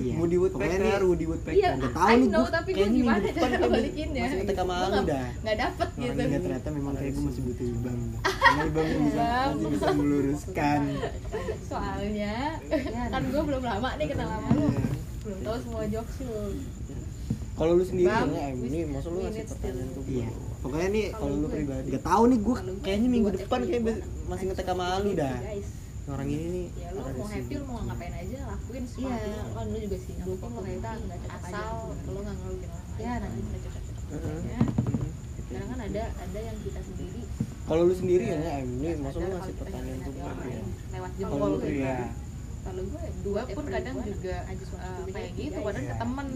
[SPEAKER 8] Iya.
[SPEAKER 4] Woody Woodpecker, Woody Woodpecker.
[SPEAKER 6] iya
[SPEAKER 8] nggak tahu
[SPEAKER 6] I
[SPEAKER 8] nih
[SPEAKER 6] know
[SPEAKER 8] gua.
[SPEAKER 6] tapi gue
[SPEAKER 4] Kayaknya minggu
[SPEAKER 6] gimana
[SPEAKER 4] depan
[SPEAKER 6] cara
[SPEAKER 4] kayaknya
[SPEAKER 6] balikinnya
[SPEAKER 4] masih ketek sama
[SPEAKER 6] Gua
[SPEAKER 4] lu
[SPEAKER 6] nggak-
[SPEAKER 4] dah.
[SPEAKER 6] nggak dapet gitu
[SPEAKER 8] Orangnya ternyata memang kayak gue masih butuh Ibang. Bang. Karena Ibang yang bisa
[SPEAKER 6] Iya, Bang.
[SPEAKER 8] masih bisa meluruskan.
[SPEAKER 6] soalnya
[SPEAKER 4] Iya,
[SPEAKER 6] kan gue belum lama nih kenal lama lu belum tahu semua jokes lu
[SPEAKER 4] Kalau lu sendiri
[SPEAKER 6] Bang,
[SPEAKER 4] ya, ini masa lu
[SPEAKER 6] we
[SPEAKER 4] ngasih
[SPEAKER 6] need
[SPEAKER 4] pertanyaan
[SPEAKER 6] still-
[SPEAKER 4] ke gua.
[SPEAKER 8] Iya. Pokoknya nih
[SPEAKER 4] Kalau lu pribadi,
[SPEAKER 8] nggak tahu nih gue
[SPEAKER 4] kayaknya minggu depan kayak be- masih ngetek sama lu dah. Orang ini nih.
[SPEAKER 6] Iya, ya lu
[SPEAKER 4] ada
[SPEAKER 6] mau
[SPEAKER 4] sih.
[SPEAKER 6] happy lu mau ngapain aja lakuin sih
[SPEAKER 11] Iya, kan lu juga sih.
[SPEAKER 6] mungkin
[SPEAKER 11] Mungkin
[SPEAKER 6] lo
[SPEAKER 11] kita
[SPEAKER 6] ternyata
[SPEAKER 11] nggak cocok aja.
[SPEAKER 6] asal lu nggak ngeluhin orang lain.
[SPEAKER 11] Ya nanti kita cocok.
[SPEAKER 4] Heeh.
[SPEAKER 6] Ya.
[SPEAKER 4] Mm-hmm.
[SPEAKER 6] Karena kan ada ada yang kita sendiri
[SPEAKER 4] Kalau lu sendiri
[SPEAKER 6] Iya.
[SPEAKER 4] ya, Em, ini
[SPEAKER 6] Terus
[SPEAKER 4] masa lu
[SPEAKER 6] ada kalau
[SPEAKER 4] ngasih
[SPEAKER 6] kita
[SPEAKER 4] pertanyaan
[SPEAKER 6] ngasih
[SPEAKER 4] ke gua. ya?
[SPEAKER 6] orang lain lewat
[SPEAKER 4] Kalau
[SPEAKER 6] jempol
[SPEAKER 4] lu
[SPEAKER 6] gitu.
[SPEAKER 4] ya.
[SPEAKER 6] kalau gue dua pun kadang juga eh, kayak gitu kadang
[SPEAKER 4] Iya.
[SPEAKER 6] ke temen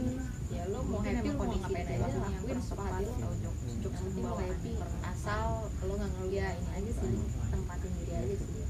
[SPEAKER 6] ya lo mau happy lo mau ngapain aja lakuin sepati lo tau jok
[SPEAKER 4] Mm-hmm.
[SPEAKER 6] jok
[SPEAKER 11] Penting
[SPEAKER 6] bawa
[SPEAKER 11] lo happy.
[SPEAKER 6] happy asal lo nggak ngeluhin ya ini aja sih tempatin diri aja sih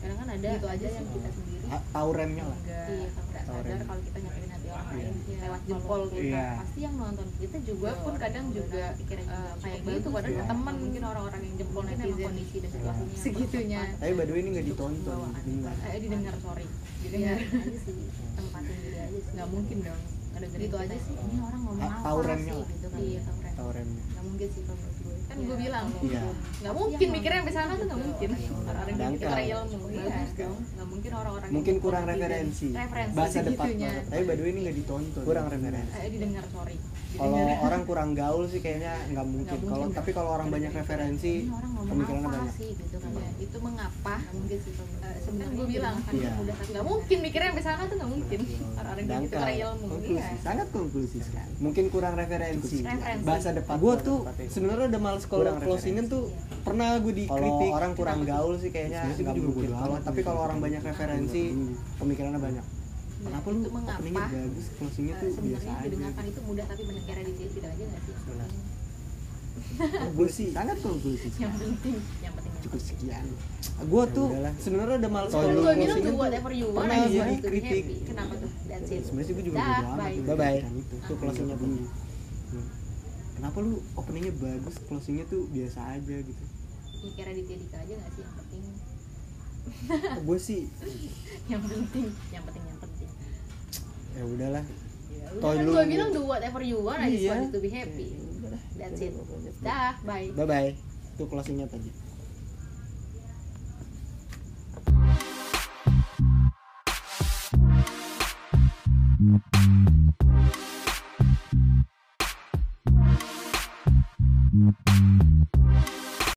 [SPEAKER 6] kadang kan ada itu aja yang kita sendiri
[SPEAKER 4] Ah, Tahu remnya lah.
[SPEAKER 6] enggak
[SPEAKER 11] Iya,
[SPEAKER 6] nggak
[SPEAKER 4] tahu
[SPEAKER 6] sadar
[SPEAKER 4] remnya.
[SPEAKER 6] kalau kita nyakitin hati orang lain
[SPEAKER 11] Iya.
[SPEAKER 6] lewat jempol gitu
[SPEAKER 4] Iya.
[SPEAKER 6] pasti yang nonton kita juga
[SPEAKER 11] Iya,
[SPEAKER 6] pun
[SPEAKER 11] orang
[SPEAKER 6] kadang
[SPEAKER 11] yang
[SPEAKER 6] juga
[SPEAKER 11] udah pikiran
[SPEAKER 6] eh,
[SPEAKER 11] juga
[SPEAKER 6] kayak
[SPEAKER 11] cukup
[SPEAKER 6] gitu
[SPEAKER 11] bagus.
[SPEAKER 6] kadang
[SPEAKER 4] Iya.
[SPEAKER 6] ke temen mungkin orang-orang yang jempol
[SPEAKER 11] Mungkin
[SPEAKER 6] netizen
[SPEAKER 11] emang kondisi dan situasinya yang
[SPEAKER 6] segitunya Iya.
[SPEAKER 11] kurang
[SPEAKER 4] Tapi by the way ini nggak ditonton, dengar.
[SPEAKER 6] eh didengar sorry
[SPEAKER 11] Iya,
[SPEAKER 6] didengar
[SPEAKER 11] aja sih. Tempatin diri aja sih.
[SPEAKER 6] nggak mungkin dong ada
[SPEAKER 11] Gitu aja sih.
[SPEAKER 6] ini orang ngomong
[SPEAKER 4] Ah,
[SPEAKER 6] apa
[SPEAKER 4] tahu remnya
[SPEAKER 6] sih
[SPEAKER 4] lah.
[SPEAKER 6] gitu kan
[SPEAKER 11] Iya,
[SPEAKER 6] iya tahu rem
[SPEAKER 4] Tahu remnya.
[SPEAKER 11] Nggak mungkin sih kalau menurut gue.
[SPEAKER 6] kan
[SPEAKER 11] Iya.
[SPEAKER 6] gue bilang
[SPEAKER 4] Iya.
[SPEAKER 6] nggak mungkin mikirnya sampai sana tuh nggak mungkin orang yang
[SPEAKER 4] Sedangkan.
[SPEAKER 6] kita ilmu iya dong nggak mungkin orang-orang yang
[SPEAKER 4] Mungkin kurang
[SPEAKER 6] ngerti dan
[SPEAKER 4] referensi.
[SPEAKER 6] Iya, referensi
[SPEAKER 4] Bahasa depan
[SPEAKER 6] segitunya.
[SPEAKER 4] banget. Tapi by the way ini nggak ditonton. Kurang referensi.
[SPEAKER 6] eh didengar sorry
[SPEAKER 4] Kalau
[SPEAKER 6] Didengar.
[SPEAKER 4] orang kurang gaul sih kayaknya nggak mungkin.
[SPEAKER 6] mungkin, Iya.
[SPEAKER 4] Kalau
[SPEAKER 6] Iya. nggak
[SPEAKER 4] tapi kalau orang banyak referensi,
[SPEAKER 6] ini orang ngomong
[SPEAKER 4] pemikirannya
[SPEAKER 6] apa
[SPEAKER 4] banyak.
[SPEAKER 6] sih gitu kan ya, itu mengapa
[SPEAKER 11] Nggak mungkin sih kalau menurut
[SPEAKER 6] Eh,
[SPEAKER 11] gue.
[SPEAKER 6] sebenarnya gue bilang kan
[SPEAKER 4] Iya.
[SPEAKER 6] mudah kan nggak mungkin mikirnya sampai sana tuh nggak mungkin orang-orang yang kita
[SPEAKER 4] Sedangkan
[SPEAKER 6] karena ilmu iya
[SPEAKER 4] konklusi
[SPEAKER 8] Sangat konklusif sekali.
[SPEAKER 4] mungkin kurang referensi
[SPEAKER 6] Referensi.
[SPEAKER 4] bahasa depan
[SPEAKER 8] Gue tuh
[SPEAKER 4] sebenarnya udah males
[SPEAKER 8] kalau
[SPEAKER 4] closingan tuh pernah gue dikritik orang kurang gaul sih kayaknya
[SPEAKER 8] Sebenarnya sih
[SPEAKER 4] nggak
[SPEAKER 8] gua juga
[SPEAKER 4] mungkin
[SPEAKER 8] bodo
[SPEAKER 4] kalau
[SPEAKER 8] amat
[SPEAKER 4] tapi
[SPEAKER 8] sih.
[SPEAKER 4] kalau orang banyak referensi pemikirannya banyak kenapa lu
[SPEAKER 6] Iya. itu mengapa?
[SPEAKER 4] openingnya bagus closingnya
[SPEAKER 6] Eh,
[SPEAKER 4] tuh biasa
[SPEAKER 6] sebenarnya
[SPEAKER 4] aja
[SPEAKER 6] didengarkan itu mudah tapi mendengarnya di sini tidak aja nggak sih
[SPEAKER 4] gue sih
[SPEAKER 8] Sangat konklusif.
[SPEAKER 6] yang penting yang penting
[SPEAKER 8] Cukup sekian.
[SPEAKER 4] gue
[SPEAKER 6] Ya,
[SPEAKER 4] tuh sebenarnya udah males
[SPEAKER 8] Kalau
[SPEAKER 4] kalau
[SPEAKER 6] gue bilang tuh
[SPEAKER 4] closingan tuh
[SPEAKER 6] whatever you want
[SPEAKER 4] pernah
[SPEAKER 6] and you
[SPEAKER 4] jadi
[SPEAKER 6] need to be
[SPEAKER 4] kritik.
[SPEAKER 6] happy kenapa tuh that's it
[SPEAKER 8] Iya, Sebenarnya sih gue juga
[SPEAKER 6] Dah,
[SPEAKER 8] udah amat
[SPEAKER 6] bye. Hmm.
[SPEAKER 4] bye
[SPEAKER 8] tuh
[SPEAKER 4] bye
[SPEAKER 8] kegiatan itu.
[SPEAKER 4] tuh closingnya tuh kenapa lu openingnya bagus closingnya tuh biasa aja gitu
[SPEAKER 6] mikirnya di tidik aja nggak sih yang penting
[SPEAKER 4] gue sih
[SPEAKER 6] yang penting yang penting yang penting Iya,
[SPEAKER 4] ya udahlah Toy
[SPEAKER 6] Toy
[SPEAKER 4] lu-
[SPEAKER 6] gue bilang do whatever you want I just
[SPEAKER 4] Iya.
[SPEAKER 6] want you to be happy that's it dah bye
[SPEAKER 4] bye bye tuh closingnya tadi